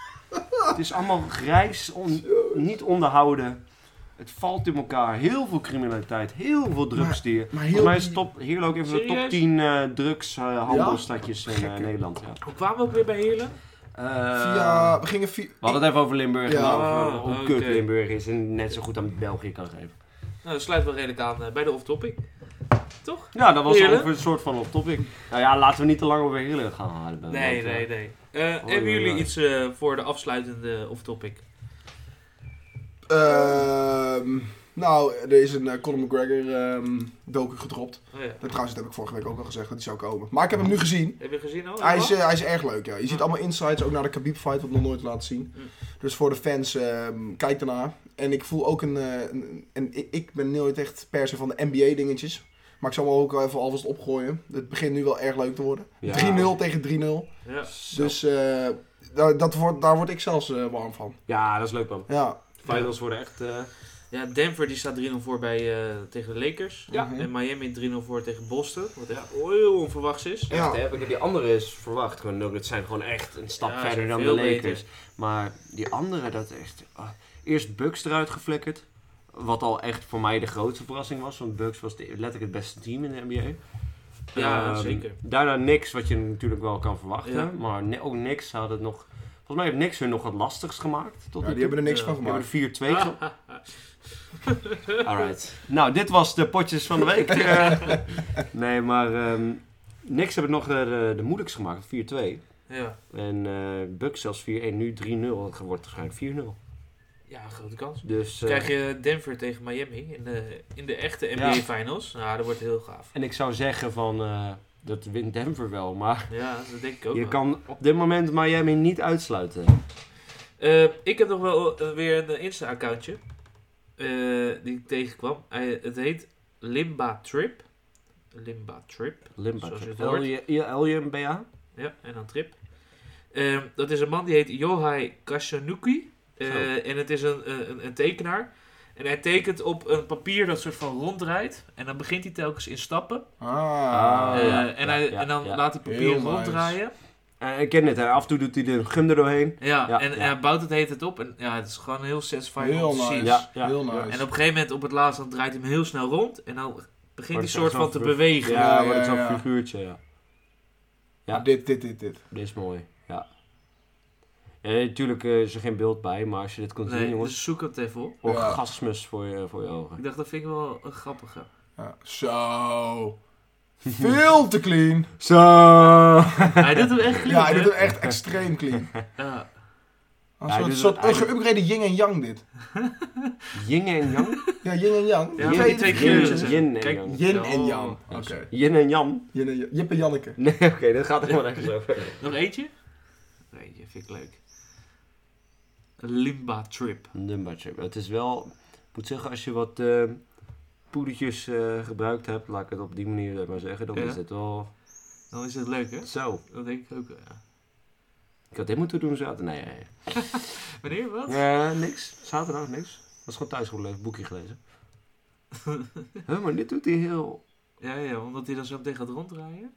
het is allemaal grijs, on- niet onderhouden. Het valt in elkaar. Heel veel criminaliteit, heel veel drugs hier. Maar Volgens heel. mij is top, Heerlen ook even de top Serieus? 10 eh drugshandelstadjes in eh, Gekke. Eh, Nederland. Ja. Hoe kwamen we ook weer bij Heerlen? Via, we gingen via. We hadden Eh, het even over Limburg Ja. en over hoe Ah, kut oké. Limburg is en net zo goed aan België kan geven. Nou, dat sluit wel redelijk aan eh, bij de off-topic. Toch? Ja, dat was Heerlijk. ongeveer een soort van off-topic. Nou ja, laten we niet te lang over Heerlen gaan halen. want, Nee, eh, nee, nee. Eh, hebben oei, jullie oei. iets eh, voor de afsluitende off-topic? Ehm, nou, er is een eh, Conor McGregor ehm docu gedropt. Oh, ja. Dat, trouwens, dat heb ik vorige week ook al gezegd dat die zou komen. Maar ik heb hem nu gezien. Heb je gezien al? Hij is, eh, hij is erg leuk, ja. Je ziet allemaal insights, ook naar de Khabib fight, wat nog nooit laten zien. Mm. Dus voor de fans, ehm, kijk daarna. En ik voel ook een... eh, een- en ik, ik ben nooit echt per se van de NBA dingetjes. Maar ik zal me ook wel even alvast opgooien. Het begint nu wel erg leuk te worden. Ja. 3-0 tegen 3-0. Ja. Dus eh, daar, dat wordt, daar word ik zelfs eh, warm van. Ja, dat is leuk man. Ja. Finals worden echt... eh, ja, Denver die staat 3-0 voor bij, eh, tegen de Lakers. Ja. En Miami 3-0 voor tegen Boston. Wat echt heel onverwachts is. Ja. Echt, hè? Want Die andere is verwacht. Gewoon, Nuggets zijn gewoon echt een stap Ja, ze verder zijn dan de veel Lakers. beter. Maar die andere, dat echt... ah. eerst Bucks eruit geflikkerd. Wat al echt voor mij de grootste verrassing was. Want Bucks was de, letterlijk het beste team in de NBA. Ja, Ehm, zeker. Daarna niks, wat je natuurlijk wel kan verwachten. Ja. Maar ne- ook niks had het nog... Volgens mij heeft niks hun nog wat lastigst gemaakt. Tot Ja, nu die hebben er niks Ja, van toe. Die gemaakt. hebben er 4-2 Ah. *laughs* ge- Alright. Nou, dit was de potjes van de *laughs* week. Eh, nee, maar ehm niks hebben nog eh, de, de moeilijkst gemaakt. 4-2. Ja. En eh Bucks zelfs 4-1. Nu 3-0. Dat wordt waarschijnlijk 4-0. ja, grote kans. Dus, eh, Krijg je Denver tegen Miami in de, in de echte NBA Ja. Finals? Nou, dat wordt heel gaaf. En ik zou zeggen van... eh, dat wint Denver wel, maar Ja, dat denk ik ook. je wel. kan op dit moment Miami niet uitsluiten. Eh, ik heb nog wel eh, weer een eh, Insta-accountje eh, die ik tegenkwam. Hij- het heet Limba Trip. Limba Trip. Limba. Zoals je het hoort. LJMBA? Ja, en dan Trip. Ehm, dat is een man die heet Yohai Kashanuki. Eh, Zo. en het is een, een, een- een tekenaar. En hij tekent op een papier dat soort van ronddraait. En dan begint hij telkens in stappen. Ah. Eh, ja, en, ja, hij, ja, en dan ja. laat hij papier Heel nice. ronddraaien. Eh, ik ken het, hè. af en toe doet hij de gum er doorheen. Ja, Ja, en ja. en hij bouwt het heet het op. En ja, het is gewoon heel satisfying Heel om te nice. zien. Ja, ja. Heel nice. En op een gegeven moment, op het laatst, dan draait hij hem heel snel rond. En dan begint Wordt hij het soort echt van te zo'n bewegen. Ja, Ja, wordt het ja, zo'n ja. figuurtje, ja. Ja. Dit, dit, dit, dit. Dit is mooi, ja. Natuurlijk is er geen beeld bij, maar als je dit kunt zien, Nee, jongens. dus zoek het even op. Orgasmus voor je, voor je ogen. Ik dacht, dat vind ik wel een grappige. *laughs* Ja. Zo. Veel te clean. *laughs* Zo! Hij doet hem echt Ja, clean, hij hè? doet hem echt extreem clean. Ja. Een Ja, hij soort, doet soort het- hij doet- geüpgrade yin en yang dit. Yin en yang? Ja, yin en yang. Ja, Die maar die twee kleurtjes. Yin- hè. yin en Kijk, yang. Yin en Oh. yang. Oké. Yin en yang? Yin en yang. Jip en Janneke. Nee, *laughs* oké, dat gaat helemaal nergens over. Nog eentje? Nog eentje, vind ik leuk. Een Limba Trip. Number chip. Het is wel... Ik moet zeggen, als je wat eh, poedertjes eh, gebruikt hebt, laat ik het op die manier eh, maar zeggen, dan Ja. is het wel Dan is het leuk, hè? zo. Dat denk ik ook wel, ja. Ik had dit moeten doen zaterdag. Nee, nee, nee. Meneer, wat? Eh, niks. Zaterdag niks. Dat is gewoon thuis gebleven, boekje *laughs* gelezen. huh, maar dit doet hij heel... Ja, ja, omdat hij dan zo meteen gaat ronddraaien.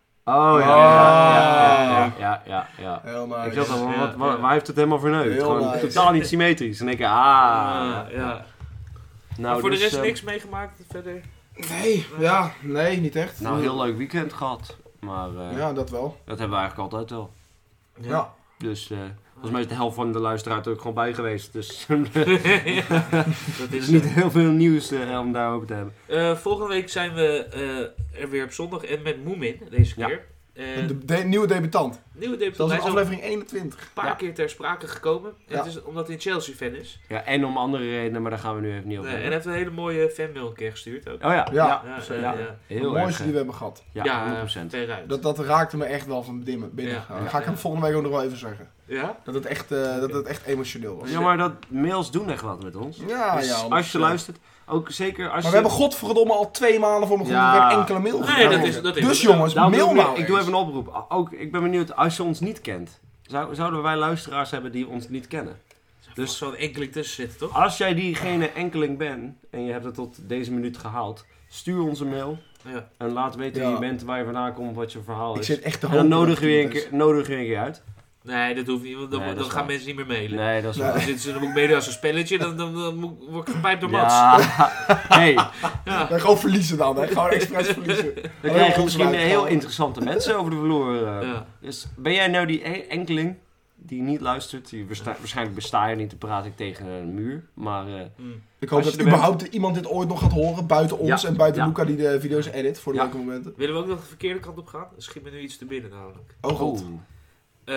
Ah. Oh, ja, ja, ja, ja, ja, ja, ja. Heel Ik zat al, nice. van, wat, Ja, waar, ja. waar heeft het helemaal verneukt? Heel Gewoon nice. totaal niet symmetrisch. En ik, ah. Ah, ja. Nou, voor dus, de rest eh, niks meegemaakt verder. Nee, ja, nee, niet echt. Nou, heel leuk weekend gehad. Maar eh, Ja, dat wel. dat hebben we eigenlijk altijd wel. Ja. Dus eh, volgens mij is de helft van de luisteraars er ook gewoon bij geweest. *laughs* Dus *laughs* Ja, dat er is is het. niet heel veel nieuws eh, om daarover te hebben. Eh, volgende week zijn we eh, er weer op zondag en met Moemin deze Ja. keer. Eh, De de- nieuwe debutant. nieuwe Dat debutant. is Hij in is al aflevering 21. een paar Ja. keer ter sprake gekomen. En Ja. Het is omdat hij een Chelsea-fan is. Ja, en om andere redenen, maar daar gaan we nu even niet Nee, over en hij hebben. heeft een hele mooie fanmail een keer gestuurd ook. Oh ja, ja. Ja. Ja, zo, eh, ja. ja. De Heel erg. mooiste die eh, we hebben gehad. Ja, Ja, 100%. veruit. Dat, dat raakte me echt wel van binnen. binnen. Ja. Dan ga ik hem Ja. volgende week ook nog wel even zeggen. Ja? Dat het echt, eh, dat het echt emotioneel was. Ja, maar dat mails doen echt wat met ons. Ja, Dus ja. als je honderd- luistert, ook zeker als Maar we je... hebben godverdomme al twee malen voor mijn Ja. gevoel weer enkele mail Nee, gekregen. dat is- dat is- Dus jongens, Daarom doe mail ik, weer- nou ik doe eens. even een oproep. O- Ook, ik ben benieuwd, als je ons niet kent, zou- zouden wij luisteraars hebben die ons niet kennen? Dus Dus- er zo'n enkeling tussen zitten, toch? Als jij diegene enkeling bent en je hebt het tot deze minuut gehaald, stuur ons een mail Ja. en laat weten wie Ja. je bent, waar je vandaan komt, wat je verhaal Ik is. zit echt te En dan hopen dat nodig het je een goed is. keer, nodig je een keer uit. Nee, dat hoeft niet, want dan, Nee, dat dan is gaan waar. mensen niet meer mailen. Nee, dat is Nee. Dan zitten ze dan ook mailen als een spelletje, dan, dan, dan moet- word ik gepijpt door Mats. Ja. *laughs* Hey, Ja. Ja, gewoon verliezen dan, *laughs* hè. Gewoon expres verliezen. dan krijgen we ons misschien buiten heel houden. interessante mensen over de vloer. eh. Ja. Dus ben jij nou die e- enkeling die niet luistert? Die waarsta- waarschijnlijk besta je niet, dan praat ik tegen een muur. Maar eh, Hm. Ik hoop Als je dat er bent. überhaupt iemand dit ooit nog gaat horen, buiten ons Ja. en buiten Ja. Luca die de video's edit voor de Ja. leuke momenten. Willen we ook nog de verkeerde kant op gaan? Dan schiet me nu iets te binnen namelijk. Oh god. oh. Eh,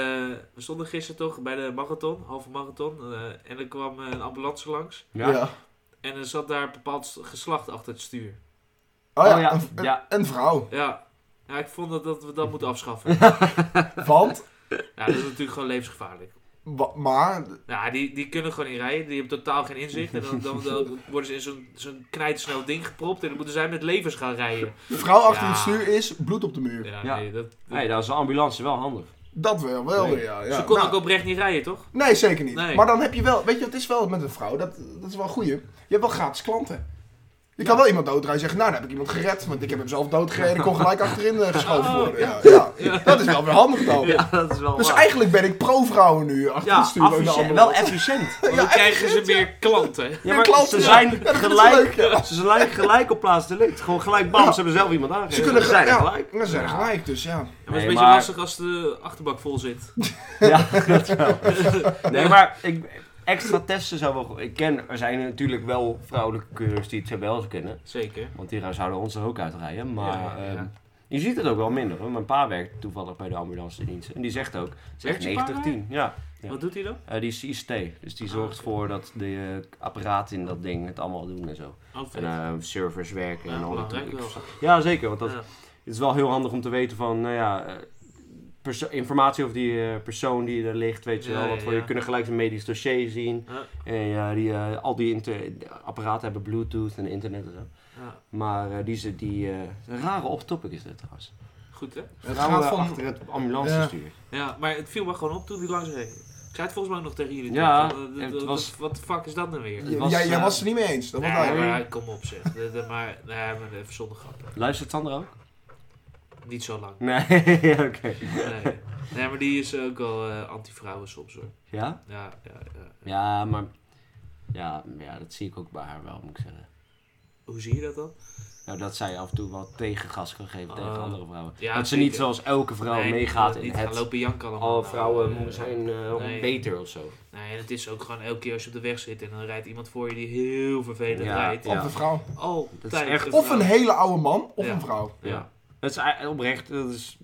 we stonden gisteren toch bij de marathon, halve marathon. eh, en er kwam eh, een ambulance langs. Ja. Ja. En er zat daar een bepaald geslacht achter het stuur. Oh Oh ja, ja, een, ja. een- een vrouw. Ja, ja ik vond dat, dat we dat moeten *laughs* afschaffen. Want, ja, dat is natuurlijk gewoon levensgevaarlijk. wa- maar, Ja, die, die kunnen gewoon niet rijden. Die hebben totaal geen inzicht. En dan, dan, dan worden ze in zo'n zo'n knijtersnel ding gepropt. En dan moeten zij met levens gaan rijden. de vrouw achter Ja. het stuur is bloed op de muur. Ja, Ja. nee. Dat, dat- Nee, dat is een ambulance wel handig. Dat wel, wel Nee. weer, ja. ja. ze kon Nou, ook oprecht niet rijden, toch? Nee, zeker niet. Nee. Maar dan heb je wel, weet je, het is wel met een vrouw, dat, dat is wel een goeie. Je hebt wel gratis klanten. Je kan wel iemand doodrijden en zeggen, nou, dan heb ik iemand gered, want ik heb hem zelf doodgereden en kon gelijk achterin eh, geschoven Oh, worden. Ja, ja. Dat is wel weer handig dan. dat is wel Dus eigenlijk ben ik pro-vrouwen nu, achter ja, het stuur. ook de efficiënt- ambulance. wel *laughs* efficiënt. Want dan krijgen ze meer klanten. Ja, Ja, klopt, ze ja. zijn Ja, dat is gelijk, leuk, ja. ze zijn gelijk op plaats delict. Gewoon gelijk bam, Ja. ze hebben zelf iemand aangegeven. Ze kunnen Ze zijn gelijk. er Ja, gelijk. ze zijn er gelijk, dus ja. Ja, maar het is Nee, een beetje maar- lastig als de achterbak vol *laughs* zit. Ja, dat wel. Nee, maar ik, extra testen zou wel... goed- Ik ken, er zijn natuurlijk wel vrouwelijke coureurs die het zou wel eens kunnen. Zeker. Want die zouden ons er ook uitrijden. Maar Ja, ja. ehm, je ziet het ook wel minder. Hoor. Mijn pa werkt toevallig bij de ambulance dienst. En die zegt ook, Werkt zegt je pa 90-10. Ja. Ja. Wat doet hij dan? Eh, die is ICT, dus die zorgt Ah, oké. voor dat de eh, apparaten in dat ding het allemaal doen en zo. Oh, vet. En eh, servers werken Ja, en al dat belangrijk ik- wel. Ja, zeker, want dat Ja. het is wel heel handig om te weten van, nou ja, eh, perso- informatie over die eh, persoon die er ligt, weet je Ja, wel. ja, Want voor ja. je kunnen gelijk zijn medisch dossier zien. Ja. En ja, die, eh, al die inter- apparaten hebben Bluetooth en internet en zo. Ja. Maar eh, die, ze- die eh, een rare off-topic is dit trouwens. Goed, hè? Het Vrouwen gaat van... achter het ambulance Ja. stuur. Ja, maar het viel me gewoon op toen die langs reed. Ik zei het volgens mij ook nog tegen jullie. Ja, toen, van, eh, het dat- was- dat- Wat de fuck is dat nou weer? Het was, jij, jij eh, was het niet mee eens, dat was Nee, duidelijk. maar kom op zeg. De- de- maar, nee, maar even zonder grappen. Luistert Sandra ook? Niet zo lang. Nee, *laughs* oké. Nee. nee, maar die is ook wel eh, anti-vrouwen soms hoor. Ja? Ja, ja, ja. Ja, maar. Ja, ja, dat zie ik ook bij haar wel, moet ik zeggen. Hoe zie je dat dan? Nou, dat zij af en toe wel tegengas kan geven tegen Ah. andere vrouwen. Ja, dat ze zeker. niet zoals elke vrouw Nee, meegaat niet in gaan het... lopen janken allemaal. Alle Oh, vrouwen Eh, moeten zijn eh, Nee. Beter of zo. Nee, en het is ook gewoon elke keer als je op de weg zit en dan rijdt iemand voor je die heel vervelend Ja, rijdt. ja. Of een vrouw. Altijd Dat is echt- Of een vrouw. hele oude man, of Ja. een vrouw. Ja. Het is ei- oprecht, dat is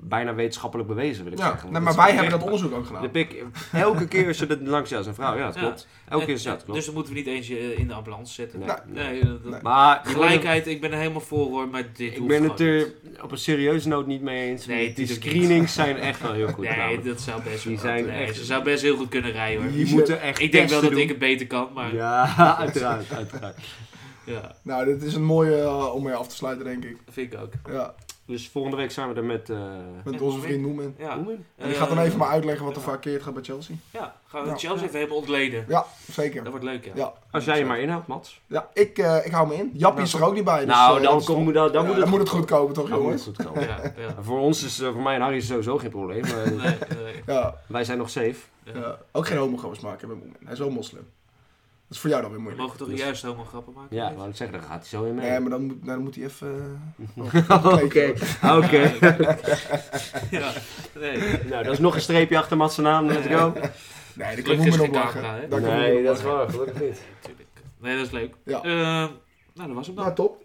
bijna wetenschappelijk bewezen, wil ik Ja, zeggen. nee, Want maar het wij is hebben dat oprecht- onderzoek ook gedaan. De pik, elke keer als je dat langs jou als een vrouw, ja, dat Ja. klopt. Elke keer is En- dat, klopt. Dus dan moeten we niet eens eh, in de ambulance zetten. Nee, Nou, nee. Nee, dat- dat- Nee. Maar je moet het- Gelijkheid, ik ben er helemaal voor hoor, maar dit ik hoeft ben gewoon het er niet. op een serieuze noot niet mee eens. Nee, die tuurlijk screenings zijn echt wel heel goed. Nee, namelijk. dat zou best Die wel- zijn nee, echt- Ze zou best heel goed kunnen rijden hoor. je die- moet er echt Ik denk wel testen dat ik doen. het beter kan, maar ja, Ja, *laughs* uiteraard, uiteraard. Nou, dit is een mooie eh, om mee af te sluiten, denk ik. dat vind ik ook. Ja, Dus volgende week zijn we er met... eh met onze vriend Noemen. Ja. Oemen? En die gaat dan even maar uitleggen wat er ja. verkeerd gaat bij Chelsea. Ja, gaan we Nou, Chelsea even helemaal ontleden. Ja, Dat zeker. wordt leuk, ja. Ja. Als jij je maar inhoudt, Mats. Ja, ik, eh, ik hou me in. Jappie is er ook niet bij. Dus, nou, eh, dan, dat is kom, toch- moet, dat- dan, Ja, moet het, goed komen, toch, dan moet het goed jongens? komen. ja, *laughs* ja. Voor ons is, eh, voor mij en Harry is het sowieso geen probleem. maar eh, Nee, nee. Ja, wij zijn nog safe. ja. Ook geen homogrammers maken met Moemen. Hij is wel moslim. Dat is voor jou dan weer We moeilijk. mogen toch Dus- juist helemaal grappen maken? Ja, weet je? wou ik zeggen, daar gaat hij zo in mee. *laughs* Nee, maar Oh, dan moet, nou, dan moet hij even... eh, Oké, oké. *laughs* ja, nee. Nou, dat is nog een streepje achter Mats' naam, let's *laughs* go. Nee, daar kan Gelukkig is Moemen geen op camera, hè? lachen. Daar kan Moemen om lachen. waar, gelukkig niet. Tuurlijk. Nee, dat is leuk. Ja. Ehm, nou, dat was hem dan. Nou, top.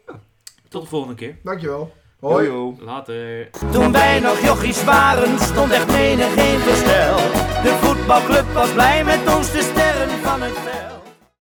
Tot de volgende keer. Dankjewel. Hoi. Hoi. Jojo. Later. Toen wij nog jochies waren, stond echt menig in verstel. De voetbalclub was blij met ons, de sterren van het veld.